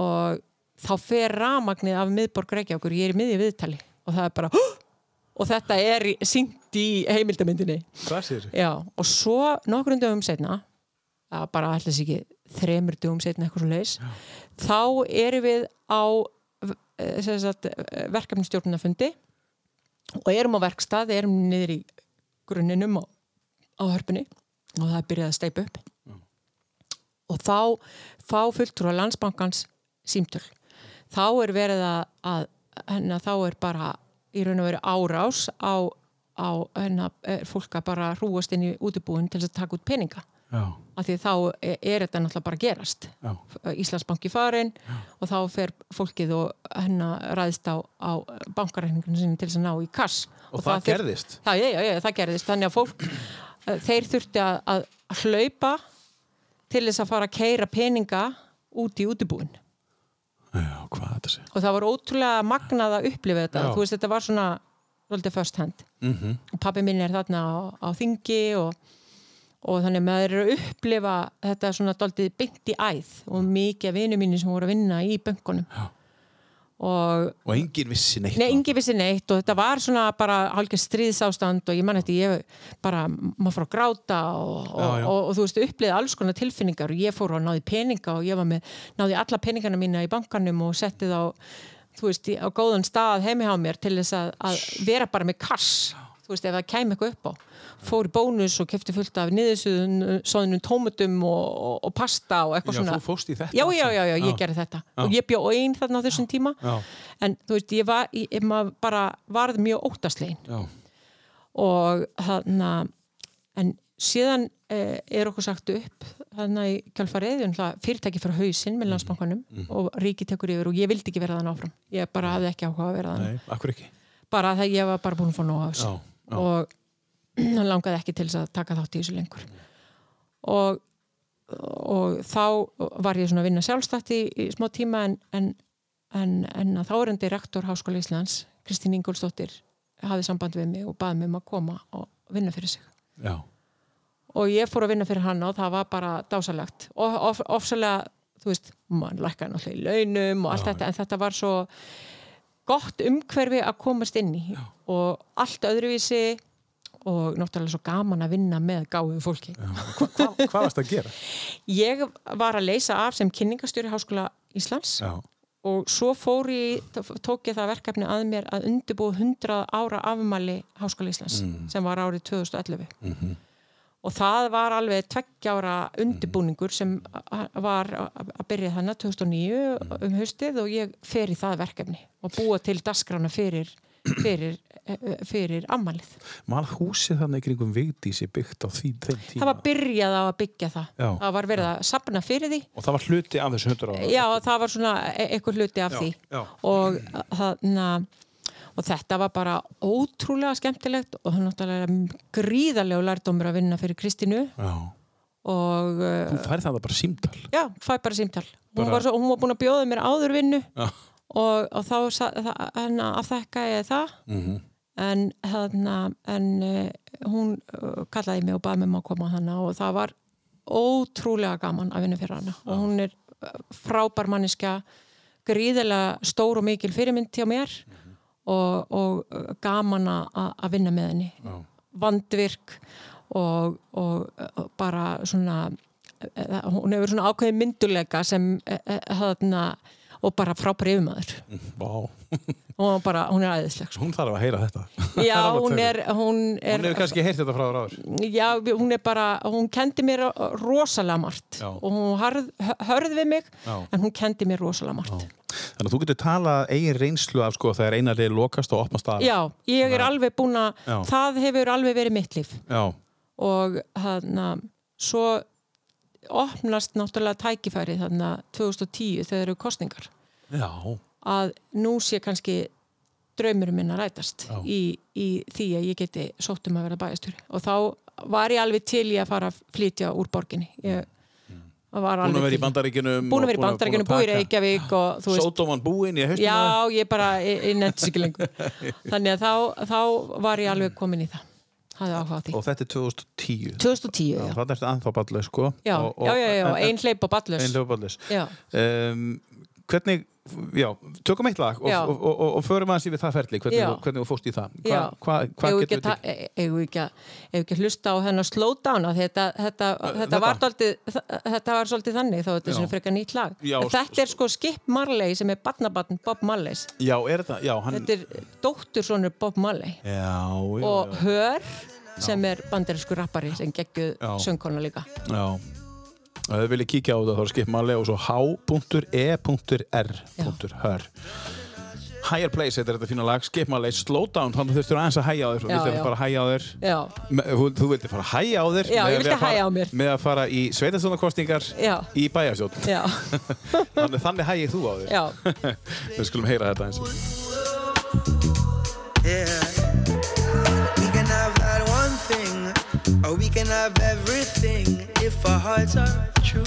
Speaker 2: og þá fer ramagnið af miðborg Reykjavíkur, ég er í miðju viðtali og það er bara "Hú!" og þetta er í- sýnt í heimildamyndinni
Speaker 1: Hvað sér?
Speaker 2: Já, og svo nokkrum dögum setna að bara ætla sér ekki þremur dögum setna eitthvað svo leis þá erum við á eh, sem sagt, verkefnistjórnafundi og erum á verkstað erum niður í grunninum á, á hörpunni og það er byrjað að steipa upp og þá fá fulltrúa landsbankans símtöl þá er verið að, að hennar, þá er bara í raun og veru árás á, á hennar, fólk að bara hrúast inn í útibúin til þess að taka út peninga
Speaker 1: Já,
Speaker 2: af því þá er, er þetta náttúrulega bara að gerast
Speaker 1: já,
Speaker 2: Íslandsbanki farin og þá fer fólkið og hennar ræðist á, á bankareikninginu sinni til þess að ná í kass
Speaker 1: Og það
Speaker 2: þurf-
Speaker 1: gerðist?
Speaker 2: Já, já, já, já, það gerðist, þannig að fólk eh, þeir þurfti að, að hlaupa til þess að fara að keira peninga út í útibúin
Speaker 1: já, hvað þetta sé?
Speaker 2: og það var ótrúlega magnað að upplifa þetta
Speaker 1: Já.
Speaker 2: þú veist þetta var svona svolítið first hand -hmm. og pappi minn er þarna á, á þingi og, og þannig að maður er að upplifa þetta svona daldið beint í æð og mikið af vinum mínu sem voru að vinna í bönkunum Já. og
Speaker 1: Og enginn vissi neitt. sko. um
Speaker 2: Nei, engi vissi neitt og þetta var svona bara hálfgeir stríðsástand og ég man þetta, ég bara, maður fór að gráta og, og,
Speaker 1: Já, já.
Speaker 2: Og, og, þú veist, uppliði alls konar tilfinningar og ég fór og náði peninga og ég var með, náði alla peningana mína í bankanum og setti þá, þú veist, í- á góðan stað heimi hjá mér til þess að, að vera bara með kass, þú veist, ef það kæmi eitthvað upp á. Fór í bónus og kefti fullt af niðursuðunum tómutum og, og, og pasta og eitthvað
Speaker 1: Já,
Speaker 2: svona.
Speaker 1: þú fórst í þetta
Speaker 2: Já,
Speaker 1: allt
Speaker 2: já,
Speaker 1: saman.
Speaker 2: já, já, ég
Speaker 1: Já.
Speaker 2: gerði þetta. Og ég bjó einn þarna á þessum tíma
Speaker 1: Já.
Speaker 2: en þú veist, ég var, ég, ég- maður bara varð mjög óttaslegin
Speaker 1: Já,
Speaker 2: og þannig en síðan eh, er okkur sagt upp þannig í kjálfarið fyrirtæki fyrir hausinn
Speaker 1: Mhm.
Speaker 2: með landsbankanum og ríki tekur yfir og ég vildi ekki vera þann áfram ég bara hafði ekki áhuga að vera þann
Speaker 1: nei, akkur ekki.
Speaker 2: bara það ég var bara búin að fá nóg af þessu
Speaker 1: Já, já.
Speaker 2: og hann langaði ekki til þess að taka þátt í þessu lengur og, og þá var ég svona að vinna sjálfstætt í, í smá tíma en, en, en, en að þárendi rektor Háskóla Íslands, Kristín Ingolsdóttir hafði samband við mig og baði mig um að koma og vinna fyrir sig
Speaker 1: Já,
Speaker 2: og ég fór að vinna fyrir hann og það var bara dásalegt og of, ofsalega, þú veist, mann lækkaði náttúrulega í launum og allt þetta en þetta var svo gott umhverfi að komast inn í og allt öðruvísi og náttúrulega svo gaman að vinna með gáðu fólki.
Speaker 1: Hva, hva, hvað varst að gera?
Speaker 2: Ég var að leysa af sem kynningastjóri Háskóla Íslands
Speaker 1: Já,
Speaker 2: og svo fór ég, tók ég það verkefni að mér að undirbúa 100 ára afmæli Háskóla Íslands
Speaker 1: Mm.
Speaker 2: sem var árið 2011
Speaker 1: Mhm.
Speaker 2: og það var alveg tveggja ára undirbúningur sem a- a- var a- að byrja þannig 2009
Speaker 1: Mm.
Speaker 2: um haustið og ég fer í það verkefni og búa til dasgrana fyrir, fyrir, eh, fyrir afmælið.
Speaker 1: mal húsið þannig kringum Vigdísi byggt á því, þeim tíma.
Speaker 2: Það var byrjað á að byggja það.
Speaker 1: Já.
Speaker 2: Það var verið að sapna fyrir því
Speaker 1: Og það var hluti af þessu hundur ára.
Speaker 2: já, það var svona e- eitthvað hluti af
Speaker 1: Já,
Speaker 2: því
Speaker 1: já.
Speaker 2: Og, hana, og þetta var bara ótrúlega skemmtilegt og það er náttúrulega gríðarlegu lærdómur að vinna fyrir Kristínu
Speaker 1: Já.
Speaker 2: og uh,
Speaker 1: Þú færð það bara símtal.
Speaker 2: já, fæ bara símtal hún
Speaker 1: Bara-
Speaker 2: var, svo, hún var búin að bjóða mér áður vinnu
Speaker 1: Já.
Speaker 2: og, og þá sa- það- hérna, afþekka ég það
Speaker 1: Mhm.
Speaker 2: en, hana, en uh, hún uh, kallaði mig og baði mig um að koma hana og það var ótrúlega gaman að vinna fyrir hana og hún er uh, frábær manniska gríðilega stór og mikil fyrirmynd hjá mér og, og uh, gaman að- að að vinna með henni
Speaker 1: Já.
Speaker 2: vandvirk og, og uh, bara svona eh, hún hefur svona ákveðin mynduleika sem eh, eh, þarna og bara frábær yfirmaður
Speaker 1: Vá.
Speaker 2: og bara, hún er æðisleg sko.
Speaker 1: Hún þarf að heyra þetta. Það
Speaker 2: já,
Speaker 1: alveg
Speaker 2: hún
Speaker 1: töff.
Speaker 2: er hún er,
Speaker 1: Hún hefur kannski heyrt þetta frá þér áður.
Speaker 2: já, við- hún er bara, hún kendi mér rosalega margt
Speaker 1: Já.
Speaker 2: og hún harð, hö- hörð við mig
Speaker 1: Já.
Speaker 2: en hún kendi mér rosalega margt
Speaker 1: Þannig að þú getur talað eigin reynslu af sko þegar einar leið lokast og opnast að.
Speaker 2: já, ég er alveg búin að
Speaker 1: Já.
Speaker 2: það hefur alveg verið mitt líf
Speaker 1: Já.
Speaker 2: og þarna svo opnast náttúrulega tækifæri þarna 2010 þegar eru kostningar
Speaker 1: Já.
Speaker 2: að nú sé kannski draumurum minn að rætast
Speaker 1: Já.
Speaker 2: í, í því að ég geti sótt um að vera bæjastjóri og þá var ég alveg til í að fara að flytja úr borginni ég var
Speaker 1: Mm. Búin að
Speaker 2: alveg
Speaker 1: vera í
Speaker 2: til.
Speaker 1: bandaríkinum.
Speaker 2: búin að vera í bandaríkjunum, búin í Reykjavík og þú veist,
Speaker 1: Sótóman búinn í haustum
Speaker 2: já, ég bara, ég, ég nefnt sér ekki lengur þannig að þá, þá var ég alveg komin í það hafði áhuga á því
Speaker 1: Og þetta er 2010.
Speaker 2: 2010, já,
Speaker 1: Það er ennþá ballis sko.
Speaker 2: já,
Speaker 1: Og- og-
Speaker 2: já, já, já,
Speaker 1: en- en-
Speaker 2: ein hleyp og ballus
Speaker 1: Ein hljóðballis.
Speaker 2: Já.
Speaker 1: Um, hvernig já, tökum eitt lag og,
Speaker 2: Já.
Speaker 1: og, og, og, og förum aðeins yfir það ferli hvernig,
Speaker 2: Já.
Speaker 1: þú- hvernig þú fórst í það
Speaker 2: Já.
Speaker 1: hvað hva, hva
Speaker 2: Eigum við
Speaker 1: getur
Speaker 2: ekki að ta- e- eigum við ekki, að- eigum við ekki að hlusta á hennar slowdown af því þetta, þetta, þetta,
Speaker 1: þetta?
Speaker 2: var daldið, þetta var svolítið þannig þá
Speaker 1: Já.
Speaker 2: þetta er svona frekar nýtt lag
Speaker 1: Já,
Speaker 2: En þetta er sko Skip Marley sem er barnabarn Bob Marleys
Speaker 1: já, er þetta, já, hann
Speaker 2: þetta er dóttursonur Bob Marley
Speaker 1: já, já,
Speaker 2: og Hör sem er bandarísku rappari sem geggjuð
Speaker 1: Já.
Speaker 2: söngkona líka
Speaker 1: já, já. Ef þið viljið kíkja á þetta þá er skip maður og svo h.e.r.hör Higher Place heitir þetta fína lag skip maður, slowdown, þannig að þurftur aðeins að hæja á þér
Speaker 2: Já,
Speaker 1: viltu
Speaker 2: já.
Speaker 1: að fara að hæja á þér
Speaker 2: já,
Speaker 1: Me- Þú, þú vildi fara að hæja á þér
Speaker 2: Já,
Speaker 1: með-
Speaker 2: ég vildi
Speaker 1: með að fara-
Speaker 2: hægja á mér.
Speaker 1: Með að fara í sveitastunarkostingar
Speaker 2: Já.
Speaker 1: í bæjarsjótt
Speaker 2: já,
Speaker 1: Þannig, þannig hægir þú á þér
Speaker 2: já
Speaker 1: Við skulum heyra þetta eins og
Speaker 6: Yeah. We can have that one thing, or we can have everything if our hearts are true.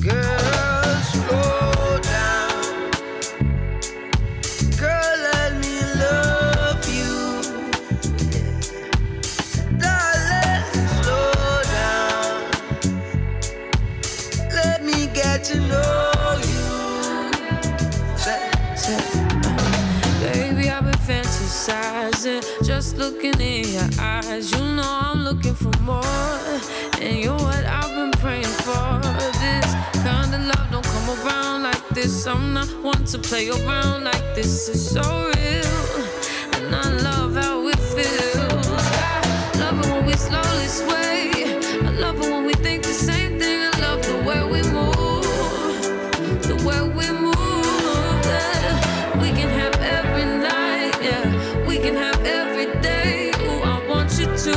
Speaker 6: Girl, slow down. Girl, let me love you. Darling, slow down. Let me get to know you. Say, say.
Speaker 7: Baby, I've been fantasizing, just looking in your eyes. You know I'm looking for more, and you're what I've been praying for. This kind of love don't come around like this. I'm not one to play around like this. It's so real, and I love how it feels. I love it when we slowly sway. I love it when we think the same thing. I love the way we move the way we move. yeah. We can have every night, yeah. We can have every day. Ooh, I want you to.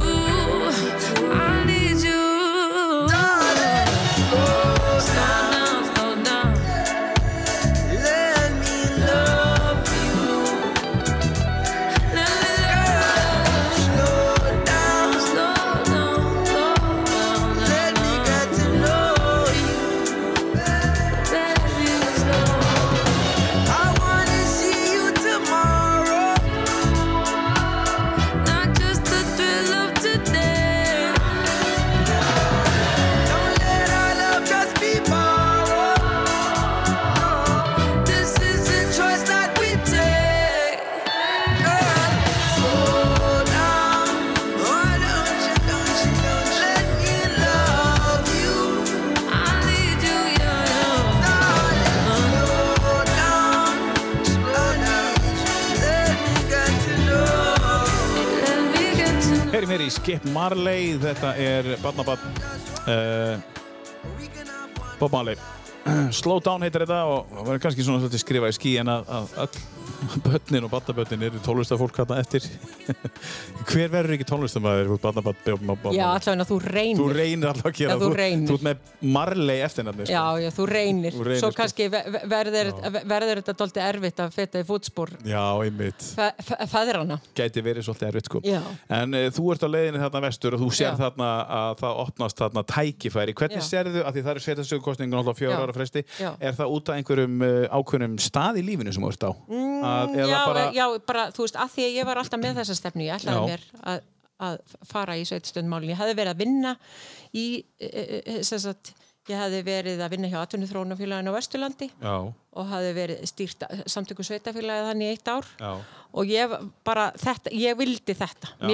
Speaker 7: I need you. Slow down, slow down.
Speaker 6: Let me love you.
Speaker 7: Let me love you.
Speaker 6: Slow down.
Speaker 7: Slow down, slow down,
Speaker 6: Let me get to know you.
Speaker 7: baby, slow
Speaker 6: I wanna see you tomorrow.
Speaker 7: Not just the thrill of today.
Speaker 6: Don't let our love just be borrowed. No, this is the choice that we take. Girl, slow down. Why don't you, don't you, don't you let me love you?
Speaker 7: I need you, yeah, yeah.
Speaker 6: Darling, slow down. Slow down. Let me get to know you.
Speaker 7: Let me
Speaker 1: Heyrim
Speaker 7: get to
Speaker 1: hér í Skip Marley, þetta er Badnabann uh, Bob Marley Slow Down heitir þetta og það verður kannski svona svolítið skrifað í skí en að, að all börnin og badnabörnin eru tónlistafólk hérna eftir Hver verður ekki tónlistamæður úr badnabann
Speaker 2: já, allavega þú reynir
Speaker 1: Þú reynir sko. alltaf að gera
Speaker 2: Já, þú reynir.
Speaker 1: Þú ert með Marley eftirnafni sko.
Speaker 2: Já, já, þú reynir.
Speaker 1: Þú reynir,
Speaker 2: Svo
Speaker 1: sko.
Speaker 2: kannski ve- ve- verður, verður þetta dálítið erfitt að feta í fótspor
Speaker 1: Já, einmitt
Speaker 2: fe- fe- feðrana.
Speaker 1: gæti verið svolítið erfitt sko.
Speaker 2: Já.
Speaker 1: en uh, þú ert á leiðinni þarna vestur og þú sér
Speaker 2: Já.
Speaker 1: þarna að það opnast þarna tækifæri hvernig
Speaker 2: Já.
Speaker 1: sérðu, af því það eru sveitarsögurkostningun alltaf fjóra
Speaker 2: Já.
Speaker 1: ára fresti,
Speaker 2: Já.
Speaker 1: er það út af einhverjum uh, ákveðnum stað í lífinu sem þú ert á mm, að, eða
Speaker 2: Já,
Speaker 1: bara,
Speaker 2: já, bara, þú veist, að því að ég var alltaf með þessa stefnu, ég ætlaði
Speaker 1: Já.
Speaker 2: mér að, að fara í sveitstundmálin. Ég hefði verið að vinna í, e, e, e, sem sagt, ég hefði verið að vinna hjá Atvinnuþróunafélaginu á Vesturlandi
Speaker 1: já,
Speaker 2: og hefði verið stýrt samtökum sveitafélagið hann í eitt ár.
Speaker 1: já,
Speaker 2: og ég bara, þetta, ég vildi þetta
Speaker 1: Já.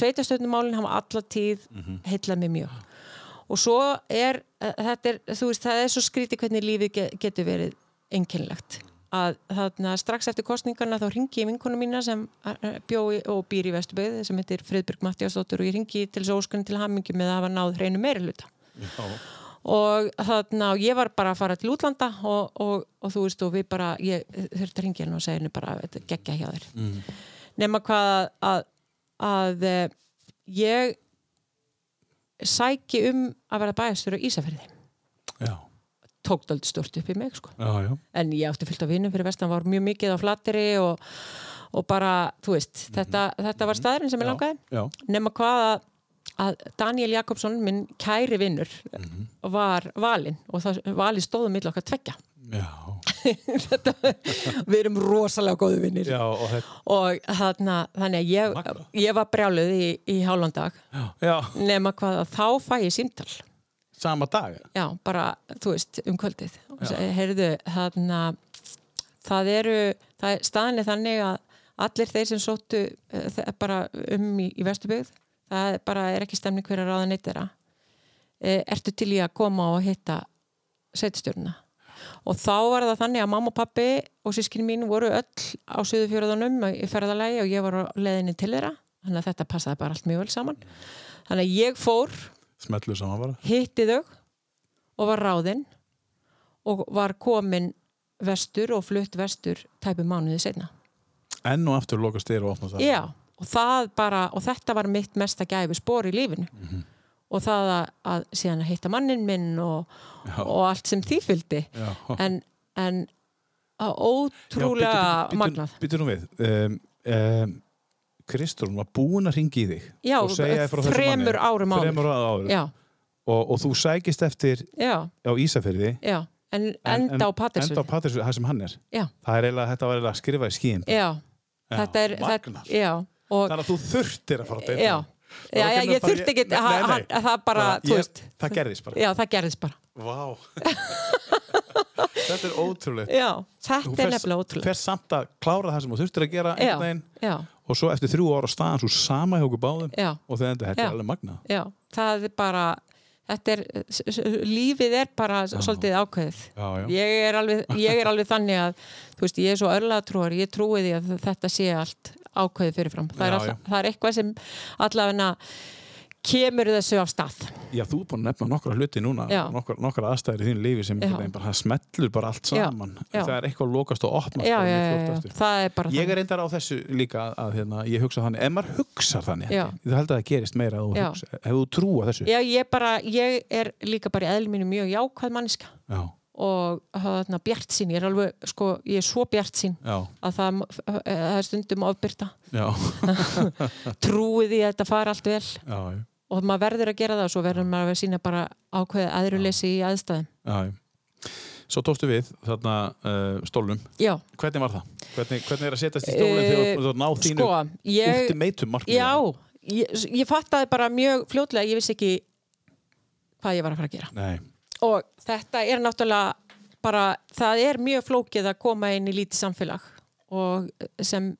Speaker 2: sveitastöndumálinn hafa alla tíð mm heitlað mig mjög og svo er, eh, þetta er þú veist, það er svo skríti hvernig lífið ge- getur verið einkennlegt að þarna strax eftir kostningarna þá ringi ég vinkonu mína sem eh, bjó í- og býr í Vesturböðu sem heitir Friðbjörg Mattiasdóttur og ég ringi til þessu óskunni til hamingi með að hafa náð hreinu meiriluta og þarna og ég var bara að fara til útlanda og, og, og þú veist og við bara ég þurfti að ringja henni og segja henni bara þetta er geggja hjá þér nema hvað að, að, að eh, ég sæki um að vera bæjastur á Ísafjörði
Speaker 1: já,
Speaker 2: tókt aldrei stort upp í mig sko
Speaker 1: já, já.
Speaker 2: en ég átti fyllt af vinum fyrir vestan var mjög mikið á flatteri og, og bara, þú veist, þetta, þetta var staðurinn sem ég langaði
Speaker 1: já.
Speaker 2: nema hvað að, að Daniel Jakobsson, minn kæri vinnur
Speaker 1: Mhm.
Speaker 2: var valinn og það valið stóðum milli okkar tvekja
Speaker 1: já.
Speaker 2: þetta, við erum rosalega góðu vinnir
Speaker 1: já og þetta
Speaker 2: og þarna, þannig að ég,
Speaker 1: Magnað.
Speaker 2: ég var brjáluð í, í hálfandag
Speaker 1: já,
Speaker 2: nema hvað að þá fæ ég símtal
Speaker 1: sama dag
Speaker 2: já, bara, þú veist, um kvöldið og
Speaker 1: Já.
Speaker 2: segi, heyrðu, þarna það eru, það er staðinni þannig að allir þeir sem sóttu eh, þe- bara um í, í vestubyggð það er bara er ekki stemning fyrir að ráða neitt þeirra Eh, ertu til í að koma og hitta setstjórna og þá var það þannig að mamma og pappi og sískin mín voru öll á suðufjörðunum í ferðalagi og ég var á leiðinni til þeirra þannig að þetta passaði bara allt mjög vel saman þannig að ég fór
Speaker 1: smetlu saman bara
Speaker 2: hitti þau og var ráðinn og var komin vestur og flutt vestur tæpu mánuði setna.
Speaker 1: enn og aftur lokast þér og opnast það
Speaker 2: Já, og það bara, og þetta var mitt mesta gæfi spór í lífinu. Og það að, að síðan að hitta mannin minn og,
Speaker 1: Já.
Speaker 2: og allt sem því fylgdi.
Speaker 1: Já.
Speaker 2: En, en að ótrúlega magnað.
Speaker 1: Býtur hún við um, um, Kristrún var búin að ringi í þig
Speaker 2: Já,
Speaker 1: og segja þér frá þessum
Speaker 2: þremur
Speaker 1: manni.
Speaker 2: árum áður.
Speaker 1: Þremur árum
Speaker 2: Já,
Speaker 1: og, og þú sækist eftir
Speaker 2: já,
Speaker 1: á Ísafyrði
Speaker 2: já. En, enda á Patterson.
Speaker 1: Enda á Patterson, það sem hann er
Speaker 2: Já,
Speaker 1: Það er eiginlega, þetta var eiginlega að skrifa í skíin
Speaker 2: já. Þetta er, þetta,
Speaker 1: magnað.
Speaker 2: já. Og,
Speaker 1: Þannig að þú þurftir að fara að deyta
Speaker 2: já, já, já ég þurfti ekki að að- að- að það bara, þú veist
Speaker 1: Það gerðist bara
Speaker 2: já, það gerðist bara
Speaker 1: Vá Þetta er ótrúlegt
Speaker 2: já, þetta er nefnilega ótrúlega
Speaker 1: Fyrst samt að klára það sem þú þurftir að gera
Speaker 2: já,
Speaker 1: einhvern veginn
Speaker 2: já,
Speaker 1: og svo eftir þrjú ára staðan svo sama hjá okkur báðum
Speaker 2: Já.
Speaker 1: og þegar þetta þetta
Speaker 2: Já.
Speaker 1: er alveg magna
Speaker 2: já, það er bara þetta er, s- s- lífið er bara svolítið ákveðið
Speaker 1: Já, já.
Speaker 2: Ég, er alveg, ég er alveg þannig að þú veist, ég er svo örlaðatrúar, ég trúi því að þetta sé allt ákveðið fyrirfram það, er,
Speaker 1: Já,
Speaker 2: all,
Speaker 1: já.
Speaker 2: það er eitthvað sem allavega kemur þessu af stað
Speaker 1: Já, þú er búin að nefna nokkra hluti núna
Speaker 2: Já.
Speaker 1: nokkra, nokkra aðstæðir í þínu lífi sem
Speaker 2: Já.
Speaker 1: einhvern veginn bara, það smellur bara allt
Speaker 2: Já,
Speaker 1: saman
Speaker 2: já.
Speaker 1: það er eitthvað að lokast og opnast
Speaker 2: já,
Speaker 1: bara
Speaker 2: já,
Speaker 1: mjög
Speaker 2: já,
Speaker 1: fljótt
Speaker 2: já,
Speaker 1: aftur.
Speaker 2: það er bara
Speaker 1: Ég
Speaker 2: þannig.
Speaker 1: er reyndar á þessu líka að, að hérna, ég hugsa þannig, ef maður hugsar þannig
Speaker 2: Já.
Speaker 1: held ég. ég held að það gerist meira að þú
Speaker 2: Já.
Speaker 1: hugsa ef þú trúa þessu
Speaker 2: Já, ég, bara, ég er líka bara í eðli mínu mjög jákvæð manniska
Speaker 1: Já.
Speaker 2: og hérna, bjart sín, ég er alveg sko, ég er svo bjart sín
Speaker 1: Já.
Speaker 2: að það, eh, það er stundum ofbyrta
Speaker 1: Já.
Speaker 2: trúið í að þetta fara allt vel
Speaker 1: Já. já.
Speaker 2: og maður verður að gera það og svo verður maður að sína bara ákveðið aðruleysi í aðstæðum
Speaker 1: Já. já. Svo tókstu við þarna uh, stólnum
Speaker 2: Já,
Speaker 1: Hvernig var það? Hvernig, hvernig er að setjast í stólinn
Speaker 2: Eh,
Speaker 1: þegar þú- þú náð þínu
Speaker 2: sko, ég
Speaker 1: ultimatum markmiði?
Speaker 2: Já, ég, ég fattaði bara mjög fljótlega ég vissi ekki hvað ég var að fara að gera
Speaker 1: Nei,
Speaker 2: og þetta er náttúrulega bara, það er mjög flókið að koma inn í lítið samfélag og sem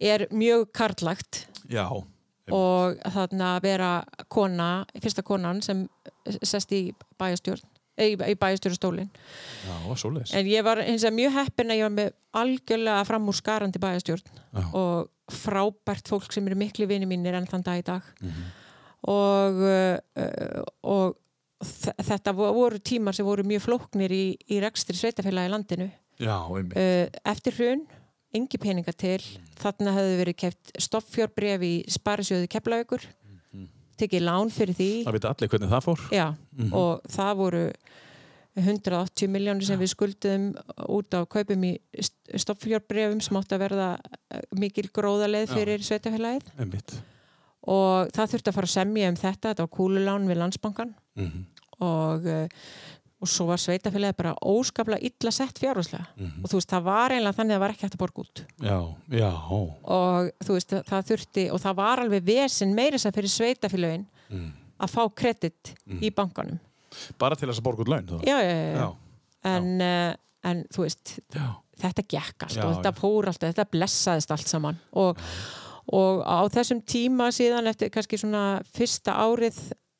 Speaker 2: er mjög karlagt
Speaker 1: já
Speaker 2: og þarna að vera kona, fyrsta konan sem sest í bæjastjórn eh, í, í bæjastjórnstólin
Speaker 1: Já, svoleiðis
Speaker 2: en ég var hins vegar mjög heppin að ég var með algjörlega fram úr skarandi bæjastjórn og frábært fólk sem eru miklu vini mínir enn þann dag í dag og, uh, og þ- þetta vo- voru tímar sem voru mjög flóknir í, í rekstri sveitafélagi í landinu
Speaker 1: Já, einmitt
Speaker 2: uh, eftir hrun engi peninga til, þarna hefðu verið keft stofffjórbref í sparisjóði keflaugur, tekið lán fyrir því
Speaker 1: Það veit allir hvernig það fór
Speaker 2: Já, og það voru 180 miljónir sem við skulduðum út á kaupum í stopfjórbrefum sem átti að verða eh, mikil gróðaleið fyrir sveitafélagið
Speaker 1: Einmitt
Speaker 2: og það þurfti að fara að semja um þetta, þetta var kúlulán við landsbankan og, eh, og svo var sveitafélagið bara óskaplega illa sett fjárhúslega og þú veist, það var eiginlega þannig að það var ekki hægt að borga út
Speaker 1: Já, já
Speaker 2: og þú veist, það þurfti og það var alveg vesinn meira sem fyrir sveitafélagin að fá kredit í bankanum
Speaker 1: mhm, Bara til þess að borga út laun þá
Speaker 2: já, já, já, já.
Speaker 1: Já.
Speaker 2: En, eh, en þú veist
Speaker 1: Já.
Speaker 2: þetta gekk allt
Speaker 1: Já,
Speaker 2: og þetta
Speaker 1: já.
Speaker 2: fór allt þetta blessaðist allt saman og, og á þessum tíma síðan eftir kannski svona fyrsta árið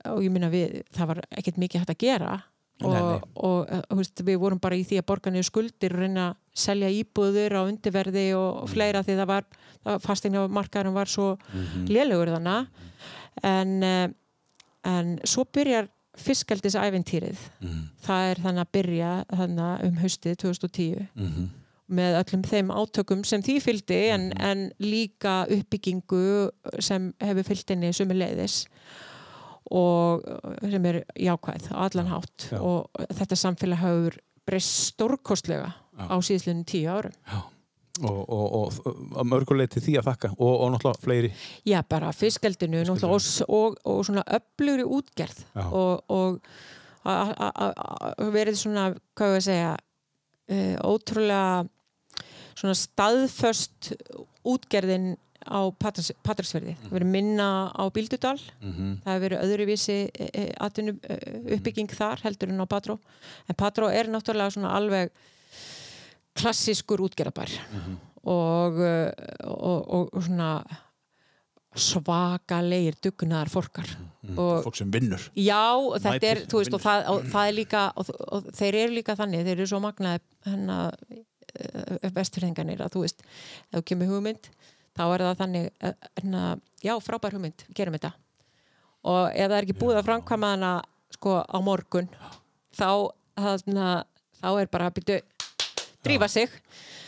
Speaker 2: og ég minna við, það var ekkert mikið hægt að gera og,
Speaker 1: Nei, nei.
Speaker 2: og, eh, þú veist, við vorum bara í því að borga niður skuldir og reyna að selja íbúður á undirverði og,
Speaker 1: Mm.
Speaker 2: og fleira því það var fastegna markaðurinn var svo
Speaker 1: Mm.
Speaker 2: lélugur þannig en, eh, en svo byrjar fiskaldisæventýrið það er þannig að byrja þannig um haustið 2010 með öllum þeim átökum sem því fylgdi en,
Speaker 1: Mhm.
Speaker 2: en líka uppbyggingu sem hefur fylgt henni sumi leiðis og uh, sem er jákvæð á allan hátt
Speaker 1: já.
Speaker 2: og þetta samfélag hefur breyst stórkostlega á síðslunum tíu árum
Speaker 1: Og, og, og, og að mörguleiti því að þakka og, og náttúrulega fleiri
Speaker 2: Já, bara fiskeldinu náttúrulega, og, s- og, og svona öflugri útgerð
Speaker 1: Já.
Speaker 2: og, og a- a- a- a- verið svona, hvað við að segja e, ótrúlega svona staðföst útgerðin á Patris, Patrisverði það hefur verið minna á Bíldudal það hefur verið öðruvísi e, e, atvinnu, e, uppbygging þar heldur en á Patró en Patró er náttúrulega svona alveg klassískur útgerðabær og, eh, og, og, og svona svakalegir dugnaðar fólkar og
Speaker 1: fólk sem vinnur
Speaker 2: Já, og þetta er,
Speaker 1: Mætir
Speaker 2: þú veist,
Speaker 1: og
Speaker 2: og það, og það er líka, og, og þeir eru líka þannig, þeir eru svo magnaði hennar vesturhengarnir að þú veist, ef þú kemur hugmynd, þá er það þannig, hennar, já, frábær hugmynd, gerum þetta. Og ef það er ekki búið að framkvæma hana, sko, á morgun, þá, þarna, þá er bara að byrja, drífa sig,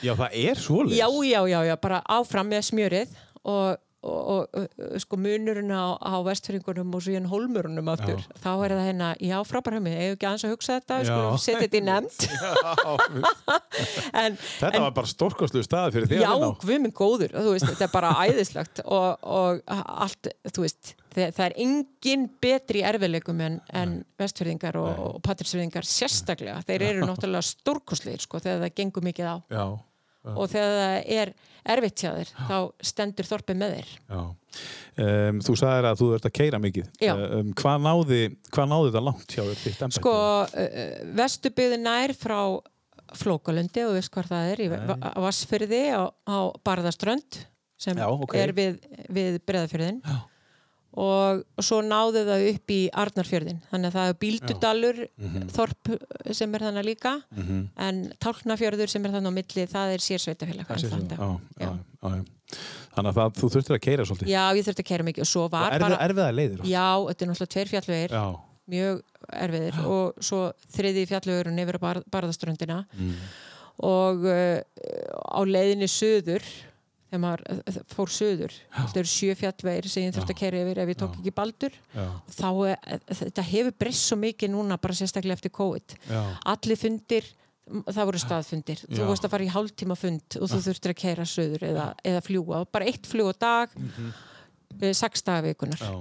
Speaker 1: Já, það er svoleiðis
Speaker 2: já, já, já, já, bara áfram með smjörið og, og, og uh, sko munurinn á, á vestfyrringunum og síðan hólmurunum aftur, þá er það hérna, já, frábær höfmi, eigum ekki aðeins að hugsa þetta,
Speaker 1: Já.
Speaker 2: sko, setja þetta í nefnd en,
Speaker 1: Þetta
Speaker 2: en
Speaker 1: var bara stórkostlu stað fyrir þig
Speaker 2: já,
Speaker 1: að vinna á.
Speaker 2: guðminn góður, þú veist, þetta er bara æðislegt og, og allt, þú veist það, það er engin betri í erfiðleikum en, en vestfyrringar og, og patrisfyrringar sérstaklega, þeir eru náttúrulega stórkosleir, sko, þegar það gengur mikið á
Speaker 1: Já,
Speaker 2: og þegar það er erfitt hjá þér þá stendur þorpið með þér
Speaker 1: já. Um, þú sagðir að þú ert að keira mikið.
Speaker 2: Já.
Speaker 1: Um, hvað, náði, hvað náði þetta langt hjá þér þitt embætti?
Speaker 2: sko, uh, vestubyðu nær frá Flókalundi og þú veist hvað það er í Va- Va- Vassfyrði á, á Barðaströnd sem
Speaker 1: Já, ok.
Speaker 2: er við, við breðafjörðin og og svo náðu það upp í Arnarfjörðin þannig að það er Bíldudalur
Speaker 1: Mhm.
Speaker 2: þorp eh, sem er þannig líka en Tálknafjörður sem er þannig á milli það er sérsveitafélag
Speaker 1: Það sé svo.
Speaker 2: enn þann dag.
Speaker 1: Já, já, já, já. Þannig að það, þú þurftir að keira svolítið.
Speaker 2: já, ég þurfti að kæra mikið og svo var
Speaker 1: Erfið,
Speaker 2: bara
Speaker 1: erfiðar leiðir. oft.
Speaker 2: já, þetta er náttúrulega tveir fjallvegir
Speaker 1: já.
Speaker 2: mjög erfiðir og svo þriði fjallugurinn yfir á bar, barðaströndina
Speaker 1: Mm.
Speaker 2: og uh, á leiðinni söður þegar maður eh, fór söður þetta eru sjö fjallvegir sem ég þurfti að kæra yfir ef ég tók ekki baldur
Speaker 1: Já.
Speaker 2: þá er, þetta hefur breyst svo mikið núna bara sérstaklega eftir COVID
Speaker 1: Já.
Speaker 2: allir fundir m- það voru staðfundir,
Speaker 1: Já.
Speaker 2: þú vorst að fara í hálftíma fund og þú þurftir að kæra söður eða, eða fljúa, bara eitt fljú á dag mm sex daga vikunar
Speaker 1: Já.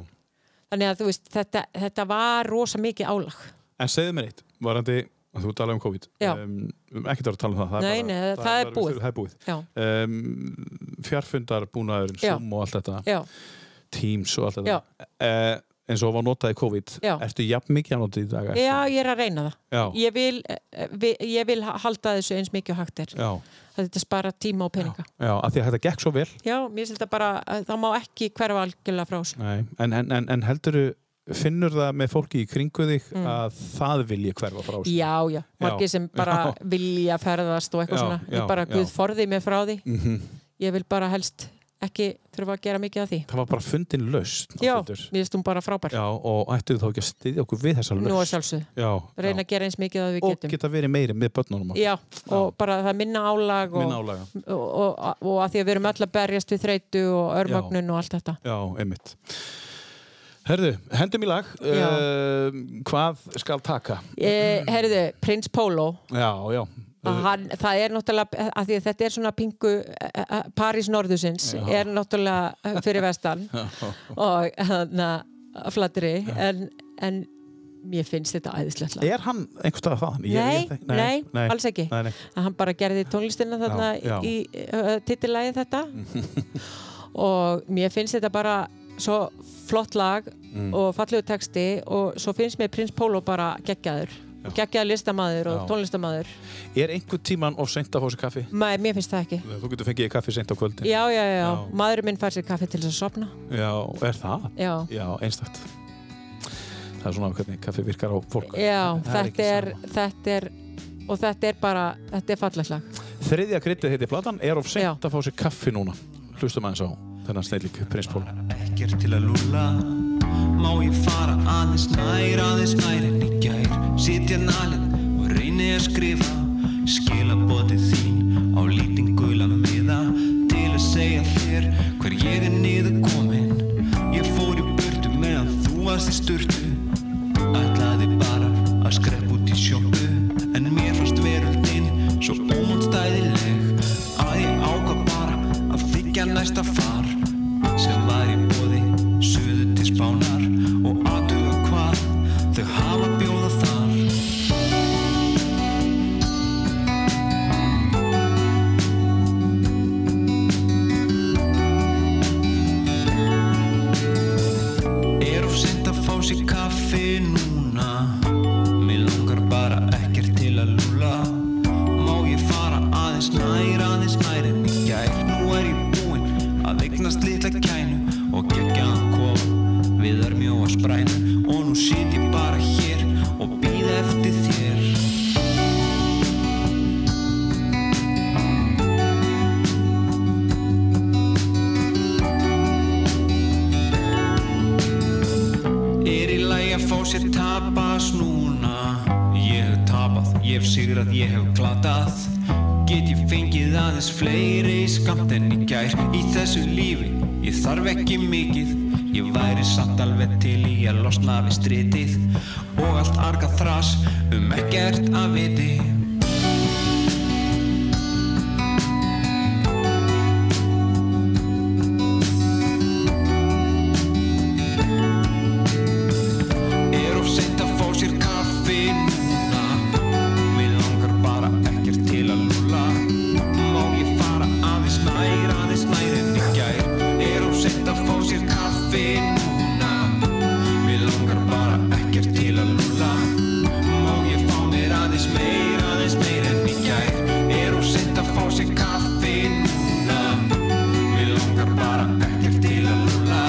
Speaker 2: þannig að þú veist, þetta, þetta var rosa mikið álag
Speaker 1: En segðu mér eitt, varandi, þú talaði um COVID.
Speaker 2: Já.
Speaker 1: Um, ekkert að tala um það. það
Speaker 2: Nei,
Speaker 1: bara,
Speaker 2: nei, það er
Speaker 1: bara-
Speaker 2: búið.
Speaker 1: Það er búið.
Speaker 2: já,
Speaker 1: Um, fjarfundarbúnaðurinn,
Speaker 2: Já.
Speaker 1: Zoom og allt þetta.
Speaker 2: já,
Speaker 1: Teams og allt
Speaker 2: Já.
Speaker 1: þetta. Uh, eins og var notað í COVID.
Speaker 2: Já.
Speaker 1: Ertu jafn mikið að nota í dag?
Speaker 2: já, ég er að reyna það
Speaker 1: Já.
Speaker 2: ég vil, eh, vi- ég vil ha- halda þessu eins mikið og hægt er
Speaker 1: Já,
Speaker 2: það þetta spara tíma og peninga
Speaker 1: já, af því að þetta gekk svo vel
Speaker 2: já, mér finnst þetta bara, eh, það má ekki hverfa algjörlega frá þessu
Speaker 1: Nei. en, en, en, en heldurðu finnur það með fólki í kringu þig
Speaker 2: Mm.
Speaker 1: að það vilji hverfa frá sér
Speaker 2: já, já, margir sem bara
Speaker 1: já.
Speaker 2: vilja ferðast og eitthvað
Speaker 1: Já,
Speaker 2: svona
Speaker 1: já,
Speaker 2: ég bara,
Speaker 1: já.
Speaker 2: guð forði mér frá því
Speaker 1: Mhm.
Speaker 2: ég vil bara helst ekki þurfa að gera mikið af því
Speaker 1: það var bara fundin lausn
Speaker 2: já,
Speaker 1: Ásthildur.
Speaker 2: mér finnst hún bara frábær
Speaker 1: já, og ættu þá ekki að styðja okkur við þessa lausn
Speaker 2: nú að sjálfsög,
Speaker 1: já,
Speaker 2: reyna
Speaker 1: já.
Speaker 2: að um. gera eins mikið að við
Speaker 1: og
Speaker 2: getum
Speaker 1: geta verið meiri með börnunum okkar.
Speaker 2: já, og bara það er minna álag og,
Speaker 1: Minna álaga.
Speaker 2: og, og, og að því að við erum öll að berjast við þreytu og örmögnun og allt þetta
Speaker 1: já, einmitt Herðu, hendum í lag
Speaker 2: Já.
Speaker 1: uh, hvað skal taka
Speaker 2: e, Herðu, Prins Pólo
Speaker 1: já, já Eh,
Speaker 2: að hann, það er náttúrulega að því að þetta er svona pingu eh, eh, París norðusins er náttúrulega eh, fyrir vestan og hann að flattri en, en mér finnst þetta æðislega
Speaker 1: er hann einhvers staðar þaðan? Eh, Ég-
Speaker 2: Nei,
Speaker 1: ég-
Speaker 2: nei, alls ekki.
Speaker 1: nei, nei.
Speaker 2: að hann bara gerði tónlistina þarna
Speaker 1: Já, já.
Speaker 2: í uh, titilæði þetta og mér finnst þetta bara svo flott lag
Speaker 1: Mm.
Speaker 2: og fallegu texti og svo finnst mér Prins Pólo bara geggjaður og geggjaður listamaður og
Speaker 1: Já.
Speaker 2: tónlistamaður
Speaker 1: er einhver tíman of seint að fá sér kaffi?
Speaker 2: Mæ, mér finnst það ekki
Speaker 1: Þú getur fengið kaffi seint á kvöldin
Speaker 2: já, já, já,
Speaker 1: Já.
Speaker 2: maðurinn minn fær sér kaffi til þess að sopna
Speaker 1: Já, er það?
Speaker 2: já,
Speaker 1: Já, einstakt Það er svona hvernig kaffi virkar á fólk
Speaker 2: já
Speaker 1: Það er ekki
Speaker 2: þetta, er,
Speaker 1: sama.
Speaker 2: þetta er og þetta er bara, þetta er fallegt lag
Speaker 1: Þriðja kryttið heiti platan Er of
Speaker 2: Já.
Speaker 1: seint að fá sér kaffi núna Hlustum aðeins á þennan snillík Prins Pól
Speaker 4: ekkert til að lúlla Má ég fara aðeins nær, aðeins nær en í gær Sitja nalinn og reyni að skrifa Skilabótið þín á lítinn gula miða Til að segja þér hver ég er niður komin Ég fór í burtu meðan þú varst í sturtu Ætlaði bara að skrepp út í sjópu En mér fannst veröldin svo ómótstæðileg Að ég ákvað bara að þykja næsta far Sem var í bóði suðu til spánar Og aðtuga hvað þau hafa að bjóða þar
Speaker 8: kaffi núna Mér langar bara ekkert til að lúla Má ég fara aðeins nær, aðeins nær En í gær, nú er ég búinn Að eignast litla kænu Og gegja að koma Við er mjó að spræna Og nú sit ég bara hér Og býð eftir þér Er í lagi að fá sér tapas núna? Ég hef tapað, ég hef sigrað, ég hef glatað Get ég fengið aðeins fleiri skamt en í gær Í þessu lífi, ég þarf ekki mikið Ég væri samt alveg til í að losna við stritið Og allt arga þras um ekkert að viti Er of seint að fá sér kaffi núna Mér langar bara ekkert til að lúla Má ég fara aðeins nær, aðeins nær en í gær Er of seint að fá sér kaffi núna Mér langar bara ekkert til að lúla Má ég fá mér aðeins meir, aðeins meir en í gær Er of seint að fá sér kaffi núna Mér langar bara ekkert til að lúla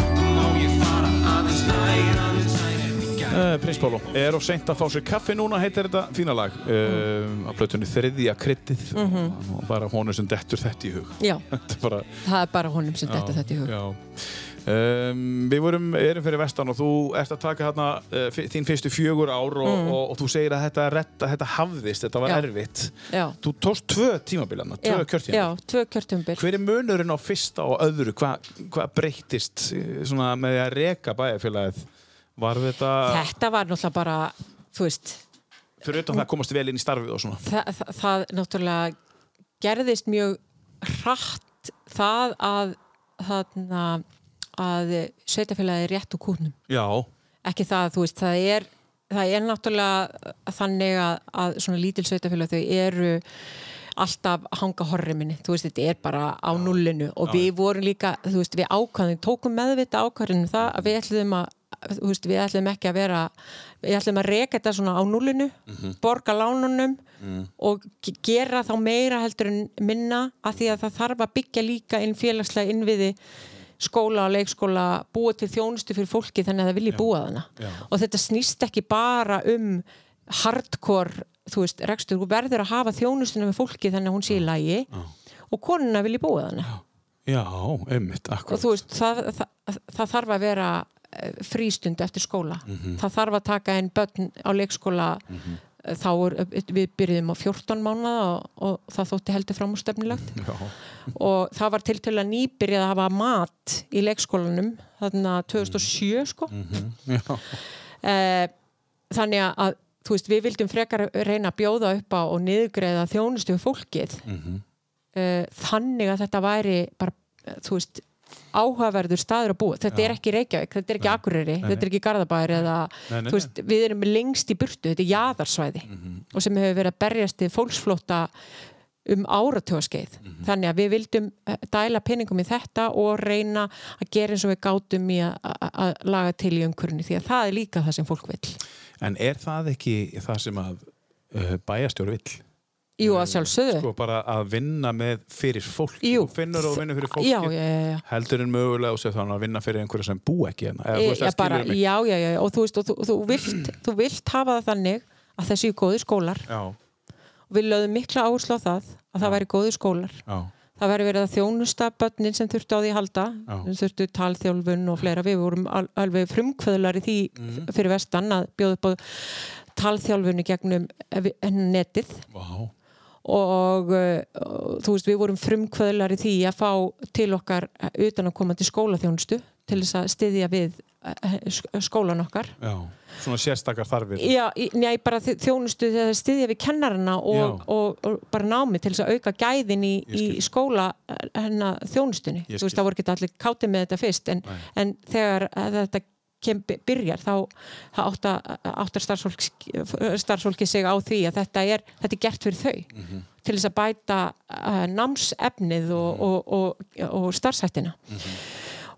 Speaker 8: Má ég fara aðeins nær, aðeins nær en í gær
Speaker 1: Eh, Prins Pólo, er of seint að fá sér kaffi núna heitir þetta fína lag uh,
Speaker 2: Mhm.
Speaker 1: á plötunni þriðja kryddið og bara honum sem dettur þetta í hug
Speaker 2: Já,
Speaker 1: Þetta er bara
Speaker 2: það er bara honum sem detta þetta í hug.
Speaker 1: Já. Um, við vorum, erum fyrir vestan og þú ert að taka hérna uh, fi- þín fyrstu fjögur ár og, og, og þú segir að þetta, retta, þetta hafðist, þetta var
Speaker 2: Mm. Já.
Speaker 1: erfitt
Speaker 2: Já.
Speaker 1: Þú tóst tvö tímabilana, tvö
Speaker 2: Já, Já,
Speaker 1: kjörtímabil
Speaker 2: tvö kjörtjumbil.
Speaker 1: Hver er munurinn á fyrsta og öðru? Hva- Hvað breyttist eh, svona, með því að reka bæjarfélagið? Var þetta,
Speaker 2: Þetta var náttúrulega bara, þú veist,
Speaker 1: fyrir utan það að komast vel inn í starfið og svona?
Speaker 2: það, það, það náttúrulega gerðist mjög hratt það að þarna að sveitafélagi er rétt úr kútnum
Speaker 1: Já,
Speaker 2: ekki það, þú veist, það er það er náttúrulega þannig að, að svona lítil sveitafélag þau eru alltaf að hanga horri minni þú veist, þetta er bara á nullinu og við vorum líka, þú veist, við ákvæðum tókum meðvita ákvæðinu það að við ætlum að þú veist, við ætlum ekki að vera við ætlum að reka þetta svona á nullinu borga lánunum og ge- gera þá meira heldur en minna af því að það þarf að byggja líka inn félagslega innviði skóla og leikskóla búa til þjónustu fyrir fólki þannig að það vilji búa þarna og þetta snýst ekki bara um hardcore, þú veist, rekstur þú verður að hafa þjónustuna með fólki þannig að hún sé í lagi og konuna vilji búa þarna
Speaker 1: já, einmitt, akkurat
Speaker 2: og þú veist, það, það, það þarf að vera eh, frístund eftir skóla
Speaker 1: Mhm.
Speaker 2: það þarf að taka einn börn á leikskóla eh, þá er, við byrjum á 14 mánuða og, og það þótti heldur framústefnilegt og það var til til að nýbyrjað að hafa mat í leikskólanum þarna 2007 sko Eh, þannig að þú veist, við vildum frekar reyna að bjóða upp á og niðurgreiða þjónustu við fólkið
Speaker 1: Mhm.
Speaker 2: Eh, þannig að þetta væri bara, eh, þú veist áhugaverður staður að búa, þetta er ekki Reykjavík þetta er ekki Akureyri, þetta er ekki Garðabæri eða,
Speaker 1: Nei, nei, Mhm.
Speaker 2: þú veist, við erum lengst í burtu þetta er jaðarsvæði og sem hefur verið að berjast í fólksflótta um áratöðaskeið
Speaker 1: Mhm.
Speaker 2: þannig að við vildum eh, dæla peningum í þetta og reyna að gera eins og við gátum í að- að að laga til í umhverjunni því að það er líka það sem fólk vill
Speaker 1: En er það ekki það sem að uh, bæjarstjóri vill?
Speaker 2: Jú, að sjálfsögðu
Speaker 1: sko bara að vinna með fyrir fólk
Speaker 2: Jú.
Speaker 1: þú finnur og vinnur fyrir fólki
Speaker 2: Já, já, já, já.
Speaker 1: heldur en mögulega og sér þannig að vinna fyrir einhverja sem bú ekki hérna eða,
Speaker 2: E,
Speaker 1: þú veist,
Speaker 2: já,
Speaker 1: það
Speaker 2: bara,
Speaker 1: skilurðu mig.
Speaker 2: já, já, já, já, og þú veist og þú, þú, vilt, þú vilt hafa það þannig að það séu góði skólar
Speaker 1: já,
Speaker 2: og við lögðum mikla áherslu á það að það væri góði skólar
Speaker 1: já,
Speaker 2: það væri verið að þjónusta börnin sem þurftu á því að halda
Speaker 1: Já.
Speaker 2: sem þurftu talþjálfun og fleira við vorum al alveg frumkvöðlar í því
Speaker 1: Mhm.
Speaker 2: f- fyrir vestan að bjóða upp á talþjálfun í gegnum eh, vi- netið
Speaker 1: vá
Speaker 2: og eh, og, þú veist við vorum frumkvöðlar í því að fá til okkar utan að koma til skólaþjónustu til þess að styðja við eh, sk- skólan okkar
Speaker 1: já. svona sérstakar þarfir
Speaker 2: Já, í- nei, bara þi- þjónustu þegar það styðja við kennarana og,
Speaker 1: Já.
Speaker 2: og, og bara námi til þess að auka gæðin í, í
Speaker 1: Ég
Speaker 2: skóla eh, hennar þjónustunni.
Speaker 1: Ég
Speaker 2: Þú veist,
Speaker 1: skil.
Speaker 2: það voru ekki allir kátið með þetta fyrst, en, en þegar að þetta kem, byrjar, þá þá átta, áttar starfsfólk, starfsfólki sig á því að þetta er, þetta er gert fyrir þau. til þess að eh, bæta uh, námsefnið og, og, og, og starfsættina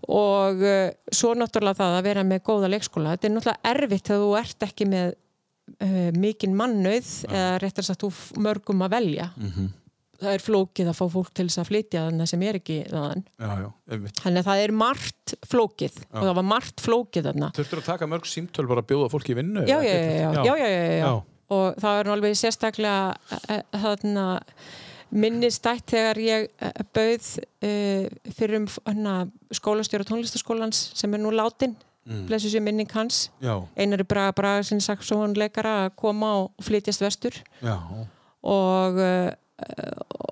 Speaker 2: og uh, svo náttúrulega það að vera með góða leikskóla þetta er náttúrulega erfitt þegar þú ert ekki með uh, mikinn mannauð eða réttar sagt þú f- mörgum að velja
Speaker 1: Mhm.
Speaker 2: það er flókið að fá fólk til þess að flytja þannig sem er ekki þannig
Speaker 1: já, já, einmitt.
Speaker 2: þannig að það er margt flókið og það var margt flókið þarna
Speaker 1: Þurftur að taka mörg símtöl bara að bjóða fólki í vinnu?
Speaker 2: já,
Speaker 1: eða
Speaker 2: já,
Speaker 1: eitthvað?
Speaker 2: já, já, já, já, já,
Speaker 1: Já.
Speaker 2: já. og það er nú alveg sérstaklega eh, eh, þarna minnistætt þegar ég eh, bauð uh, fyrir um hana, skólastjóra tónlistaskólans sem er nú látin mm. blessu sér minning hans
Speaker 1: Já,
Speaker 2: einari braga braga sinni saxóhónleikara að koma og flytjast vestur
Speaker 1: já,
Speaker 2: og, eh,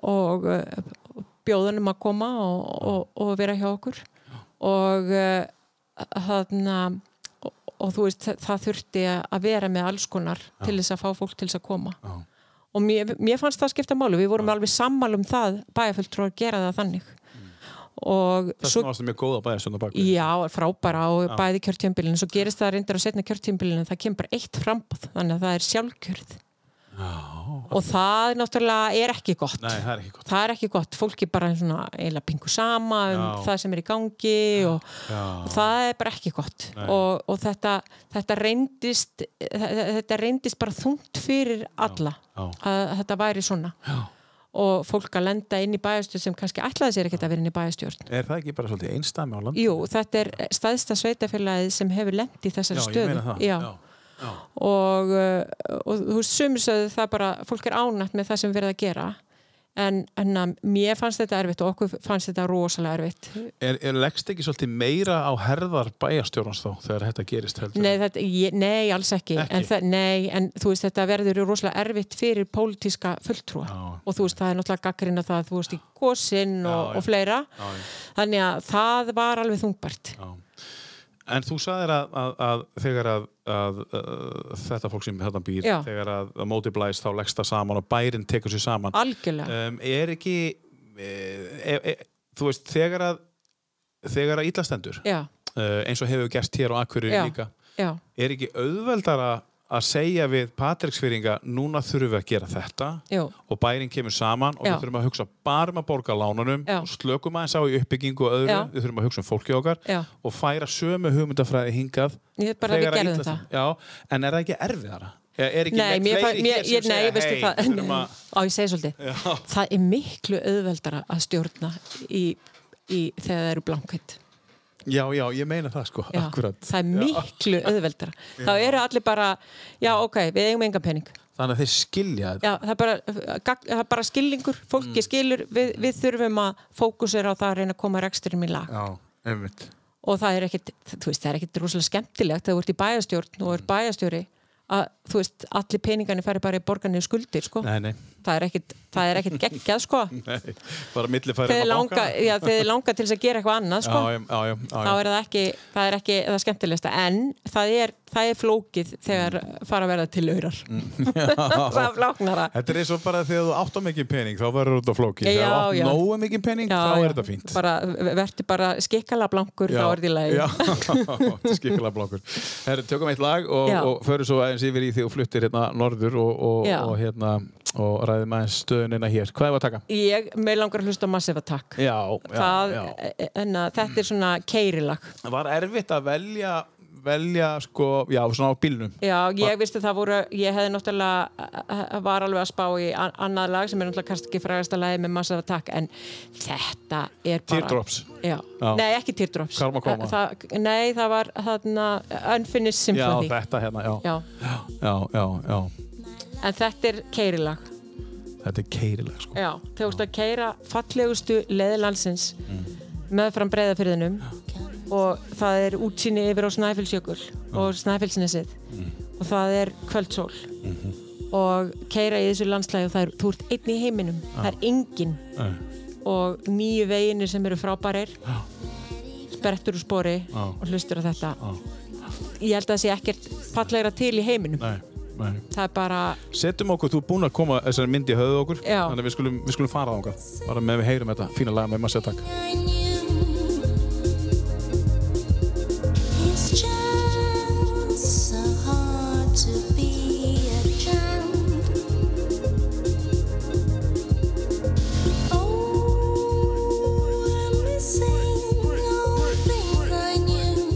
Speaker 2: og eh, bjóðunum að koma og, og, og vera hjá okkur og eh, þarna og, og þú veist, þa- það þurfti að vera með alls konar til þess að fá fólk til þess að koma
Speaker 1: Já.
Speaker 2: og mér, mér fannst það skipta máli við vorum alveg sammála um það bæjarfulltrúar gera það þannig og
Speaker 1: Það
Speaker 2: svo
Speaker 1: snáðast það mjög góða bæðisönda bakvið.
Speaker 2: Já, frábæra á bæði kjörtjömbilin svo gerist það reyndar á setna kjörtjömbilin það kemur bara eitt frambóð, þannig að það er sjálfkjörð Já, og það náttúrulega er ekki gott
Speaker 1: Nei, það er ekki gott.
Speaker 2: það er ekki gott, fólk er bara svona eiginlega pingu sama um
Speaker 1: Já.
Speaker 2: það sem er í gangi og, og það er bara ekki gott
Speaker 1: Nei.
Speaker 2: og, og þetta, þetta reyndist þetta reyndist bara þungt fyrir alla
Speaker 1: já.
Speaker 2: að þetta væri svona Já. og fólk að lenda inn í bæjastjórn sem kannski ætlaði sér ekkert að vera inn í bæjastjórn
Speaker 1: Er það ekki bara svolítið einstami á landi?
Speaker 2: Jú, þetta er staðsta sveitafélagið sem hefur lent í
Speaker 1: já,
Speaker 2: þessari stöðu.
Speaker 1: ég meina það.
Speaker 2: Já.
Speaker 1: já.
Speaker 2: Og, uh, og þú veist, sumir sögðu það bara, fólk er ánætt með það sem verið að gera. En, en að mér fannst þetta erfitt og okkur fannst þetta rosalega erfitt.
Speaker 1: Er, er leggst ekki svolítið meira á herðar bæjarstjórnans þá þegar þetta gerist heldur?
Speaker 2: Nei, þetta, ég, nei alls ekki.
Speaker 1: Ekki?
Speaker 2: En, það, nei, en þú veist, þetta verður rosalega erfitt fyrir pólitíska fulltrúa.
Speaker 1: Já.
Speaker 2: Og þú veist, það er náttúrulega gaggrina það, þú veist, í gósinn og,
Speaker 1: Já, já.
Speaker 2: og fleira.
Speaker 1: Já, já.
Speaker 2: Þannig að það var alveg þungbært.
Speaker 1: En þú sagðir að, að, að þegar að, að, að þetta fólk sem þetta býr,
Speaker 2: Já.
Speaker 1: þegar að, að móti blæst þá leggst það saman og bærin tekur sér
Speaker 2: Ah,
Speaker 1: saman.
Speaker 2: Algjörlega.
Speaker 1: um, er ekki, e, e, e, þú veist, þegar að, þegar að íllastendur, uh,
Speaker 2: Já,
Speaker 1: eins og hefur gerst hér á Akureyri
Speaker 2: Já.
Speaker 1: líka,
Speaker 2: já.
Speaker 1: er ekki auðveldara að segja við Patricksfyrringa, núna þurfum við að gera þetta
Speaker 2: Jú.
Speaker 1: og bærin kemur saman og
Speaker 2: Já.
Speaker 1: við þurfum að hugsa bara um að borga lánunum
Speaker 2: Já.
Speaker 1: og slökum aðeins á í uppbyggingu og öðru,
Speaker 2: Já.
Speaker 1: við þurfum að hugsa um fólki okkar
Speaker 2: Já.
Speaker 1: og færa sömu hugmyndafræði hingað
Speaker 2: Ég er bara að við
Speaker 1: þegar
Speaker 2: gerðum
Speaker 1: illa-
Speaker 2: það.
Speaker 1: Já, en er það ekki erfiðara? Er- Er ekki
Speaker 2: Nei, mér,
Speaker 1: fleiri
Speaker 2: fæ, mér,
Speaker 1: hér sem
Speaker 2: ég, nei, ég veistu
Speaker 1: hey,
Speaker 2: það
Speaker 1: við þurfum að...
Speaker 2: Á, ég segi svolítið Það er miklu auðveldara að stjórna í, í þegar það eru blankett
Speaker 1: Já, já, ég meina það sko,
Speaker 2: Já,
Speaker 1: akkurat
Speaker 2: Það er miklu auðveldara Þá eru allir bara, já ok, við eigum engan pening
Speaker 1: Þannig að þeir skilja þetta
Speaker 2: Já, það er bara, gagn- það er bara skilningur Fólki
Speaker 1: Mm.
Speaker 2: skilur, við, við þurfum að fókusera á það að reyna að koma reksturinn í lag
Speaker 1: Já, einmitt
Speaker 2: og það er ekkit, þú veist, það er ekkit rosalega skemmtilegt þegar þú ert í bæjastjórn og er
Speaker 1: Mm.
Speaker 2: bæjastjóri að, þú veist, allir peningarnir færi bara í borgarnir skuldir, sko
Speaker 1: Nei, nei,
Speaker 2: það er ekkit, það er ekkit geggjað, sko
Speaker 1: nei. bara millifæri
Speaker 2: þegar þið langa, já, þegar þið langa til þess að gera eitthvað annað sko,
Speaker 1: já, já, já, já,
Speaker 2: þá er það ekki það er ekki það skemmtilegsta en það er, það er flókið þegar fara að verða til aurar
Speaker 1: Mm.
Speaker 2: það er flóknara
Speaker 1: Þetta er eins og bara þegar þú átt á mikið pening þá verður þetta flókið,
Speaker 2: Já,
Speaker 1: þegar þú
Speaker 2: já.
Speaker 1: átt nógu mikið pening þá er þetta fínt
Speaker 2: bara, verður bara skikkala blankur þá er því læg
Speaker 1: Já, þetta er skikilega blokkur Herri, tökum eitt lag og,
Speaker 2: Já.
Speaker 1: og förum svo aðeins yfir í því og fluttir hérna norður og, og,
Speaker 2: Já.
Speaker 1: og hérna og ræðum aðeins stöðunina hér Hvað er að taka?
Speaker 2: ég með langar að hlusta á Massive Attack
Speaker 1: Já, já,
Speaker 2: það,
Speaker 1: já.
Speaker 2: en að þetta er svona keirilag
Speaker 1: Var erfitt að velja velja sko, já, svona á bílnum
Speaker 2: Já, ég vissi það voru, ég hefði náttúrulega var alveg að spá í an- annað lag sem er náttúrulega kannski ekki frægasta lagi með Massive Attack en þetta er bara
Speaker 1: Teardrops
Speaker 2: Já.
Speaker 1: Já.
Speaker 2: Nei, ekki Teardrops.
Speaker 1: Karma Koma.
Speaker 2: Það, nei, það var þarna Unfinished
Speaker 1: Já,
Speaker 2: Symphony.
Speaker 1: þetta hérna, já
Speaker 2: Já.
Speaker 1: Já, já, já,
Speaker 2: En þetta er keirilag.
Speaker 1: þetta er keirileg sko
Speaker 2: Já, þegar þú ert að keira fallegustu leðilandsins mm. meðfram breyðafyrðinum og það er útsýni yfir á Snæfellsjökul og Snæfellsnesið og það er kvöldsól og keira í þessu landslægi og það er, þú ert einn í heiminum, það er enginn
Speaker 1: Nei.
Speaker 2: og nýju veginir sem eru frábærir sprettur úr spori og hlustur á þetta ég held að það sé ekkert fallegra til í heiminum
Speaker 1: Nei, nei
Speaker 2: það er bara
Speaker 1: Settum okkur, þú er búin að koma þessari myndi í höfuð okkur
Speaker 2: Já.
Speaker 1: Þannig að við skulum, við skulum fara á okkar Bara með við heyrum þetta fína lag með maður sér takk
Speaker 7: It's just so hard to be a child. Oh, I'm missing all things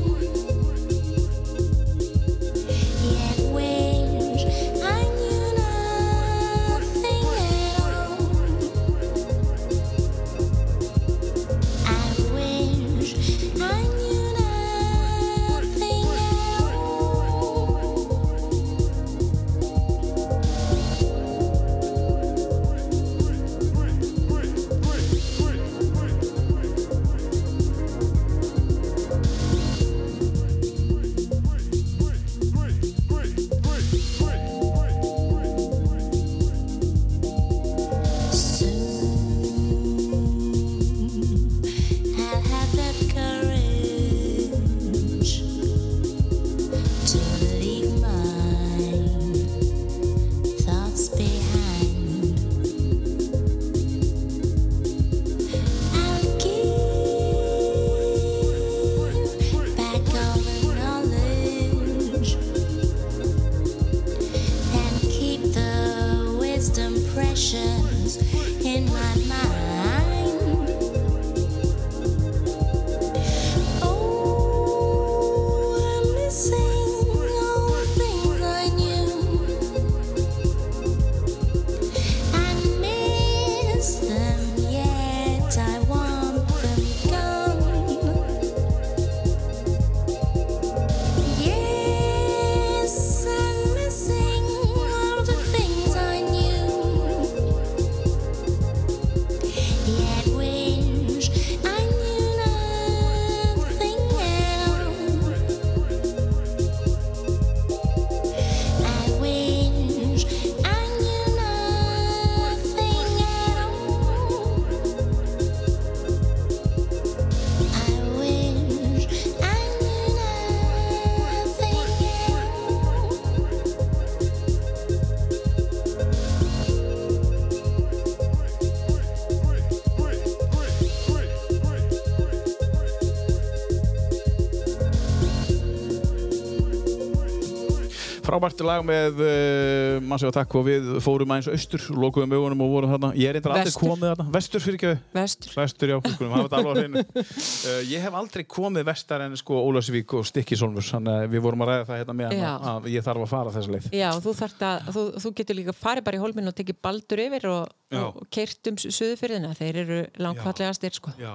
Speaker 1: Frábært lag með uh, mann sem var takk og við fórum aðeins austur, lokuðum augunum og vorum þarna. Ég er eitthvað aldrei
Speaker 2: Vestur.
Speaker 1: komið þarna. Vestur fyrir ekki
Speaker 2: vestur.
Speaker 1: Vestur, já, við skulum hafa þetta alveg á hreinu. Uh, ég hef aldrei komið vestar en sko Ólafsvík og Stikkisólmurs, þannig að við vorum að ræða það hérna með
Speaker 2: Já.
Speaker 1: hann að ég þarf að fara þessa leið.
Speaker 2: Já, þú, þarft að, þú, þú getur líka farið bara í holminn og tekið baldur yfir og,
Speaker 1: Já.
Speaker 2: og keirt um suðufyrðina. Þeir eru langfallegastir, sko.
Speaker 1: Já.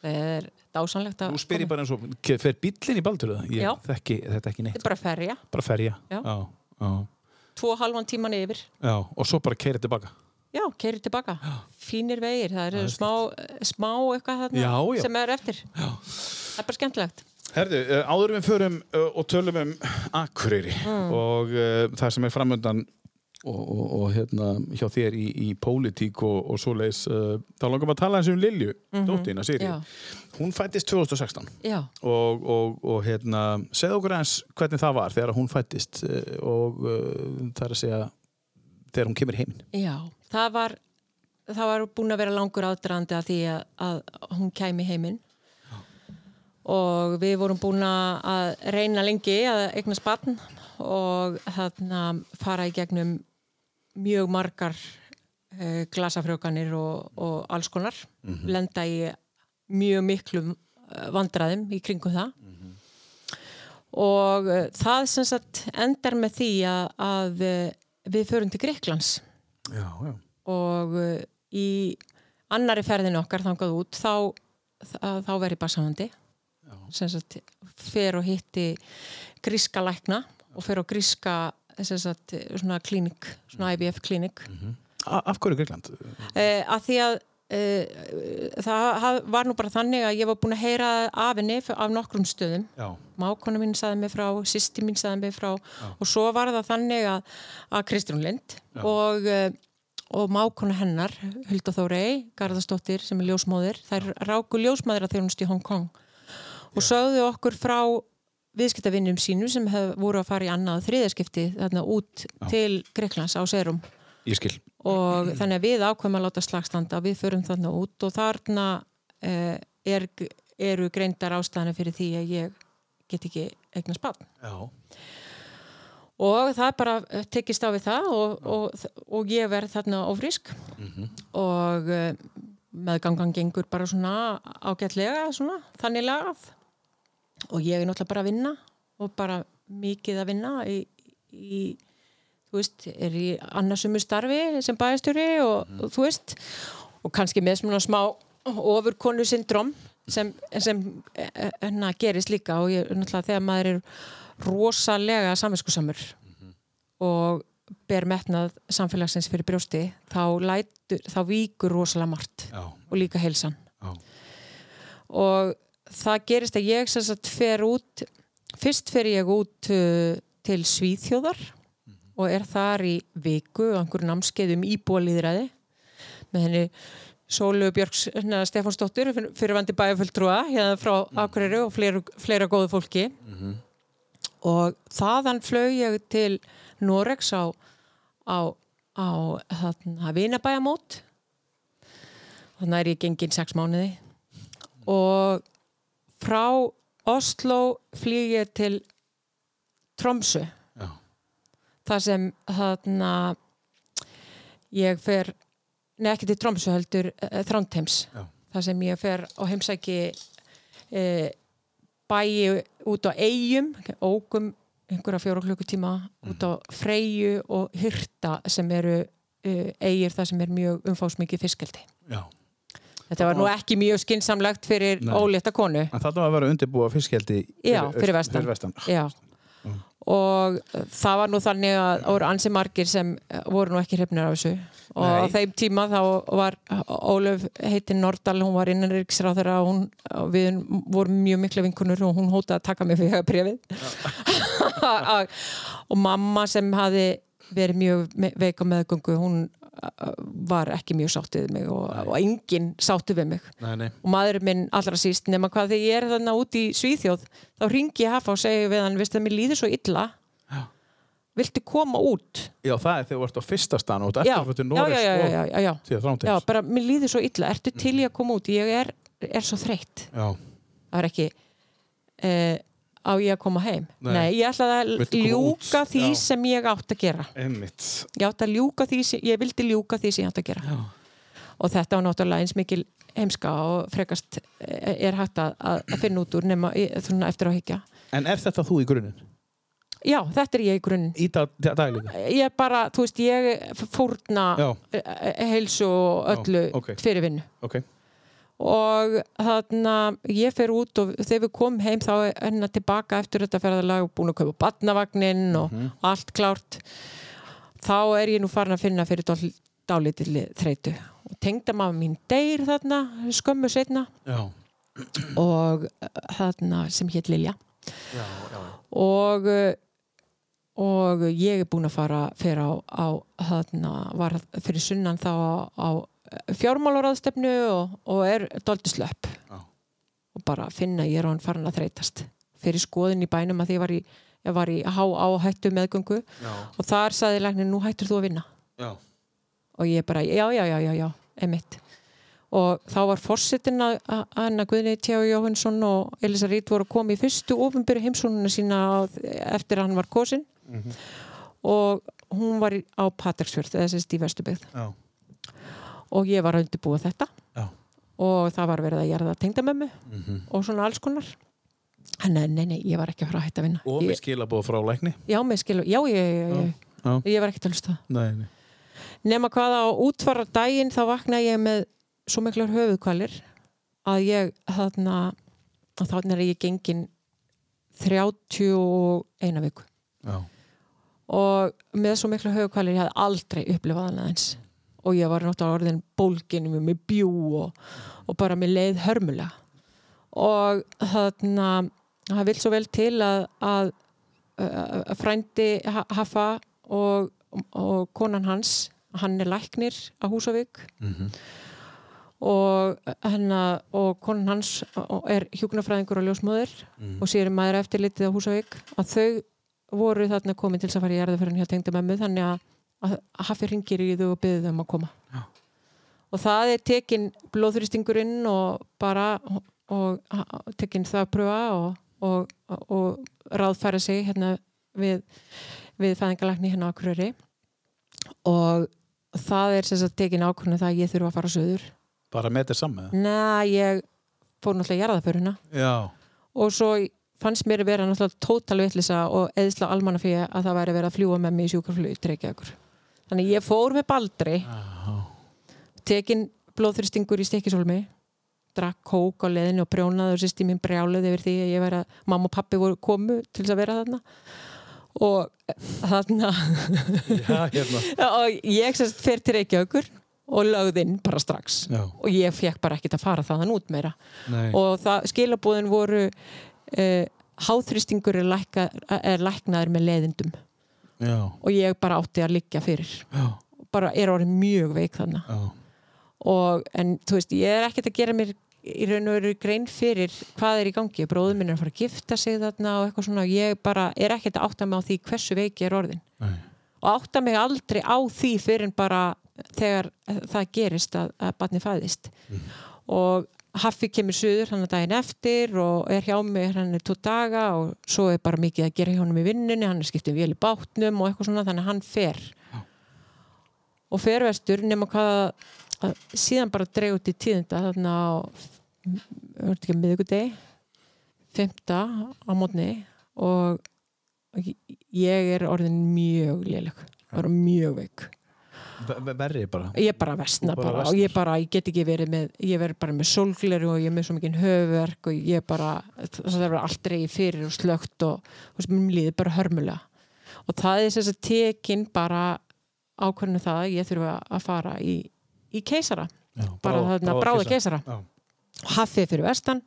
Speaker 2: Það er dásanlegt að
Speaker 1: Nú spyr ég bara eins og, ke- fer bíllinn í baldur það?
Speaker 2: Já.
Speaker 1: Ég þekki þetta ekki
Speaker 2: Þetta
Speaker 1: neitt.
Speaker 2: er bara að ferja,
Speaker 1: Bara ferja.
Speaker 2: Já.
Speaker 1: Já. Já.
Speaker 2: tvo og halvan tíman yfir.
Speaker 1: Já, og svo bara keira tilbaka.
Speaker 2: Já, keirið tilbaka. Fínir vegir, það eru smá, smá eitthvað þarna
Speaker 1: Já, já.
Speaker 2: sem er eftir. Já. Það er bara skemmtilegt.
Speaker 1: Herðu, uh, áður en við förum uh, og tölum um Akureyri og uh, það sem er framöndan og, og, og hérna hjá þér í, í pólitík og, og svoleiðis uh, þá langum við að tala eins um Lilju mm -hmm. dóttina, Siri.
Speaker 2: Já.
Speaker 1: Hún fættist 2016
Speaker 2: Já.
Speaker 1: og, og, og hérna, segð okkur eins hvernig það var þegar hún fættist uh, og uh, það er að segja þegar hún kemur heiminn.
Speaker 2: Já, það var, það var búin að vera langur aðdrandi að því að, að hún kæmi heiminn og við vorum búin að reyna lengi að eigna spann og þarna fara í gegnum mjög margar uh, glasafrjókanir og, og alls konar lenda í mjög miklum eh, vandræðum í kringum það og uh, það sem sagt endar með því að, að eh, við förum til Greiklands
Speaker 1: Já, já.
Speaker 2: og uh, í annari ferðin okkar þangað út þá, þá, þá verði basahandi sem sagt fer og hitti gríska lækna og fer og gríska sem sagt, svona klínik, svona IVF klínik
Speaker 1: Af hverju Gríkland?
Speaker 2: uh, að því að uh, það haf- var nú bara þannig að ég var búin að heyra af henni f- af nokkrum stöðum
Speaker 1: Já.
Speaker 2: mákona mín saði mig frá, sýsti mín saði mig frá og svo var það þannig að, að Kristján Lind og, eh, og mákona hennar Hulda Þórei, Garðarsdóttir sem er ljósmóðir, þær ráku ljósmæðra þegar hún stið í Hong Kong og sögðu okkur frá viðskiptavinnum sínum sem hef, voru að fara í annað þriðaskipti þarna út til Greklands á Serum
Speaker 1: Ég skil.
Speaker 2: og þannig að við ákveðum að láta slagstanda við förum þarna út og þarna eh, er, eru greindar ástæðanir fyrir því að ég get ekki eignast barn
Speaker 1: Já.
Speaker 2: og það bara eh, tekist á við það og, og, og ég verð þarna ofrísk og eh, meðgangan gengur bara svona ágætlega svona, þannig lagað og ég er náttúrulega bara að vinna og bara mikið að vinna í, í þú veist, er í annarsömu starfi sem bæðastjóri og, og þú veist og kannski með svona smá ofurkonu syndrom sem, sem eh, eh, na, gerist líka og ég, náttúrulega þegar maður er rosalega samvinskusamur og ber metnað samfélagsins fyrir brjósti þá, lætur, þá víkur rosalega margt
Speaker 1: Já.
Speaker 2: og líka heilsan
Speaker 1: Já.
Speaker 2: og það gerist að ég sem sagt fer út fyrst fer ég út uh, til Svíþjóðar og er þar í viku á einhverju námskeiðum íbúalýðræði með henni Sólu Björks hérna, Stefánsdóttur fyrir vandi bæjarfulltrúa hérna frá Akureyri og fleira, fleira góðu fólki og þaðan flög ég til Noregs á, á, á þarna, vinabæjamót þannig er ég gengin sex mánuði og frá Oslo flýg ég til Tromsö
Speaker 1: Já.
Speaker 2: þar sem þarna ég fer nei ekki til Tromsö heldur uh, Þrándheims
Speaker 1: Já.
Speaker 2: þar sem ég fer og heimsæki uh, bæi út á eigum ógum einhverja fjóra klukkutíma út
Speaker 1: Mhm.
Speaker 2: á Freyju og Hyrta sem eru uh, eigir þar sem er mjög umfásmikið fiskeldi
Speaker 1: Já.
Speaker 2: Þetta var nú ekki mjög skinsamlegt fyrir
Speaker 1: Nei.
Speaker 2: ólétta konu.
Speaker 1: En þetta var að vera að undirbúa fiskjaldi
Speaker 2: Já, fyrir vestan.
Speaker 1: Fyrir vestan.
Speaker 2: Já. Og uh, það var nú þannig að það voru ansi margir sem uh, voru nú ekki hrifnir af þessu. Og á
Speaker 1: Nei.
Speaker 2: þeim tíma þá var Ólöf heitin Nordal, hún var innanriksráður og hún, og við vorum mjög mikla vinkunur og hún hótaði að taka mig fyrir brefið. og mamma sem hafi verið mjög me- veik á meðgöngu, hún uh, var ekki mjög sátt við mig og, og enginn sáttu við mig
Speaker 1: Nei, nei.
Speaker 2: og maðurinn minn allra síst nema hvað þegar ég er þarna úti í Svíþjóð þá ringi ég hafa og segi við hann veistu að mér líður svo illa viltu koma út
Speaker 1: Já, það er þegar þú ert á fyrsta stanu og þú ert
Speaker 2: já,
Speaker 1: eftir fyrir
Speaker 2: já,
Speaker 1: Norris
Speaker 2: já, já, já, já, já.
Speaker 1: og síðan
Speaker 2: já,
Speaker 1: þrándins.
Speaker 2: bara mér líður svo illa ertu
Speaker 1: Mm.
Speaker 2: til ég að koma út, ég er, er svo þreytt
Speaker 1: Já,
Speaker 2: það var ekki eh, á ég að koma heim
Speaker 1: Nei.
Speaker 2: nei, ég ætlaði að
Speaker 1: Viltu koma út?
Speaker 2: ljúka því
Speaker 1: Já.
Speaker 2: sem ég átt að gera
Speaker 1: Emmitt.
Speaker 2: ég átt að ljúka því sem, ég vildi ljúka því sem ég átt að gera og þetta var náttúrulega eins mikil heimska og frekast eh, er hægt að, að finna út úr nema í- svona eftir á higgja
Speaker 1: En er þetta þú í grunin?
Speaker 2: já, þetta er ég í grunn
Speaker 1: Í dag, daglífi?
Speaker 2: ég bara, þú veist, ég f- fórna
Speaker 1: Já.
Speaker 2: eh, eh, heilsu og öllu
Speaker 1: Já, ok.
Speaker 2: fyrir vinnu
Speaker 1: Ok.
Speaker 2: og þarna ég fer út og þegar við komum heim þá er hennar tilbaka eftir þetta ferðalag og búin að kaupa batnavagnin og allt klárt þá er ég nú farin að finna fyrir dál- dálítilli þreytu og tengda mamma mín deyr þarna skömmu setna
Speaker 1: Já.
Speaker 2: og eh, þarna sem hétt Lilja já, já. og eh, og ég er búin að fara fyrir á, á þarna var fyrir sunnan þá á, á fjármálaráðstefnu og, og er dálítið slöpp
Speaker 1: Já.
Speaker 2: og bara finna ég er hann farin að þreytast fyrir skoðin í bænum að því ég var í, ég var í há áhættu meðgöngu já. og þar saði læknir nú hættur þú að vinna
Speaker 1: Já.
Speaker 2: og ég bara já, já, já, já, já, emitt og þá var forsetin að að- Anna Guðni Tjá Jóhansson og Elisa Rít voru að koma í fyrstu ofinbyrju heimsónuna sína á, eftir að hann var kosin
Speaker 1: Mhm.
Speaker 2: og hún var í- á Patræksfjörð eða sérst í Vesturbyggð
Speaker 1: Já.
Speaker 2: og ég var að undirbúa þetta
Speaker 1: Já.
Speaker 2: og það var verið að gera það tengdamömmu
Speaker 1: Mhm.
Speaker 2: og svona alls konar en nei, nei, nei, ég var ekki að fara að hætta að vinna
Speaker 1: Og með
Speaker 2: ég,
Speaker 1: skilabóð frá lækni?
Speaker 2: já, með skilu, já, já, já, já, já.
Speaker 1: Já.
Speaker 2: ég var ekkert að hlusta á það
Speaker 1: Nei, nei.
Speaker 2: nema hvað á útfara daginn þá vakna ég með svo miklar höfuðkvalir að ég þarna að þarna er ég gengin 31 viku
Speaker 1: Já.
Speaker 2: og með svo mikla höfuðkvalir ég hafði aldrei upplifað hann aðeins og ég var náttúrulega orðin bólginum með bjú og, og bara með leið hörmulega og þarna það vil svo vel til að, að, að, að frændi Ha- Haffa og, og konan hans hann er læknir á Húsavík og, hennar, og konan hans og- er hjúknarfræðingur og ljósmóður og sér maður eftirlitið á Húsavík að þau voru þarna komin til þess að fara í jarðaförun hjá tengdamömmu þannig að, að Haffi ringir í þau og byður þau um að koma og það er tekin blóðþrýstingurinn og bara og, og tekin það að pröfa og, og, og ráðfæra sig hérna við, við fæðingalækni hérna á Akureyri og það er sem sagt tekin ákvörðinu það að ég þurfa að fara söður
Speaker 1: Bara með þetta saman?
Speaker 2: Nei, ég fór náttúrulega jarðaföruna
Speaker 1: Já.
Speaker 2: og svo fannst mér að vera náttúrulega tótal vitlisa og eðsla almannafíja að það væri verið að fljúa með mig í sjúkarflug treykja ykkur. Þannig ég fór með baldri tekin blóðþristingur í stekkisólmi drakk kók á leðinu og brjónaði og sýsti mín brjálaði yfir því að ég væri að mamma og pappi voru komu til þess að vera þarna og eh, þarna
Speaker 1: Já, hérna.
Speaker 2: og ég sérst fer til Reykjavíkur og lögðinn bara strax
Speaker 1: Já.
Speaker 2: og ég fekk bara ekkert að fara þaðan út meira
Speaker 1: Nei.
Speaker 2: og það, skilabúðin voru uh, háþrýstingur er, lækka, er læknaður með leðindum
Speaker 1: Já.
Speaker 2: og ég bara átti að liggja fyrir
Speaker 1: Já.
Speaker 2: bara er orðin mjög veik þannig
Speaker 1: Já.
Speaker 2: og, en þú veist, ég er ekkert að gera mér í raun og veru grein fyrir hvað er í gangi bróðum minn er að fara að gifta sig þarna og eitthvað svona, og ég bara er ekkert að átta mig á því hversu veik ég er orðin
Speaker 1: Nei.
Speaker 2: og átta mig aldrei á því fyrir en bara þegar það gerist að, að barni fæðist og Haffi kemur suður hann að daginn eftir og er hjá mig hann er tvo daga og svo er bara mikið að gera hjá honum í vinnunni hann er skiptið vel í bátnum og eitthvað svona þannig að hann fer og fer vestur nema hvað að- síðan bara dreigur til tíðinda þannig á er þetta ekki miðvikudegi fymta á mótni og og ég- ég er orðin mjög léleg bara mjög veik
Speaker 1: Verri bara.
Speaker 2: ég bara vestna
Speaker 1: Þú bara
Speaker 2: bara, og ég bara, ég get ekki verið með ég verið bara með sólgleru og ég er með svo mikið höfverk og ég bara það er allt reyði fyrir og slögt og, og sem mér líður bara hörmulega og það er þess að tekin bara ákvörðinu það að ég þurfa að fara í, í keisara
Speaker 1: Já,
Speaker 2: bara
Speaker 1: bráða-
Speaker 2: þarna
Speaker 1: bráða
Speaker 2: bráða
Speaker 1: keisara.
Speaker 2: keisara hafið fyrir vestan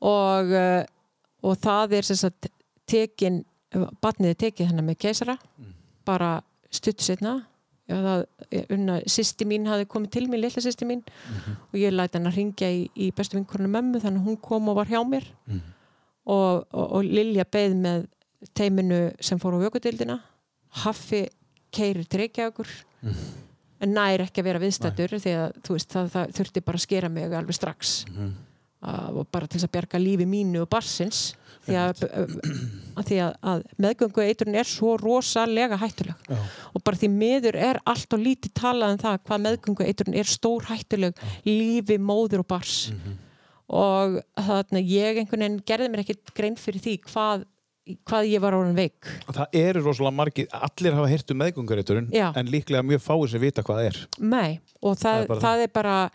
Speaker 2: og, eh, og það er sem sagt tekin batnið er tekið hennar með keisara bara stutt setna það, unna, sýsti mín hafi komið til mín litla sýsti mín og ég læti hann að ringja í, í bestu vinkornu mömmu þannig að hún kom og var hjá mér og, og, og Lilja beð með teiminu sem fór á vökudildina Haffi keirir treykja okkur en nær ekki að vera viðstættur því að þú veist það, það þurfti bara að skera mig alveg strax að- og bara til þess að bjarga lífi mínu og barsins því að, að, því að, að meðgöngu eitrun er svo rosalega hættuleg
Speaker 9: Já.
Speaker 2: og bara því miður er allt og lítið talað um það hvað meðgöngu eitrun er stór hættuleg lífi móður og bars og þannig ég einhvern veginn gerði mér ekkit grein fyrir því hvað, hvað ég var orðin veik
Speaker 1: Það eru rosalega margir, allir hafa heyrt um meðgöngarétturinn
Speaker 2: Já.
Speaker 1: en líklega mjög fáið sem vita hvað það er
Speaker 2: Nei, og það,
Speaker 1: er bara
Speaker 2: það er bara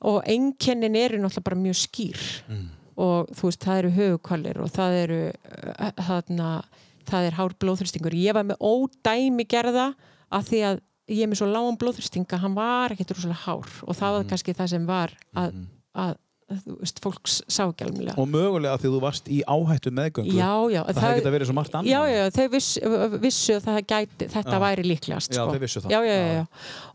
Speaker 2: og einkennin eru náttúrulega bara mjög skýr
Speaker 1: Mm.
Speaker 2: og þú veist, það eru höfukvalir og það eru uh, þarna, það er hár blóðþristingur ég var með ódæmi gerða af því að ég er með svo lágan blóðþristinga hann var ekkert rosalega hár og það
Speaker 1: Mm.
Speaker 2: var kannski það sem var að, að, þú veist, fólk sá ekki alveg
Speaker 1: og mögulega af því að þú varst í áhættu meðgöngu
Speaker 2: Já, já,
Speaker 1: það, það geta verið svo margt annað
Speaker 2: Já, já, þau viss, vissu að það gæti, þetta
Speaker 1: Já.
Speaker 2: væri líklegast
Speaker 1: Já,
Speaker 2: sko.
Speaker 1: þau vissu það.
Speaker 2: Já, já, já, já.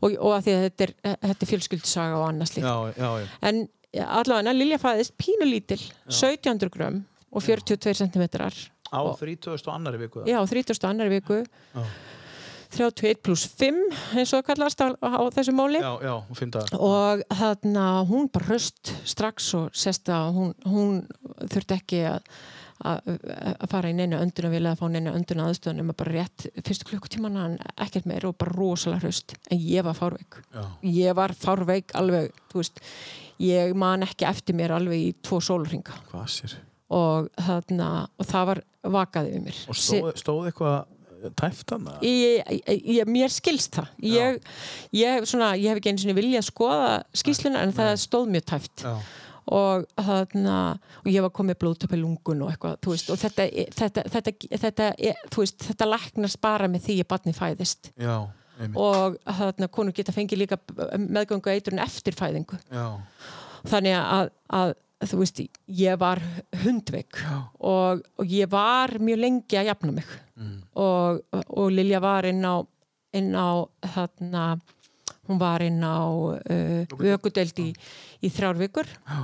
Speaker 2: Og, og að því að þetta er, þetta er fjölskyldsaga og annað slíkt
Speaker 1: já, já, já.
Speaker 2: En allavega, Lilja fæðist pínulítil 1700 grömm og 42 centimetrar
Speaker 1: á
Speaker 2: Og-
Speaker 1: 30. annari viku
Speaker 2: Já, 32. viku 31 pluss 5 eins og það kallast á, á þessu máli
Speaker 1: já, já, og fimm dagar
Speaker 2: og þarna hún bara höst strax og sest að hún, hún þurfti ekki að að að fara í neina önduna vilja að fá neina önduna aðstöðan nema bara rétt fyrstu klukkutímana en ekkert meira og bara rosalega hraust en ég var fárveik
Speaker 1: Já.
Speaker 2: ég var fárveik alveg þú veist, ég man ekki eftir mér alveg í tvo sólringa
Speaker 1: hvað sér
Speaker 2: og, þarna, og það var vakaði við mér
Speaker 1: og stóð, stóð eitthvað tæft hann
Speaker 2: ég, ég, ég, mér skilst það ég, ég, hef svona, ég hef ekki einu sinni vilja að skoða skýsluna en það stóð mjög tæft
Speaker 1: Já.
Speaker 2: og, þarna, og ég var komið blóðtöp í lungun og eitthvað þú veist, og þetta, þetta, þetta, þetta, þetta, veist, þetta læknast bara með því að barni fæðist
Speaker 1: já, einmitt
Speaker 2: og þarna konur geta fengið líka meðgöngu eitrun eftir fæðingu
Speaker 1: já,
Speaker 2: þannig að, að þú veist, ég var hundveik og, og ég var mjög lengi að jafna mig og, og Lilja var inn á inn á þarna hún var inn á uh, vökudeld í, í þrjár vikur Já.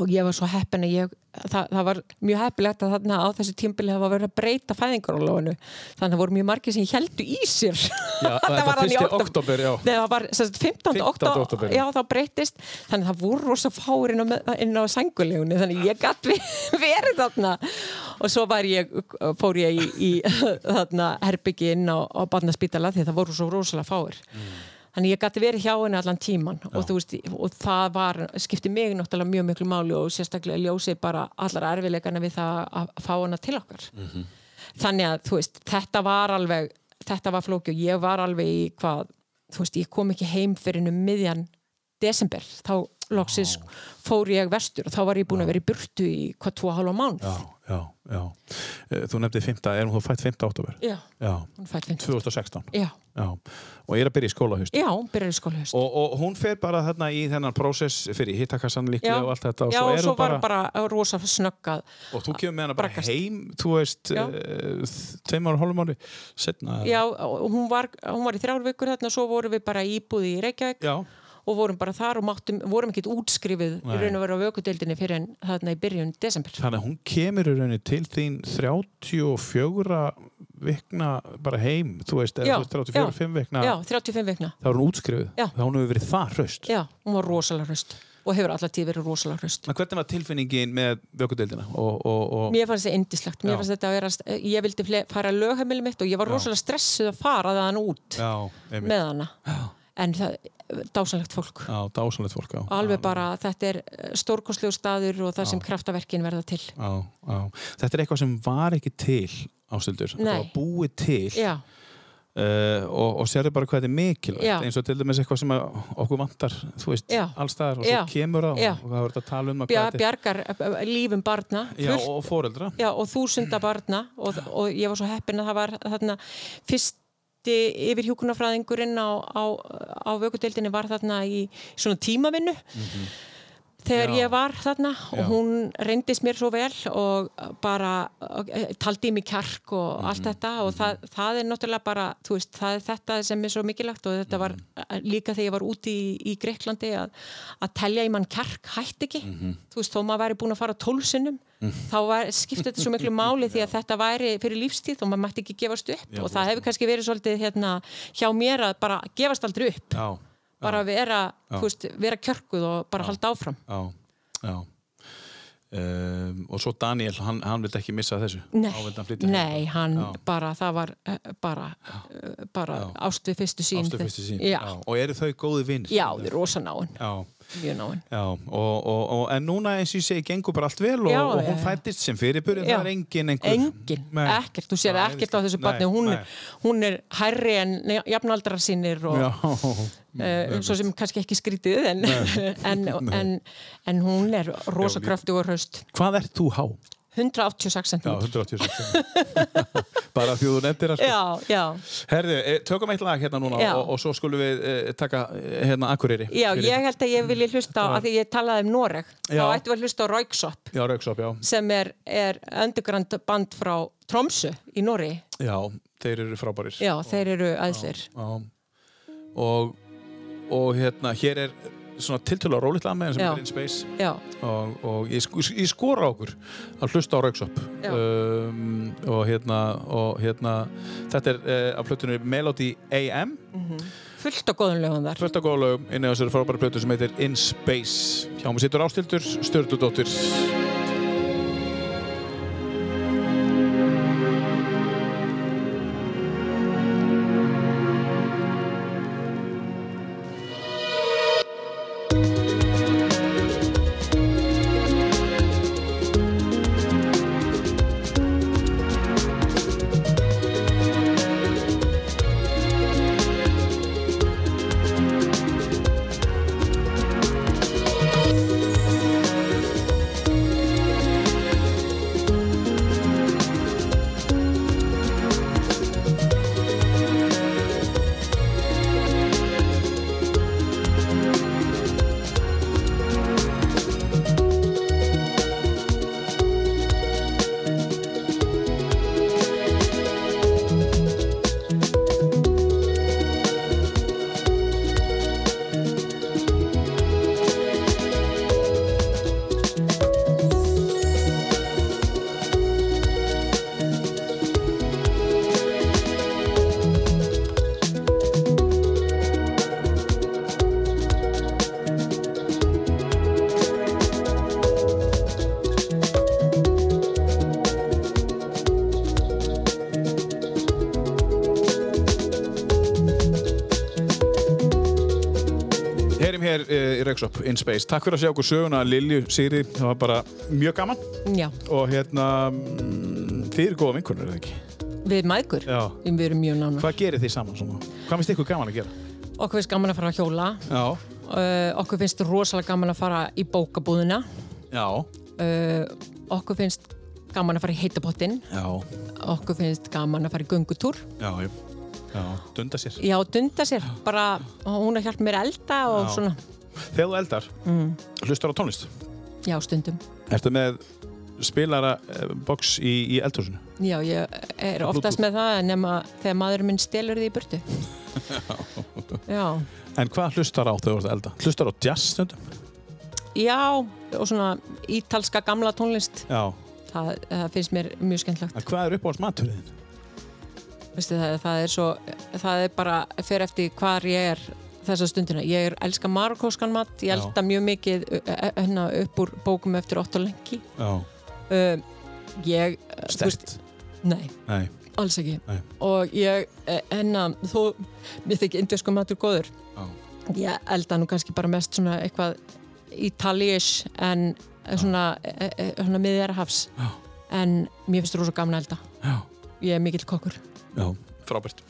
Speaker 2: og ég var svo heppin að ég það, það var mjög heppilegt að þarna á þessu tímbili hafa verið að breyta fæðingarólófinu þannig að voru mjög margir sem heldu í sér
Speaker 1: þetta
Speaker 2: var hann í
Speaker 1: fyrsti
Speaker 2: október.
Speaker 1: oktober, já.
Speaker 2: Nei, það var sem sagt, 15.
Speaker 1: 15. október.
Speaker 2: október já, þá breyttist, þannig að það voru rosa fáir inn á, með- inn á sængulegunni þannig að ég gatt verið þarna og svo var ég, fór ég í, í þarna herbyggi inn á, á barnaspítala því að það voru svo rosalega fáir Þannig ég gæti verið hjá henni allan tíman og, þú veist, og það var, skipti mig náttúrulega mjög miklu máli og sérstaklega ljósið bara allar erfileikana við það að fá hana til okkar þannig að þú veist, þetta var alveg þetta var flóki og ég var alveg í hvað, þú veist, ég kom ekki heim fyrir um miðjan desember þá loksins fór ég vestur og þá var ég búin að vera í burtu í hvað tvo og hálfa mánuð
Speaker 1: já, já, já. Eh, þú nefndi 5. er hún þú fætt 5. oktober
Speaker 2: já,
Speaker 1: já,
Speaker 2: hún fætt fint
Speaker 1: 2016
Speaker 2: já,
Speaker 1: já. og er að byrja í skóla haust
Speaker 2: já, hún byrjar í skóla höst
Speaker 1: og, og hún fer bara þarna í þennan prósess fyrir hittakassan líklega og allt þetta og
Speaker 2: já,
Speaker 1: svo
Speaker 2: og
Speaker 1: er
Speaker 2: svo
Speaker 1: hún bara,
Speaker 2: var bara rosa snöggað
Speaker 1: og þú kemur með hana bara
Speaker 2: braggast.
Speaker 1: heim þú veist,
Speaker 2: Já.
Speaker 1: uh, tveim ára hálfum ári setna
Speaker 2: já, og hún var, hún var í þrjár vikur þarna og svo vorum við bara íbúði í Reykjavík
Speaker 1: já,
Speaker 2: og vorum bara þar og máttum, vorum ekkert útskrifið
Speaker 1: Nei.
Speaker 2: í raun og vera á vökudeildinni fyrir en þarna í byrjun desember
Speaker 1: Þannig að hún kemur í rauninni til þín 34 vikna bara heim, þú veist, eða
Speaker 2: Já,
Speaker 1: þú veist 34
Speaker 2: já,
Speaker 1: 5 vikna,
Speaker 2: já, 35 vikna
Speaker 1: þá er hún útskrifuð
Speaker 2: Já.
Speaker 1: þá hún hefur verið það hraust.
Speaker 2: Já, hún var rosalega hraust og hefur alltaf tíð verið rosalega hraust.
Speaker 1: En hvernig var tilfinningin með vökkudeildina? Og, og, og,
Speaker 2: Mér fannst þetta indislegt, mér
Speaker 1: Já.
Speaker 2: fannst þetta að vera, ég vildi fle- fara að lögheimili mitt og ég var rosalega stressuð að fara þaðan út
Speaker 1: já, einmitt.
Speaker 2: með hana. Já. En það, dásanlegt fólk.
Speaker 1: Já, dásanlegt fólk, já.
Speaker 2: Alveg bara, þetta er stórkostlegu staður og það sem kraftaverkin verða til.
Speaker 1: Já, já. Þetta er eitthvað sem var ekki til ástildur. Þetta
Speaker 2: Nei.
Speaker 1: var búið til
Speaker 2: Já,
Speaker 1: uh, og, og sérðu bara hvað þetta er mikilvægt.
Speaker 2: Já.
Speaker 1: Eins og til dæmis eitthvað sem að okkur vantar, þú veist,
Speaker 2: Já.
Speaker 1: allstaðar og
Speaker 2: Já.
Speaker 1: svo kemur það
Speaker 2: Já.
Speaker 1: og, og það voru að tala um að
Speaker 2: Bja,
Speaker 1: þetta er-
Speaker 2: bjargar ö, ö, lífum barna,
Speaker 1: Já,
Speaker 2: fullt
Speaker 1: og foreldra.
Speaker 2: Já, og þúsunda barna og, og ég var svo heppin að það var þarna fyrsti yfir hjúkunarfræðingurinn á, á, á vökudeildinni var þarna í svona tímavinnu þegar
Speaker 1: Já.
Speaker 2: ég var þarna og
Speaker 1: Já.
Speaker 2: hún reyndist mér svo vel og bara og, eh, taldi í mig kjark og allt
Speaker 1: Mhm.
Speaker 2: þetta og það, það er náttúrulega bara þú veist, það er þetta sem er svo mikilvægt og
Speaker 1: Mhm.
Speaker 2: þetta var eh, líka þegar ég var úti í, í Greiklandi að, að telja í mann kjark hætt ekki,
Speaker 1: Mhm.
Speaker 2: þú veist, þó maður væri búin að fara tólfsinnum, mm -hmm. þá var, skipti þetta svo miklu máli því að þetta væri fyrir lífstíð og maður mætti ekki gefast upp og það hefur kannski verið svolítið hérna hjá mér að bara gefast aldrei upp
Speaker 1: Já.
Speaker 2: bara vera, þú veist, vera kjörguð og bara halda áfram
Speaker 1: já, já. um, og svo Daniel, hann, hann vildi ekki missa af þessu
Speaker 2: Nei,
Speaker 1: Þá vildi hann flytja
Speaker 2: nei,
Speaker 1: hérna.
Speaker 2: hann
Speaker 1: Já.
Speaker 2: bara, það var eh, bara, eh, bara
Speaker 1: Já.
Speaker 2: ást við fyrstu sín.
Speaker 1: Ástu fyrstu sín
Speaker 2: Já,
Speaker 1: Já, og eru þau góði vinnir
Speaker 2: já, við erum rosa náinn,
Speaker 1: já,
Speaker 2: mjög náinn.
Speaker 1: já og, og, og, en núna eins og ég segi gengur bara allt vel og,
Speaker 2: Já,
Speaker 1: og hún
Speaker 2: já, já.
Speaker 1: fættist sem fyrirbur en
Speaker 2: Já.
Speaker 1: það er engin einhver
Speaker 2: Engin,
Speaker 1: Nei.
Speaker 2: ekkert, þú sér
Speaker 1: Nei,
Speaker 2: ekkert á þessu
Speaker 1: nei,
Speaker 2: barni, hún,
Speaker 1: nei.
Speaker 2: hún er hærri en jafnaldrar sínir og
Speaker 1: Já,
Speaker 2: uh, svo sem kannski ekki skrítið en, en, en, en hún er rosa
Speaker 1: Já, lí-
Speaker 2: kröftu og hraust,
Speaker 1: hvað ert þú há?
Speaker 2: 186 cm.
Speaker 1: Já, 186 Bara því þú nefndir það sko.
Speaker 2: já, já,
Speaker 1: Herðu, eh, tökum eitt lag hérna núna
Speaker 2: Já.
Speaker 1: og, og svo skulum við eh, taka eh, hérna Akureyri
Speaker 2: já,
Speaker 1: Fyrir-
Speaker 2: ég held að ég vilji hlusta á, að því ég talaði um Noreg, þá
Speaker 1: Já.
Speaker 2: ættum við að hlusta á Rauksopp
Speaker 1: Já, Rauksop, já.
Speaker 2: sem er, er underground band frá Tromsu í Norri.
Speaker 1: já, þeir eru frábærir
Speaker 2: Já, þeir eru aðsir.
Speaker 1: Já. Og, og hérna, hér er svona tiltölu á rólitla með sem
Speaker 2: Já.
Speaker 1: er in space
Speaker 2: Já,
Speaker 1: og, og ég, sk- ég skora á okkur að hlusta á Rauksop
Speaker 2: Já.
Speaker 1: um, og, hérna, og hérna þetta er uh, af plötunni Melody AM
Speaker 2: fullt á góðum lögum þar.
Speaker 1: fullt af góða lögum inn á þessari frábæra plötu sem heitir In Space hjá mig situr Ástildur, Sturludóttir Heyrim hér uh, í Rauksop, In Space Takk fyrir að sjá okkur söguna Lilju Sýri það var bara mjög gaman
Speaker 2: Já,
Speaker 1: og hérna mm, þið eru góða vinkunir, eða ekki?
Speaker 2: við mægur.
Speaker 1: Já.
Speaker 2: Við erum mjög nána.
Speaker 1: Hvað gerir þið saman svona? Hvað finnst ykkur gaman að gera?
Speaker 2: Okkur finnst gaman að fara að hjóla,
Speaker 1: Já,
Speaker 2: uh, okkur finnst rosalega gaman að fara í bókabúðina,
Speaker 1: já,
Speaker 2: uh, okkur finnst gaman að fara í heitapottin,
Speaker 1: já,
Speaker 2: okkur finnst gaman að fara í göngutúr.
Speaker 1: já, já, já. dunda sér.
Speaker 2: Já, dunda sér, bara hún að hjálpa mér að elda og
Speaker 1: Já.
Speaker 2: svona,
Speaker 1: Þegar þú eldar, mm. hlustar á tónlist.
Speaker 2: já, stundum.
Speaker 1: Ertu með spilara eh, box í, í eldhúsinu?
Speaker 2: Já, ég er oftast með það nema þegar maður minn stelur því í burtu. Já.
Speaker 1: En hvað hlustar á þegar þú ert að elda? Hlustar á jazz stundum?
Speaker 2: Já, og svona ítalska gamla tónlist,
Speaker 1: Já.
Speaker 2: það, það finnst mér mjög skemmtlagt.
Speaker 1: En hvað er uppáhalds maturinn?
Speaker 2: Veistu, það, það er svo, það er bara fyrir eftir hvar ég er þessa stundina. Ég er, elska marokkóskan mat, ég
Speaker 1: Já.
Speaker 2: elda mjög mikið ö- ö- hérna, upp úr bókum eftir 8 lengi.
Speaker 1: Já.
Speaker 2: Uh, ég, uh, þú veist,
Speaker 1: Stert?
Speaker 2: nei,
Speaker 1: Nei.
Speaker 2: alls ekki.
Speaker 1: Nei.
Speaker 2: Og ég, eh, hérna, þú, mér þykir indversku matur góður.
Speaker 1: Já.
Speaker 2: Ég elda nú kannski bara mest svona eitthvað italíish en svona, eh, eh, svona miðjarhafs.
Speaker 1: Já.
Speaker 2: En mér finnst rosa gaman að elda.
Speaker 1: Já.
Speaker 2: Ég er mikill kokkur.
Speaker 1: Já. Frábært.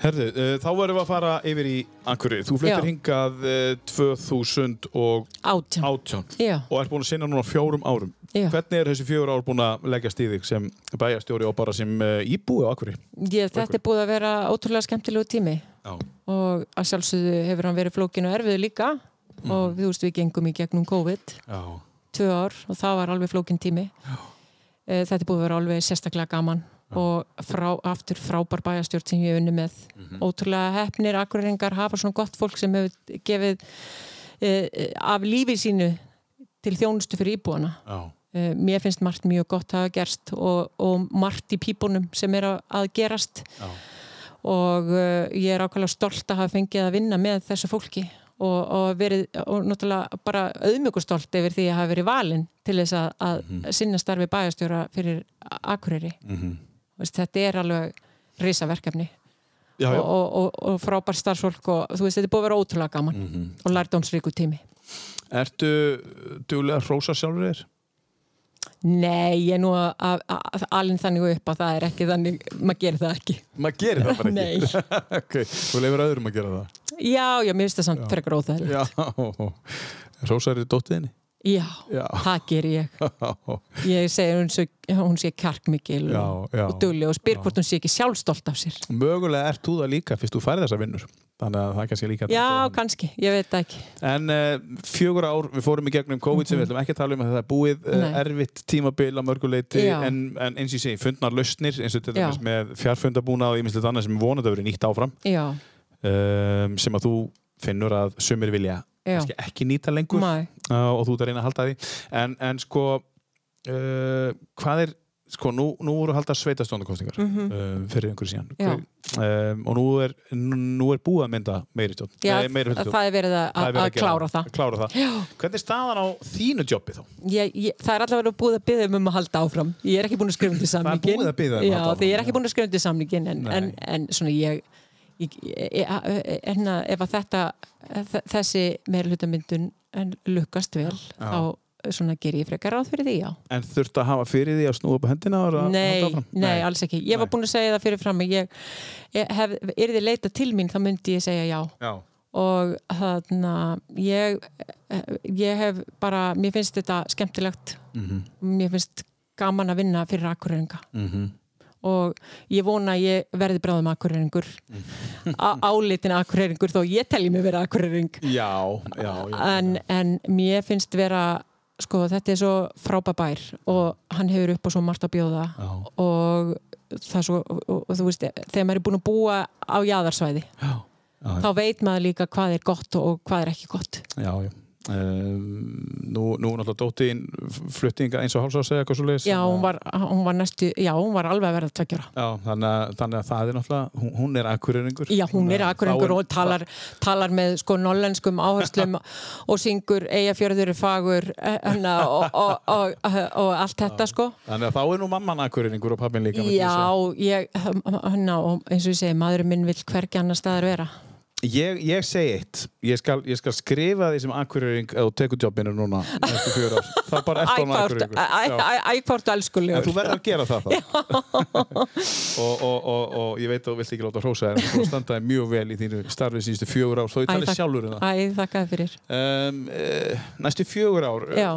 Speaker 1: Herðu, uh, þá verðum við að fara yfir í Akureyri. Þú
Speaker 2: Já.
Speaker 1: flyttir hingað uh, 2018
Speaker 2: Átján. Já,
Speaker 1: og ert búin að sinna núna fjórum árum.
Speaker 2: já.
Speaker 1: Hvernig er þessi fjögur ár búin að leggja stíðig sem bæjarstjóri og bara sem uh, íbúi á Akureyri?
Speaker 2: Ég, þetta er búið að vera ótrúlega skemmtilegu tími
Speaker 1: Já.
Speaker 2: og að sjálfsögðu hefur hann verið flókin og erfiðu líka
Speaker 1: Mm.
Speaker 2: og þú veist við gengum í gegnum COVID
Speaker 1: Já.
Speaker 2: tvö ár og það var alveg flókin tími Eh, þetta er búið að vera alveg sérstaklega gaman og frá, aftur frábær bæjarstjórn sem ég hef unni með ótrúlega hefnir, akkurringar hafa svona gott fólk sem hefur gefið eh, eh, af lífi sínu til þjónustu fyrir íbúana
Speaker 1: Já.
Speaker 2: Eh, mér finnst margt mjög gott að hafa gerst og, og margt í pípunum sem er að, að gerast
Speaker 1: Já.
Speaker 2: og uh, ég er ákveðlega stolt að hafa fengið að vinna með þessu fólki og, og verið og náttúrulega bara auðmjögustolt yfir því að hafa verið valinn til þess að, að
Speaker 1: Mhm.
Speaker 2: sinna starfi bæjastjóra fyrir Akureyri mm veist, þetta er alveg risaverkefni
Speaker 1: já, já.
Speaker 2: og, og, og, og frábær starfsfólk og þú veist, þetta er búið að vera ótrúlega gaman
Speaker 1: Mhm.
Speaker 2: og lærdómsríku tími
Speaker 1: Ertu duglega að hrósa sjálfur þér?
Speaker 2: Nei, ég er nú að- að að- alin þannig upp að það er ekki þannig, maður gerir það ekki
Speaker 1: Maður gerir það bara
Speaker 2: Nei.
Speaker 1: ekki Ok, þú leifir öðrum að gera það
Speaker 2: Já, já, mér finnst það samt frekar óþægilegt
Speaker 1: Já, hrósar þér dóttiðinni?
Speaker 2: Já,
Speaker 1: Já.
Speaker 2: það ger ég
Speaker 1: Já,
Speaker 2: Ég segi hún, svo, hún sé kjarkmikil
Speaker 1: Já,
Speaker 2: og,
Speaker 1: já.
Speaker 2: og dugleg og spyr hvort hún sé ekki sjálfstolt af sér
Speaker 1: mögulega ert þú það líka fyrst þú færði þessa vinnur Þannig að það er kannski líka
Speaker 2: Já, kannski, ég veit það ekki
Speaker 1: En uh, fjögur ár, við fórum í gegnum COVID sem við ætlum ekki að tala um að það er búið uh,
Speaker 2: Mhm. Nei.
Speaker 1: erfitt tímabil á mörguleiti
Speaker 2: Já.
Speaker 1: en, en eins og ég segi, fundnar lausnir eins og til
Speaker 2: Já.
Speaker 1: dæmis með fjárfundabúna og ýmislegt annað sem vonandi að vera nýtt áfram
Speaker 2: Já,
Speaker 1: um, sem að þú finnur að sumir vilja
Speaker 2: já,
Speaker 1: kannski ekki nýta lengur
Speaker 2: mæ
Speaker 1: uh, og þú ert að reyna að halda því en, en sko uh, hvað er sko, nú, nú voru haldar sveitastóndakostingar mm uh, fyrir einhverju síðan
Speaker 2: Mhm. Já.
Speaker 1: um, og nú er, nú er búið að mynda meiri stjórn
Speaker 2: Já,
Speaker 1: Nei, meiri hlutastjórn.
Speaker 2: það er verið að,
Speaker 1: Það er
Speaker 2: að,
Speaker 1: verið
Speaker 2: að
Speaker 1: gera
Speaker 2: klára það
Speaker 1: að klára það. hvernig er staðan á þínu jobbi þá?
Speaker 2: ég, ég, Það er allavega búið að byggja um að halda áfram Ég er ekki búin að skrifa undir
Speaker 1: er
Speaker 2: samningin
Speaker 1: búið að biðja um að
Speaker 2: Já,
Speaker 1: halda áfram,
Speaker 2: því ég er
Speaker 1: já.
Speaker 2: ekki búin að skrifa undir samningin en, en, en svona ég ég- ég- ég- hérna, ef að þetta þ- þessi meirlutamyndun lukkast vel þá svona ger ég frekar ráð fyrir því, já
Speaker 1: en þurft að hafa fyrir því að snúa upp hendina og að
Speaker 2: nei,
Speaker 1: halda áfram?
Speaker 2: nei, alls ekki. Ég var
Speaker 1: Nei.
Speaker 2: búin að segja það fyrir fram að ég, ég hef, er þið leita til mín, þá myndi ég segja já.
Speaker 1: Já.
Speaker 2: Og þarna, ég, ég hef bara, mér finnst þetta skemmtilegt.
Speaker 1: Mhm,
Speaker 2: Mér finnst gaman að vinna fyrir akkuröringa. Mm
Speaker 1: mhm.
Speaker 2: Og ég vona að ég verði bráðum akkuröringur. Álitin akkuröringur, þó ég telji mig vera akkuröring
Speaker 1: já, já, já.
Speaker 2: en, en mér finnst vera sko þetta er svo frábær bær og hann hefur upp á svo margt að bjóða
Speaker 1: Já.
Speaker 2: og það er svo og, og, og þú veist, þegar maður er búin að búa á jaðarsvæði,
Speaker 1: já.
Speaker 2: þá veit maður líka hvað er gott og hvað er ekki gott
Speaker 1: Já, já. Um, nú, nú er náttúrulega dóttiðin fluttinga eins og hálsa að segja eitthvað svo leiðis
Speaker 2: já, hún var, hún var næstu, já, hún var alveg að verða tveggjara
Speaker 1: já, þannig, að, þannig að það er náttúrulega hún, hún er akkuröringur
Speaker 2: Já, hún er akkurengur og talar, talar með sko nollenskum áherslum og syngur eigafjörður er fagur eh, hana, og, og, og, og, og allt þetta sko.
Speaker 1: Þannig að þá er nú mamman akkuröringur og pappin líka myndi ég
Speaker 2: Já,
Speaker 1: segja.
Speaker 2: ég, hana, og eins og ég segi, maðurinn minn vil hvergi annar staðar vera.
Speaker 1: ég, ég segi eitt ég skal, ég skal skrifa því sem akkuröring eða þú tekur jobbinu núna næstu fjör ár þá bara
Speaker 2: Æ,
Speaker 1: eftir hún
Speaker 2: hvort- æ, æ,
Speaker 1: akkuröringur
Speaker 2: æ, æ, hvort elskulegur.
Speaker 1: En þú verður að gera það þá og, og, og, og ég veit að þú vilt ekki láta hrósa þér en þú standaði mjög vel í þínu starfið síðustu fjögur ár, þó ég
Speaker 2: Æ,
Speaker 1: talið
Speaker 2: þakk-
Speaker 1: sjálfur um það
Speaker 2: Æ, þakkaði fyrir.
Speaker 1: um, uh, næstu fjögur ár eh,
Speaker 2: Já,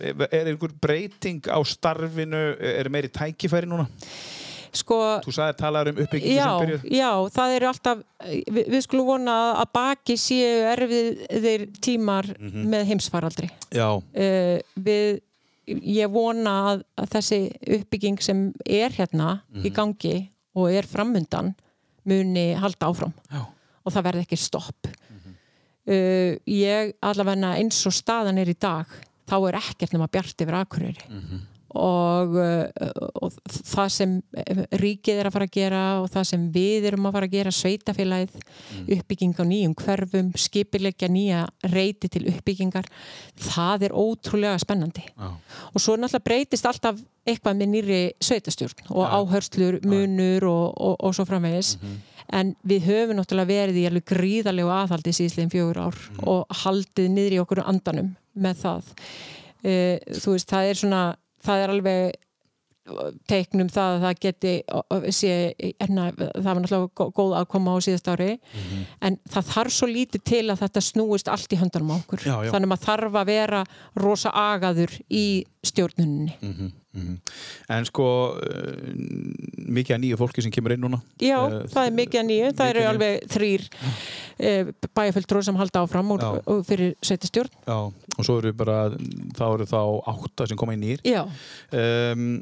Speaker 1: Ehm, er er einhver breyting á starfinu er meiri tækifæri núna
Speaker 2: sko,
Speaker 1: þú sagði að tala um uppbyggingu
Speaker 2: já,
Speaker 1: sem byrjuð
Speaker 2: já, það eru alltaf, við, við skulum vona að- að baki séu erfiðir tímar
Speaker 1: Mhm.
Speaker 2: með heimsfaraldri.
Speaker 1: já,
Speaker 2: Uh, við, ég vona að, að þessi uppbygging sem er hérna
Speaker 1: Mhm.
Speaker 2: í gangi og er framundan muni halda áfram.
Speaker 1: já,
Speaker 2: og það verði ekki stopp uh, ég allavega eins og staðan er í dag þá er ekkert nema bjart yfir akureyri og, uh, og það sem eh, ríkið er að fara að gera og það sem við erum að fara að gera sveitafélagið, uppbygging á nýjum hverfum, skipilegja nýja reyti til uppbyggingar það er ótrúlega spennandi
Speaker 1: já.
Speaker 2: og svo náttúrulega breytist alltaf eitthvað með nýri sveitastjórn og áhörslur, munur og, og, og svo framvegis en við höfum náttúrulega verið í alveg gríðalegu aðhaldi síðslegin fjögur ár og haldið niðri í okkur andanum með það e, þú veist, það er svona það er alveg teiknum það að það geti o- o- sé, enna, það var náttúrulega gó- góð aðkoma á síðast ári
Speaker 1: Mhm.
Speaker 2: en það þarf svo lítið til að þetta snúist allt í höndanum á okkur
Speaker 1: Já, já.
Speaker 2: þannig að maður þarf að vera rosa agaður í stjórnuninni
Speaker 1: Mm. Mhm, en sko uh, mikið að nýju fólki sem kemur inn núna
Speaker 2: Já,
Speaker 1: Eh,
Speaker 2: það er mikið að nýju, það
Speaker 1: mikið
Speaker 2: eru
Speaker 1: að nýju.
Speaker 2: alveg þrýr uh, bæjarfjöldrúð sem halda áfram úr,
Speaker 1: Já.
Speaker 2: úr fyrir sveitastjórn
Speaker 1: já, og svo eru bara þá eru þá átta sem koma inn nýr
Speaker 2: Já,
Speaker 1: um,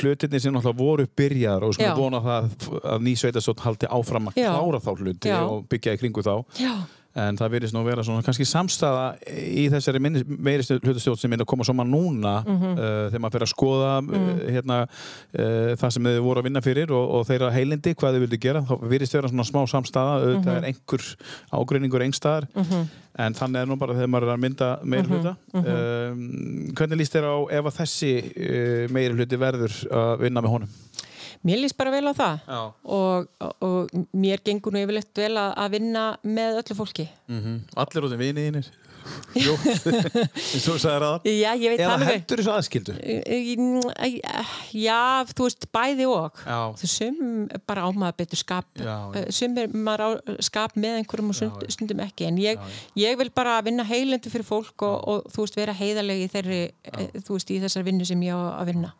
Speaker 1: hlutinni sem náttúrulega voru byrjaðar og
Speaker 2: Já.
Speaker 1: svona vona það að ný sveitastótt haldi áfram að
Speaker 2: Já.
Speaker 1: klára þá hluti
Speaker 2: Já.
Speaker 1: og byggja í kringu þá
Speaker 2: já,
Speaker 1: en það verðist nú að vera svona kannski samstaða í þessari minni, meiri hlutastjórn sem er að koma saman núna uh, þegar maður fer að skoða uh, hérna, uh, það sem þau voru að vinna fyrir og, og þeirra heilindi, hvað þau vildu gera þá verðist vera svona smá samstaða auðvitað er einhver ágreiningur engstaðar en þannig er nú bara þegar maður er að mynda meiri hluta um, hvernig líst þér á ef að þessi uh, meiri hluti verður að vinna með honum?
Speaker 2: Mér líst bara vel á það
Speaker 1: Já.
Speaker 2: og, og, og mér gengur nú yfirleitt vel að, að vinna með öllu fólki.
Speaker 1: Allir út um viniðinir Jó, eins og þú sagðir aðan
Speaker 2: Já, ég veit
Speaker 1: Eða
Speaker 2: það alveg.
Speaker 1: hendur þessu aðskildu
Speaker 2: Í- í- Já, þú veist, bæði og
Speaker 1: Já.
Speaker 2: þú sum bara á maður betur skap
Speaker 1: Já, já.
Speaker 2: Eh, sum er maður á skap með einhverjum og stund, stundum ekki en ég, ég vil bara vinna heilendu fyrir fólk og, og þú veist, vera heiðarlegi í þeirri, eh, þú veist, í þessar vinnu sem ég á að vinna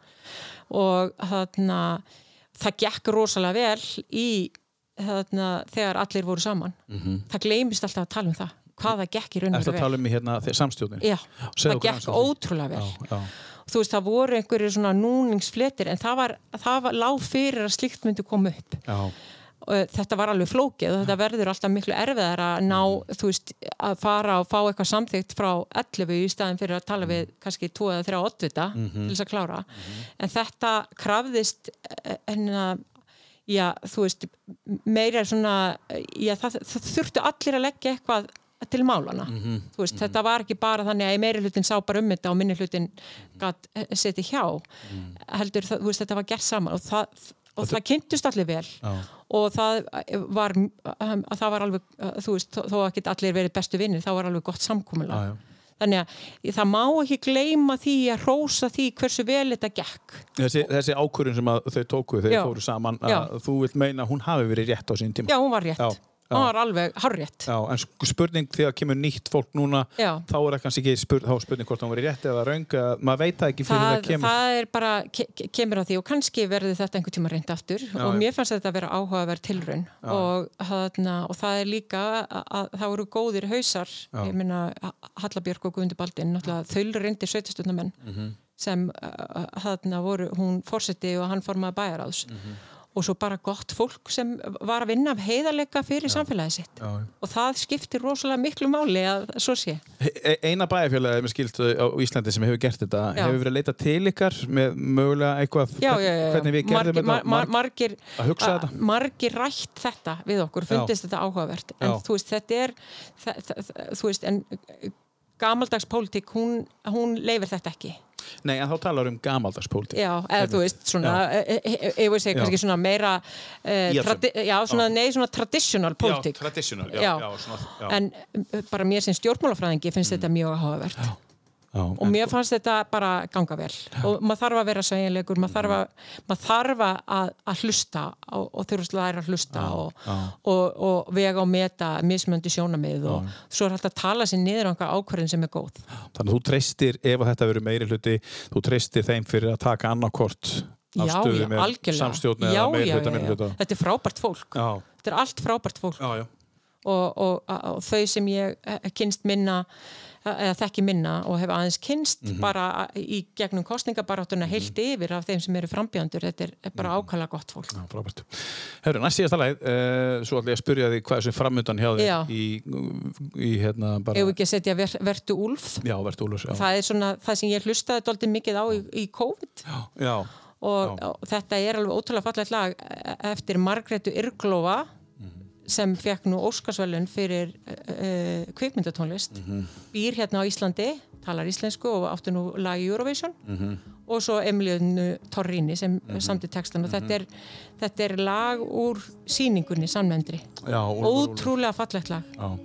Speaker 2: og þarna það gekk rosalega vel í þarna, þegar allir voru saman -hmm. það gleymist alltaf að tala um það hvað það gekk í raun og
Speaker 1: Mhm. Ertu
Speaker 2: veru
Speaker 1: að
Speaker 2: vel
Speaker 1: tala um í hérna þe- samstjórnin?
Speaker 2: Já,
Speaker 1: segðu
Speaker 2: það
Speaker 1: okkur aðeins
Speaker 2: gekk
Speaker 1: frá því.
Speaker 2: ótrúlega vel
Speaker 1: já.
Speaker 2: þú veist, það voru einhverju svona núningsfletir en það var, það var lág fyrir að slíkt myndi koma upp
Speaker 1: Já.
Speaker 2: og eh, þetta var alveg flókið og þetta verður alltaf miklu erfiðar að ná, þú veist, að fara og fá eitthvað samþygt frá 11 í staðin fyrir að tala við kannski 2 eða 3 oddvita til þess að klára en þetta krafðist eh, hérna, já, þú veist meira svona, já, það, það þurftu allir að leggja eitthvað til málana, þú veist, þetta var ekki bara þannig að meiri hlutin sá bara um þetta og minni hlutin gatt seti hjá heldur, það, þú veist, þetta var gert saman og það, og það kynntust allir vel og það eh, var að það var alveg, eh, þú veist, þó- þó að ekki allir verið bestu vinnir, þá var alveg gott samkomulag þannig að það má ekki gleyma því að rósa því hversu vel þetta gekk
Speaker 1: Þessi, þessi ákvörðun sem að þau tóku þau
Speaker 2: Já.
Speaker 1: fóru saman að
Speaker 2: Já.
Speaker 1: þú vilt meina að hún hafi verið rétt á sín tíma
Speaker 2: já, hún var rétt,
Speaker 1: Já, já.
Speaker 2: hún var alveg harrétt
Speaker 1: Já, en sk- spurning þegar kemur nýtt fólk núna
Speaker 2: Já.
Speaker 1: þá er það kannski ekki spurning, þá er spurning hvort hún verið rétt eða röng eða- maður veit það ekki fyrir það,
Speaker 2: það,
Speaker 1: kemur
Speaker 2: það er bara, ke ke- kemur að því og kannski verði þetta einhver tíma reynd aftur og
Speaker 1: já.
Speaker 2: mér fannst þetta að vera áhugaverð tilraun og, hana, og það er líka að, að það voru góðir hausar ég meina Hallabjörg og Guðmundur Baldin náttúrulega þau reyndir sveitastundumenn
Speaker 1: Mhm.
Speaker 2: sem uh, hana, voru, hún fórseti og hann formaði bæjaráðs
Speaker 1: Mhm.
Speaker 2: og svo bara gott fólk sem var að vinna af heiðarleika fyrir samfélagið sitt já, já. og það skiptir rosalega miklu máli að svo sé
Speaker 1: E- Eina bæjarfélagið með skilt á Íslandi sem hefur gert þetta
Speaker 2: Já.
Speaker 1: hefur verið að leita til ykkar með mögulega eitthvað
Speaker 2: já,
Speaker 1: hvern-
Speaker 2: já, já, já.
Speaker 1: hvernig við gerðum
Speaker 2: margir,
Speaker 1: þetta
Speaker 2: mar, mar, margir,
Speaker 1: að hugsa
Speaker 2: a-
Speaker 1: þetta.
Speaker 2: margir rætt þetta við okkur, fundist þetta áhugavert en
Speaker 1: Já.
Speaker 2: þú veist, þetta er þa- þa- þa- þú veist, en eh, gamaldags pólitík, hún, hún leifir þetta ekki
Speaker 1: Nei, en þá talar um gamaldagspólitík
Speaker 2: já, eða þú veist, svona eh, eh, eh, ég veist,
Speaker 1: Já.
Speaker 2: kannski svona meira eh,
Speaker 1: Íhaldsöm.
Speaker 2: tradi- já, svona,
Speaker 1: Já.
Speaker 2: nei, svona traditional pólitík
Speaker 1: traditional, já,
Speaker 2: Já.
Speaker 1: já, svona, já.
Speaker 2: en eh, bara mér sem stjórnmálafræðingi finnst
Speaker 1: Mm.
Speaker 2: þetta mjög áhugavert
Speaker 1: já,
Speaker 2: og mér fannst þetta bara ganga vel og maður þarf að vera sæjanlegur maður þarf að, maður þarf að, að hlusta og, og þurfa að læra að hlusta og, Og, og vega og meta mismöndi sjónamið og svo er hægt að tala sér niður á einhver ákvörðin sem er góð
Speaker 1: Þannig að þú treystir, ef að þetta verður meiri hluti, þú treystir þeim fyrir að taka annarkort
Speaker 2: já, já,
Speaker 1: afstöðu með
Speaker 2: algjörlega
Speaker 1: samstjórn
Speaker 2: já,
Speaker 1: eða meiri
Speaker 2: já,
Speaker 1: hluta,
Speaker 2: já,
Speaker 1: meiri
Speaker 2: já.
Speaker 1: hluta.
Speaker 2: þetta er frábært fólk
Speaker 1: Já,
Speaker 2: þetta er allt frábært fólk
Speaker 1: já, já.
Speaker 2: og, og, og þau sem ég eh, kynst minna eh, eða þekki minna og hef aðeins kynst bara eh, í gegnum kostningabaráttuna heilt yfir af þeim sem eru frambjöndur þetta er er bara ákala gott fólk
Speaker 1: Já, frábært. Herru, næst síðasta lagið, uh, svo ætla ég að spyrja því hvað er sem framöndan hjá
Speaker 2: Já.
Speaker 1: þér í, í hérna bara...
Speaker 2: Ef við ekki að setja ver, Vertu Úlf
Speaker 1: Já, verður úlurs, já.
Speaker 2: það er svona það sem ég hlustaði doldið mikið á í, í COVID
Speaker 1: Já,
Speaker 2: og, og þetta er alveg ótrúlega fallegt lag e- eftir Margretu Irglóa sem fekk nú Óskarsvælun fyrir uh, kvikmyndatónlist býr hérna á Íslandi talar íslensku og átti nú lag í Eurovision og svo Emilionu Torrini sem mm samti textan og þetta er, þetta er lag úr síningunni samnefndri
Speaker 1: já, úlfur, úlfur.
Speaker 2: ótrúlega fallegt lag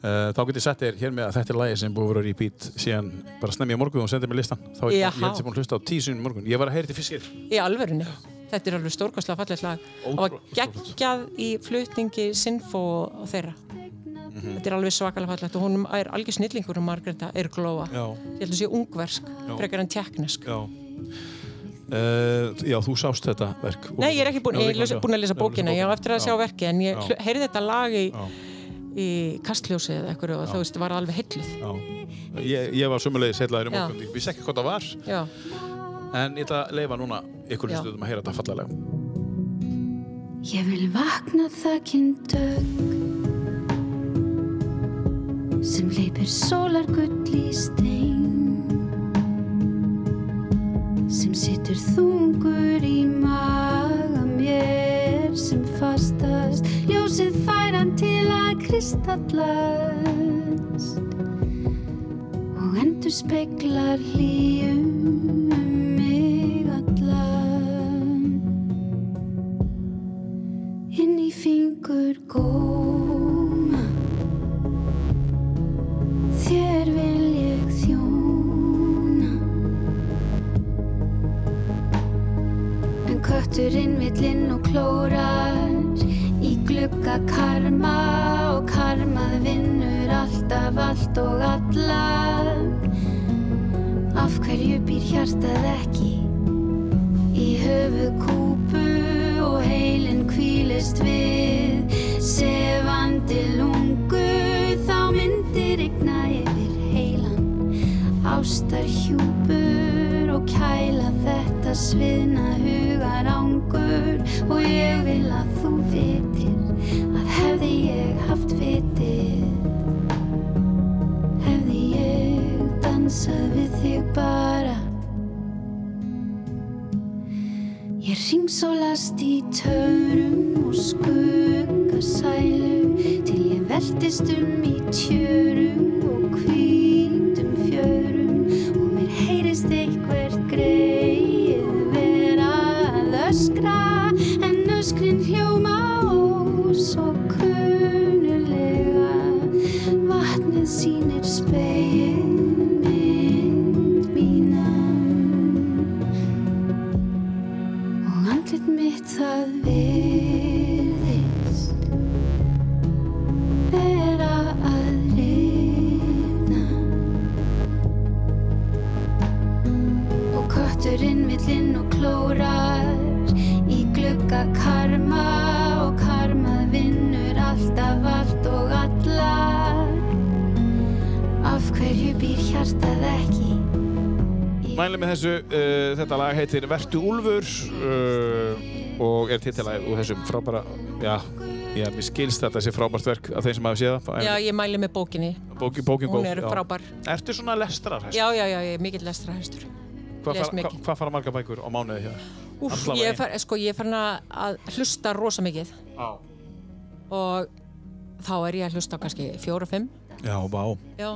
Speaker 1: Uh, þá get ég sett þér hér með að þetta er lagið sem búið að vera repeat síðan bara snemmi í morgun og sendið mér listan. Þá er ég,
Speaker 2: Jaha.
Speaker 1: ég held sem búin að hlusta á tíu sinni í morgun. Ég var að heyra þetta fyrst hér.
Speaker 2: í alvörunni þetta er alveg stórkostlega fallegt lag og var geggjað í flutningi Sinfo og þeirra
Speaker 1: Mhm.
Speaker 2: þetta er alveg svakalega fallegt og hún er algjör snillingur og Margreta er glóa
Speaker 1: Já.
Speaker 2: ég held að sé ungversk, frekar en tjekknesk
Speaker 1: Já Uh, já, þú sást þetta verk
Speaker 2: nei, ég er ekki búin,
Speaker 1: Já,
Speaker 2: ég er
Speaker 1: líka,
Speaker 2: lesa-
Speaker 1: já.
Speaker 2: búin að lesa
Speaker 1: Já,
Speaker 2: bókina ég á eftir að
Speaker 1: Já.
Speaker 2: sjá verki en ég
Speaker 1: Já.
Speaker 2: hlu- heyrði þetta lag í,
Speaker 1: Já.
Speaker 2: í kastljósið eða eitthvað og þú veist, var alveg heilluð
Speaker 1: Já. Ég, ég var sömulegis hellaður í
Speaker 2: Já.
Speaker 1: morgun Ég vissi ekki hvað það var
Speaker 2: já,
Speaker 1: En ég ætla að leifa núna ykkur
Speaker 2: Já.
Speaker 1: hlustuðum að heyra þetta fallalega
Speaker 7: Ég vil vakna þakkinn dög sem leipir sólar gull í stein sem situr þungur í maga mér sem fastast ljósið færan til að kristallast og endur speklar hlýjum um mig allan inn í fingur góma Þér vil ég þjóna En kötturinn vill inn og klórar Í glugga karma og karmað vinnur alltaf allt og alla Af hverju býr hjartað ekki Í höfu kúpu og heilin kvílist við Sefandi lungu þá myndir igna yfir heilan Ástar hjúpur og kæla þetta sviðna hugar ángur Og ég vil að þú vitir að hefði ég haft vitið Hefði ég dansað við þig bara Ég ringsólast í törum og skuggasælu til ég veltist um í tjörum og hvítum fjörum og mér heyrist eitthvert greið vera að öskra en öskrin hljóma og svo kunnulega vatnið sýnir speilmynd mína og andlit mitt það virðist vera að rýna og kötturinn villinn og klórar í glugga karma og karmað vinnur alltaf allt og alla af hverju býr hjartað ekki í
Speaker 1: Mælum með þessu, uh, þetta lag heitir Vertu Úlfur uh, og er titilæg úr þessum frábæra, já, já, mér skilst þetta sé frábært verk af þeim sem hafa séð það.
Speaker 2: Já, ég mæli með bókinni.
Speaker 1: Bókin, bókin
Speaker 2: Hún
Speaker 1: góð,
Speaker 2: er
Speaker 1: já.
Speaker 2: frábær.
Speaker 1: Ertu svona lestrar,
Speaker 2: Já, já, já, ég er mikill lestra hæstur.
Speaker 1: Hvað fara,
Speaker 2: les
Speaker 1: hva,
Speaker 2: mikið.
Speaker 1: hva fara marga bækur á mánuði hjá?
Speaker 2: Úf,
Speaker 1: Alla
Speaker 2: ég
Speaker 1: veginn.
Speaker 2: er, far, sko, ég er farin að- að hlusta rosa mikið
Speaker 1: Já.
Speaker 2: og þá er ég að hlusta á kannski fjóra, fimm.
Speaker 1: Já, vá.
Speaker 2: Já.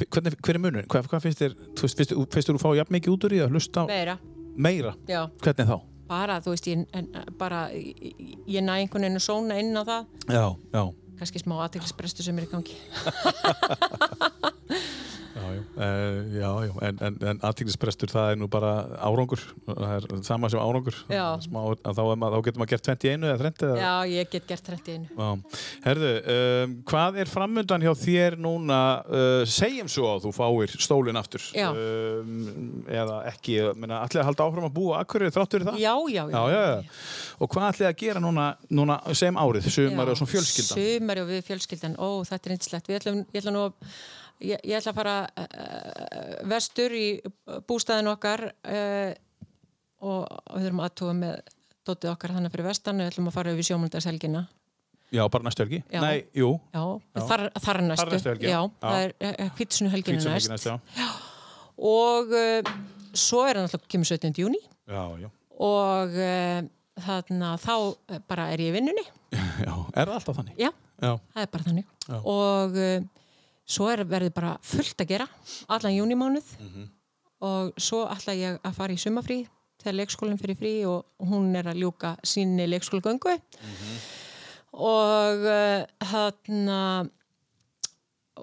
Speaker 1: F- Hvernig, hver er munur? Hvað, hvað finnst þér, þú veist, finnst, þér- finnst þú að fá jafn mikið út úr í að hlusta á
Speaker 2: Meira,
Speaker 1: meira?
Speaker 2: já.
Speaker 1: Hvernig þá?
Speaker 2: Bara, þú veist, ég, en, bara, ég, ég næ einhvern veginn að sóna inn á það.
Speaker 1: Já, já.
Speaker 2: Kannski smá aðteglisbrestu sem er í gangi.
Speaker 1: Já, já, uh, já, já. en, en, en aðtíknisprestur það er nú bara árangur, það er sama sem árangur
Speaker 2: Já.
Speaker 1: Smá, að þá, er maður, þá getur maður gert 21 eða 30 eða-
Speaker 2: Já, ég get gert þetta einu.
Speaker 1: Já. Herðu, um, hvað er framundan hjá þér núna, uh, segjum svo að þú fáir stólinn aftur
Speaker 2: Já.
Speaker 1: um, eða ekki, ég meina, allir að halda áfram að búa akkurir þrátt fyrir það?
Speaker 2: Já, já,
Speaker 1: Já, já, já. Og hvað ætlið þið að gera núna, núna sem árið, sumar og svona fjölskyldan?
Speaker 2: Sumari og við fjölskyldan, ó þetta er eindislegt Við ætlum, ég ætla nú að ég, ég ætla að fara uh, vestur í bústæðin okkar uh, og við erum aðtúa með dótið okkar þannig fyrir vestan við ætlum að fara yfir sjómundarselgina
Speaker 1: Já, bara næstu helgi?
Speaker 2: Já.
Speaker 1: Nei, jú,
Speaker 2: Já, Þar, þar er næstu,
Speaker 1: Þar er næstu helgi,
Speaker 2: já,
Speaker 1: já.
Speaker 2: það er eh, hvitsunu helginu
Speaker 1: hvítsum
Speaker 2: næst
Speaker 1: helgi næst, já.
Speaker 2: og uh, svo er hann alltaf kemur 17. júni
Speaker 1: Já, já.
Speaker 2: og uh, þannig að þá eh, bara er ég í vinnunni
Speaker 1: já. Er það alltaf þannig?
Speaker 2: Já,
Speaker 1: Já.
Speaker 2: það er bara þannig og uh, svo er verðið bara fullt að gera allan júnimánuð og svo ætla ég að fara í sumafrí þegar leikskólinn fyrir frí og hún er að ljúka síni leikskólagöngu og uh, þarna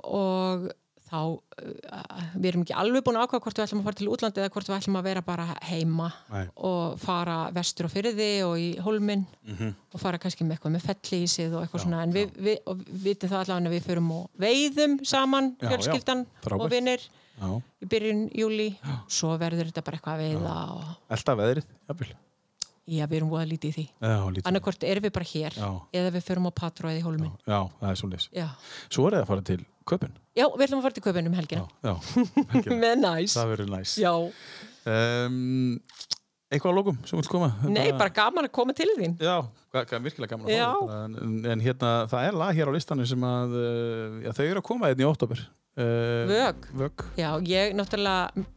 Speaker 2: og þá uh, við erum ekki alveg búin að ákvaða hvort við ætlum að fara til útlandi eða hvort við ætlum að vera bara heima
Speaker 1: Nei.
Speaker 2: og fara vestur og fyrði og í holminn
Speaker 1: Mhm.
Speaker 2: og fara kannski með eitthvað með fellísið og eitthvað svona en við, við, og við vitum það allavega að við förum og veiðum saman
Speaker 1: Já, já.
Speaker 2: fjölskyldan
Speaker 1: Frábært.
Speaker 2: og vinnir
Speaker 1: Já.
Speaker 2: í byrjun júli svo verður þetta bara eitthvað að veiða og
Speaker 1: Elda veðrið, jafnvel.
Speaker 2: já, við erum voða lítið í því
Speaker 1: Já, lítið.
Speaker 2: annarkort erum við bara hér
Speaker 1: Já.
Speaker 2: eða við förum á patróið í holminn
Speaker 1: Já, það er svo leys.
Speaker 2: já.
Speaker 1: Svo er það að fara til köpun.
Speaker 2: já, við ætlum að fara til köpunum helgina
Speaker 1: Já, já. helgina.
Speaker 2: með næs
Speaker 1: það verður næs.
Speaker 2: já,
Speaker 1: Um, Eitthvað að lókum sem vil koma?
Speaker 2: Nei, bara gaman að koma til þín.
Speaker 1: Já, ga- ga- virkilega gaman að
Speaker 2: Já.
Speaker 1: fá þetta. en, en hérna, það er lag hér á listanum sem að uh, já, þau eru að koma einn í óttobur uh,
Speaker 2: Vög.
Speaker 1: Vögg
Speaker 2: Já, ég náttúrulega, m-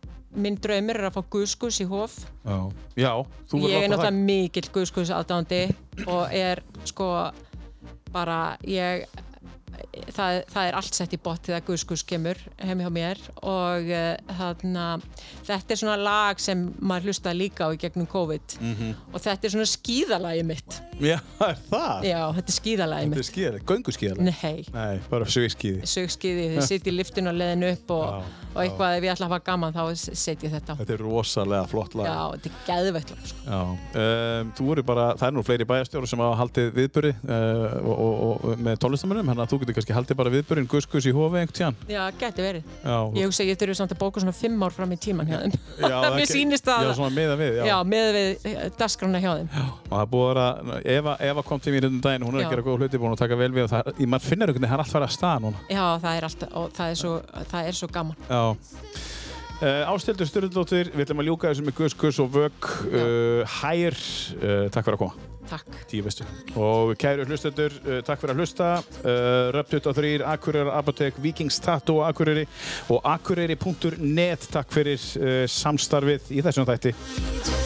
Speaker 2: minn draumur er að fá guðskus í hof.
Speaker 1: Já, já þú verður að fá
Speaker 2: Ég er
Speaker 1: það.
Speaker 2: náttúrulega mikill guðskus aðdándi og er sko bara, ég, það, það er allt sett í bótt þegar guðskus kemur heim hjá mér og uh, þarna, þetta er svona lag sem maður hlusta líka á í gegnum COVID
Speaker 1: Mhm.
Speaker 2: og þetta er svona skíðalagi mitt.
Speaker 1: Já, er það?
Speaker 2: Já, þetta er skíðalagi
Speaker 1: Þetta
Speaker 2: mitt.
Speaker 1: er skýðaleg, göngu skýðaleg
Speaker 2: Nei.
Speaker 1: Nei, bara sögskýði
Speaker 2: sögskýði, þið sitt í liftun og leðin upp og,
Speaker 1: Já,
Speaker 2: og eitthvað ef ég ætla að hafa gaman þá setjum ég þetta á.
Speaker 1: Þetta er rosalega flott lag
Speaker 2: Já, þetta er geðveitt lag, sko.
Speaker 1: Já, um, þú eru bara, það er nú fleiri bæjarstjóru sem hafa haldið viðböri uh, og, og, og með tónlistamönnum, hann að þú getur kannski haldið bara viðbörin Gus Gus í hofi einhvern tíðan.
Speaker 2: Já, geti verið.
Speaker 1: Já,
Speaker 2: Ég hugsa að ég þurfi samt að bóka svona fimm ár fram í tíman hjá þeim.
Speaker 1: já, það
Speaker 2: mér
Speaker 1: ge-
Speaker 2: sýnist að-
Speaker 1: Já, svona meða við,
Speaker 2: Já, með við eh, dagskrána hjá þeim.
Speaker 1: og það er búið að vera, Eva, Eva kom til mér hérna um daginn, hún er
Speaker 2: Já.
Speaker 1: að gera góða hluti búin að taka vel við og það, í- maður finnur einhvern veginn, það er allt farið að staða núna
Speaker 2: Já, það er alltaf, og það er svo, það er svo gaman.
Speaker 1: Já Uh, Ástildur Sturldóttir, við ætlum að ljúka þessu með Gus Gus og Vögg uh, Hær, uh, takk fyrir að koma
Speaker 2: Takk.
Speaker 1: tíu bestu og kæru hlustendur, uh, takk fyrir að hlusta uh, Röp 23, Akureyrar Apotek Vikings Tattoo á Akureyri og akureyri.net, takk fyrir uh, eh, samstarfið í þessum þætti
Speaker 7: Just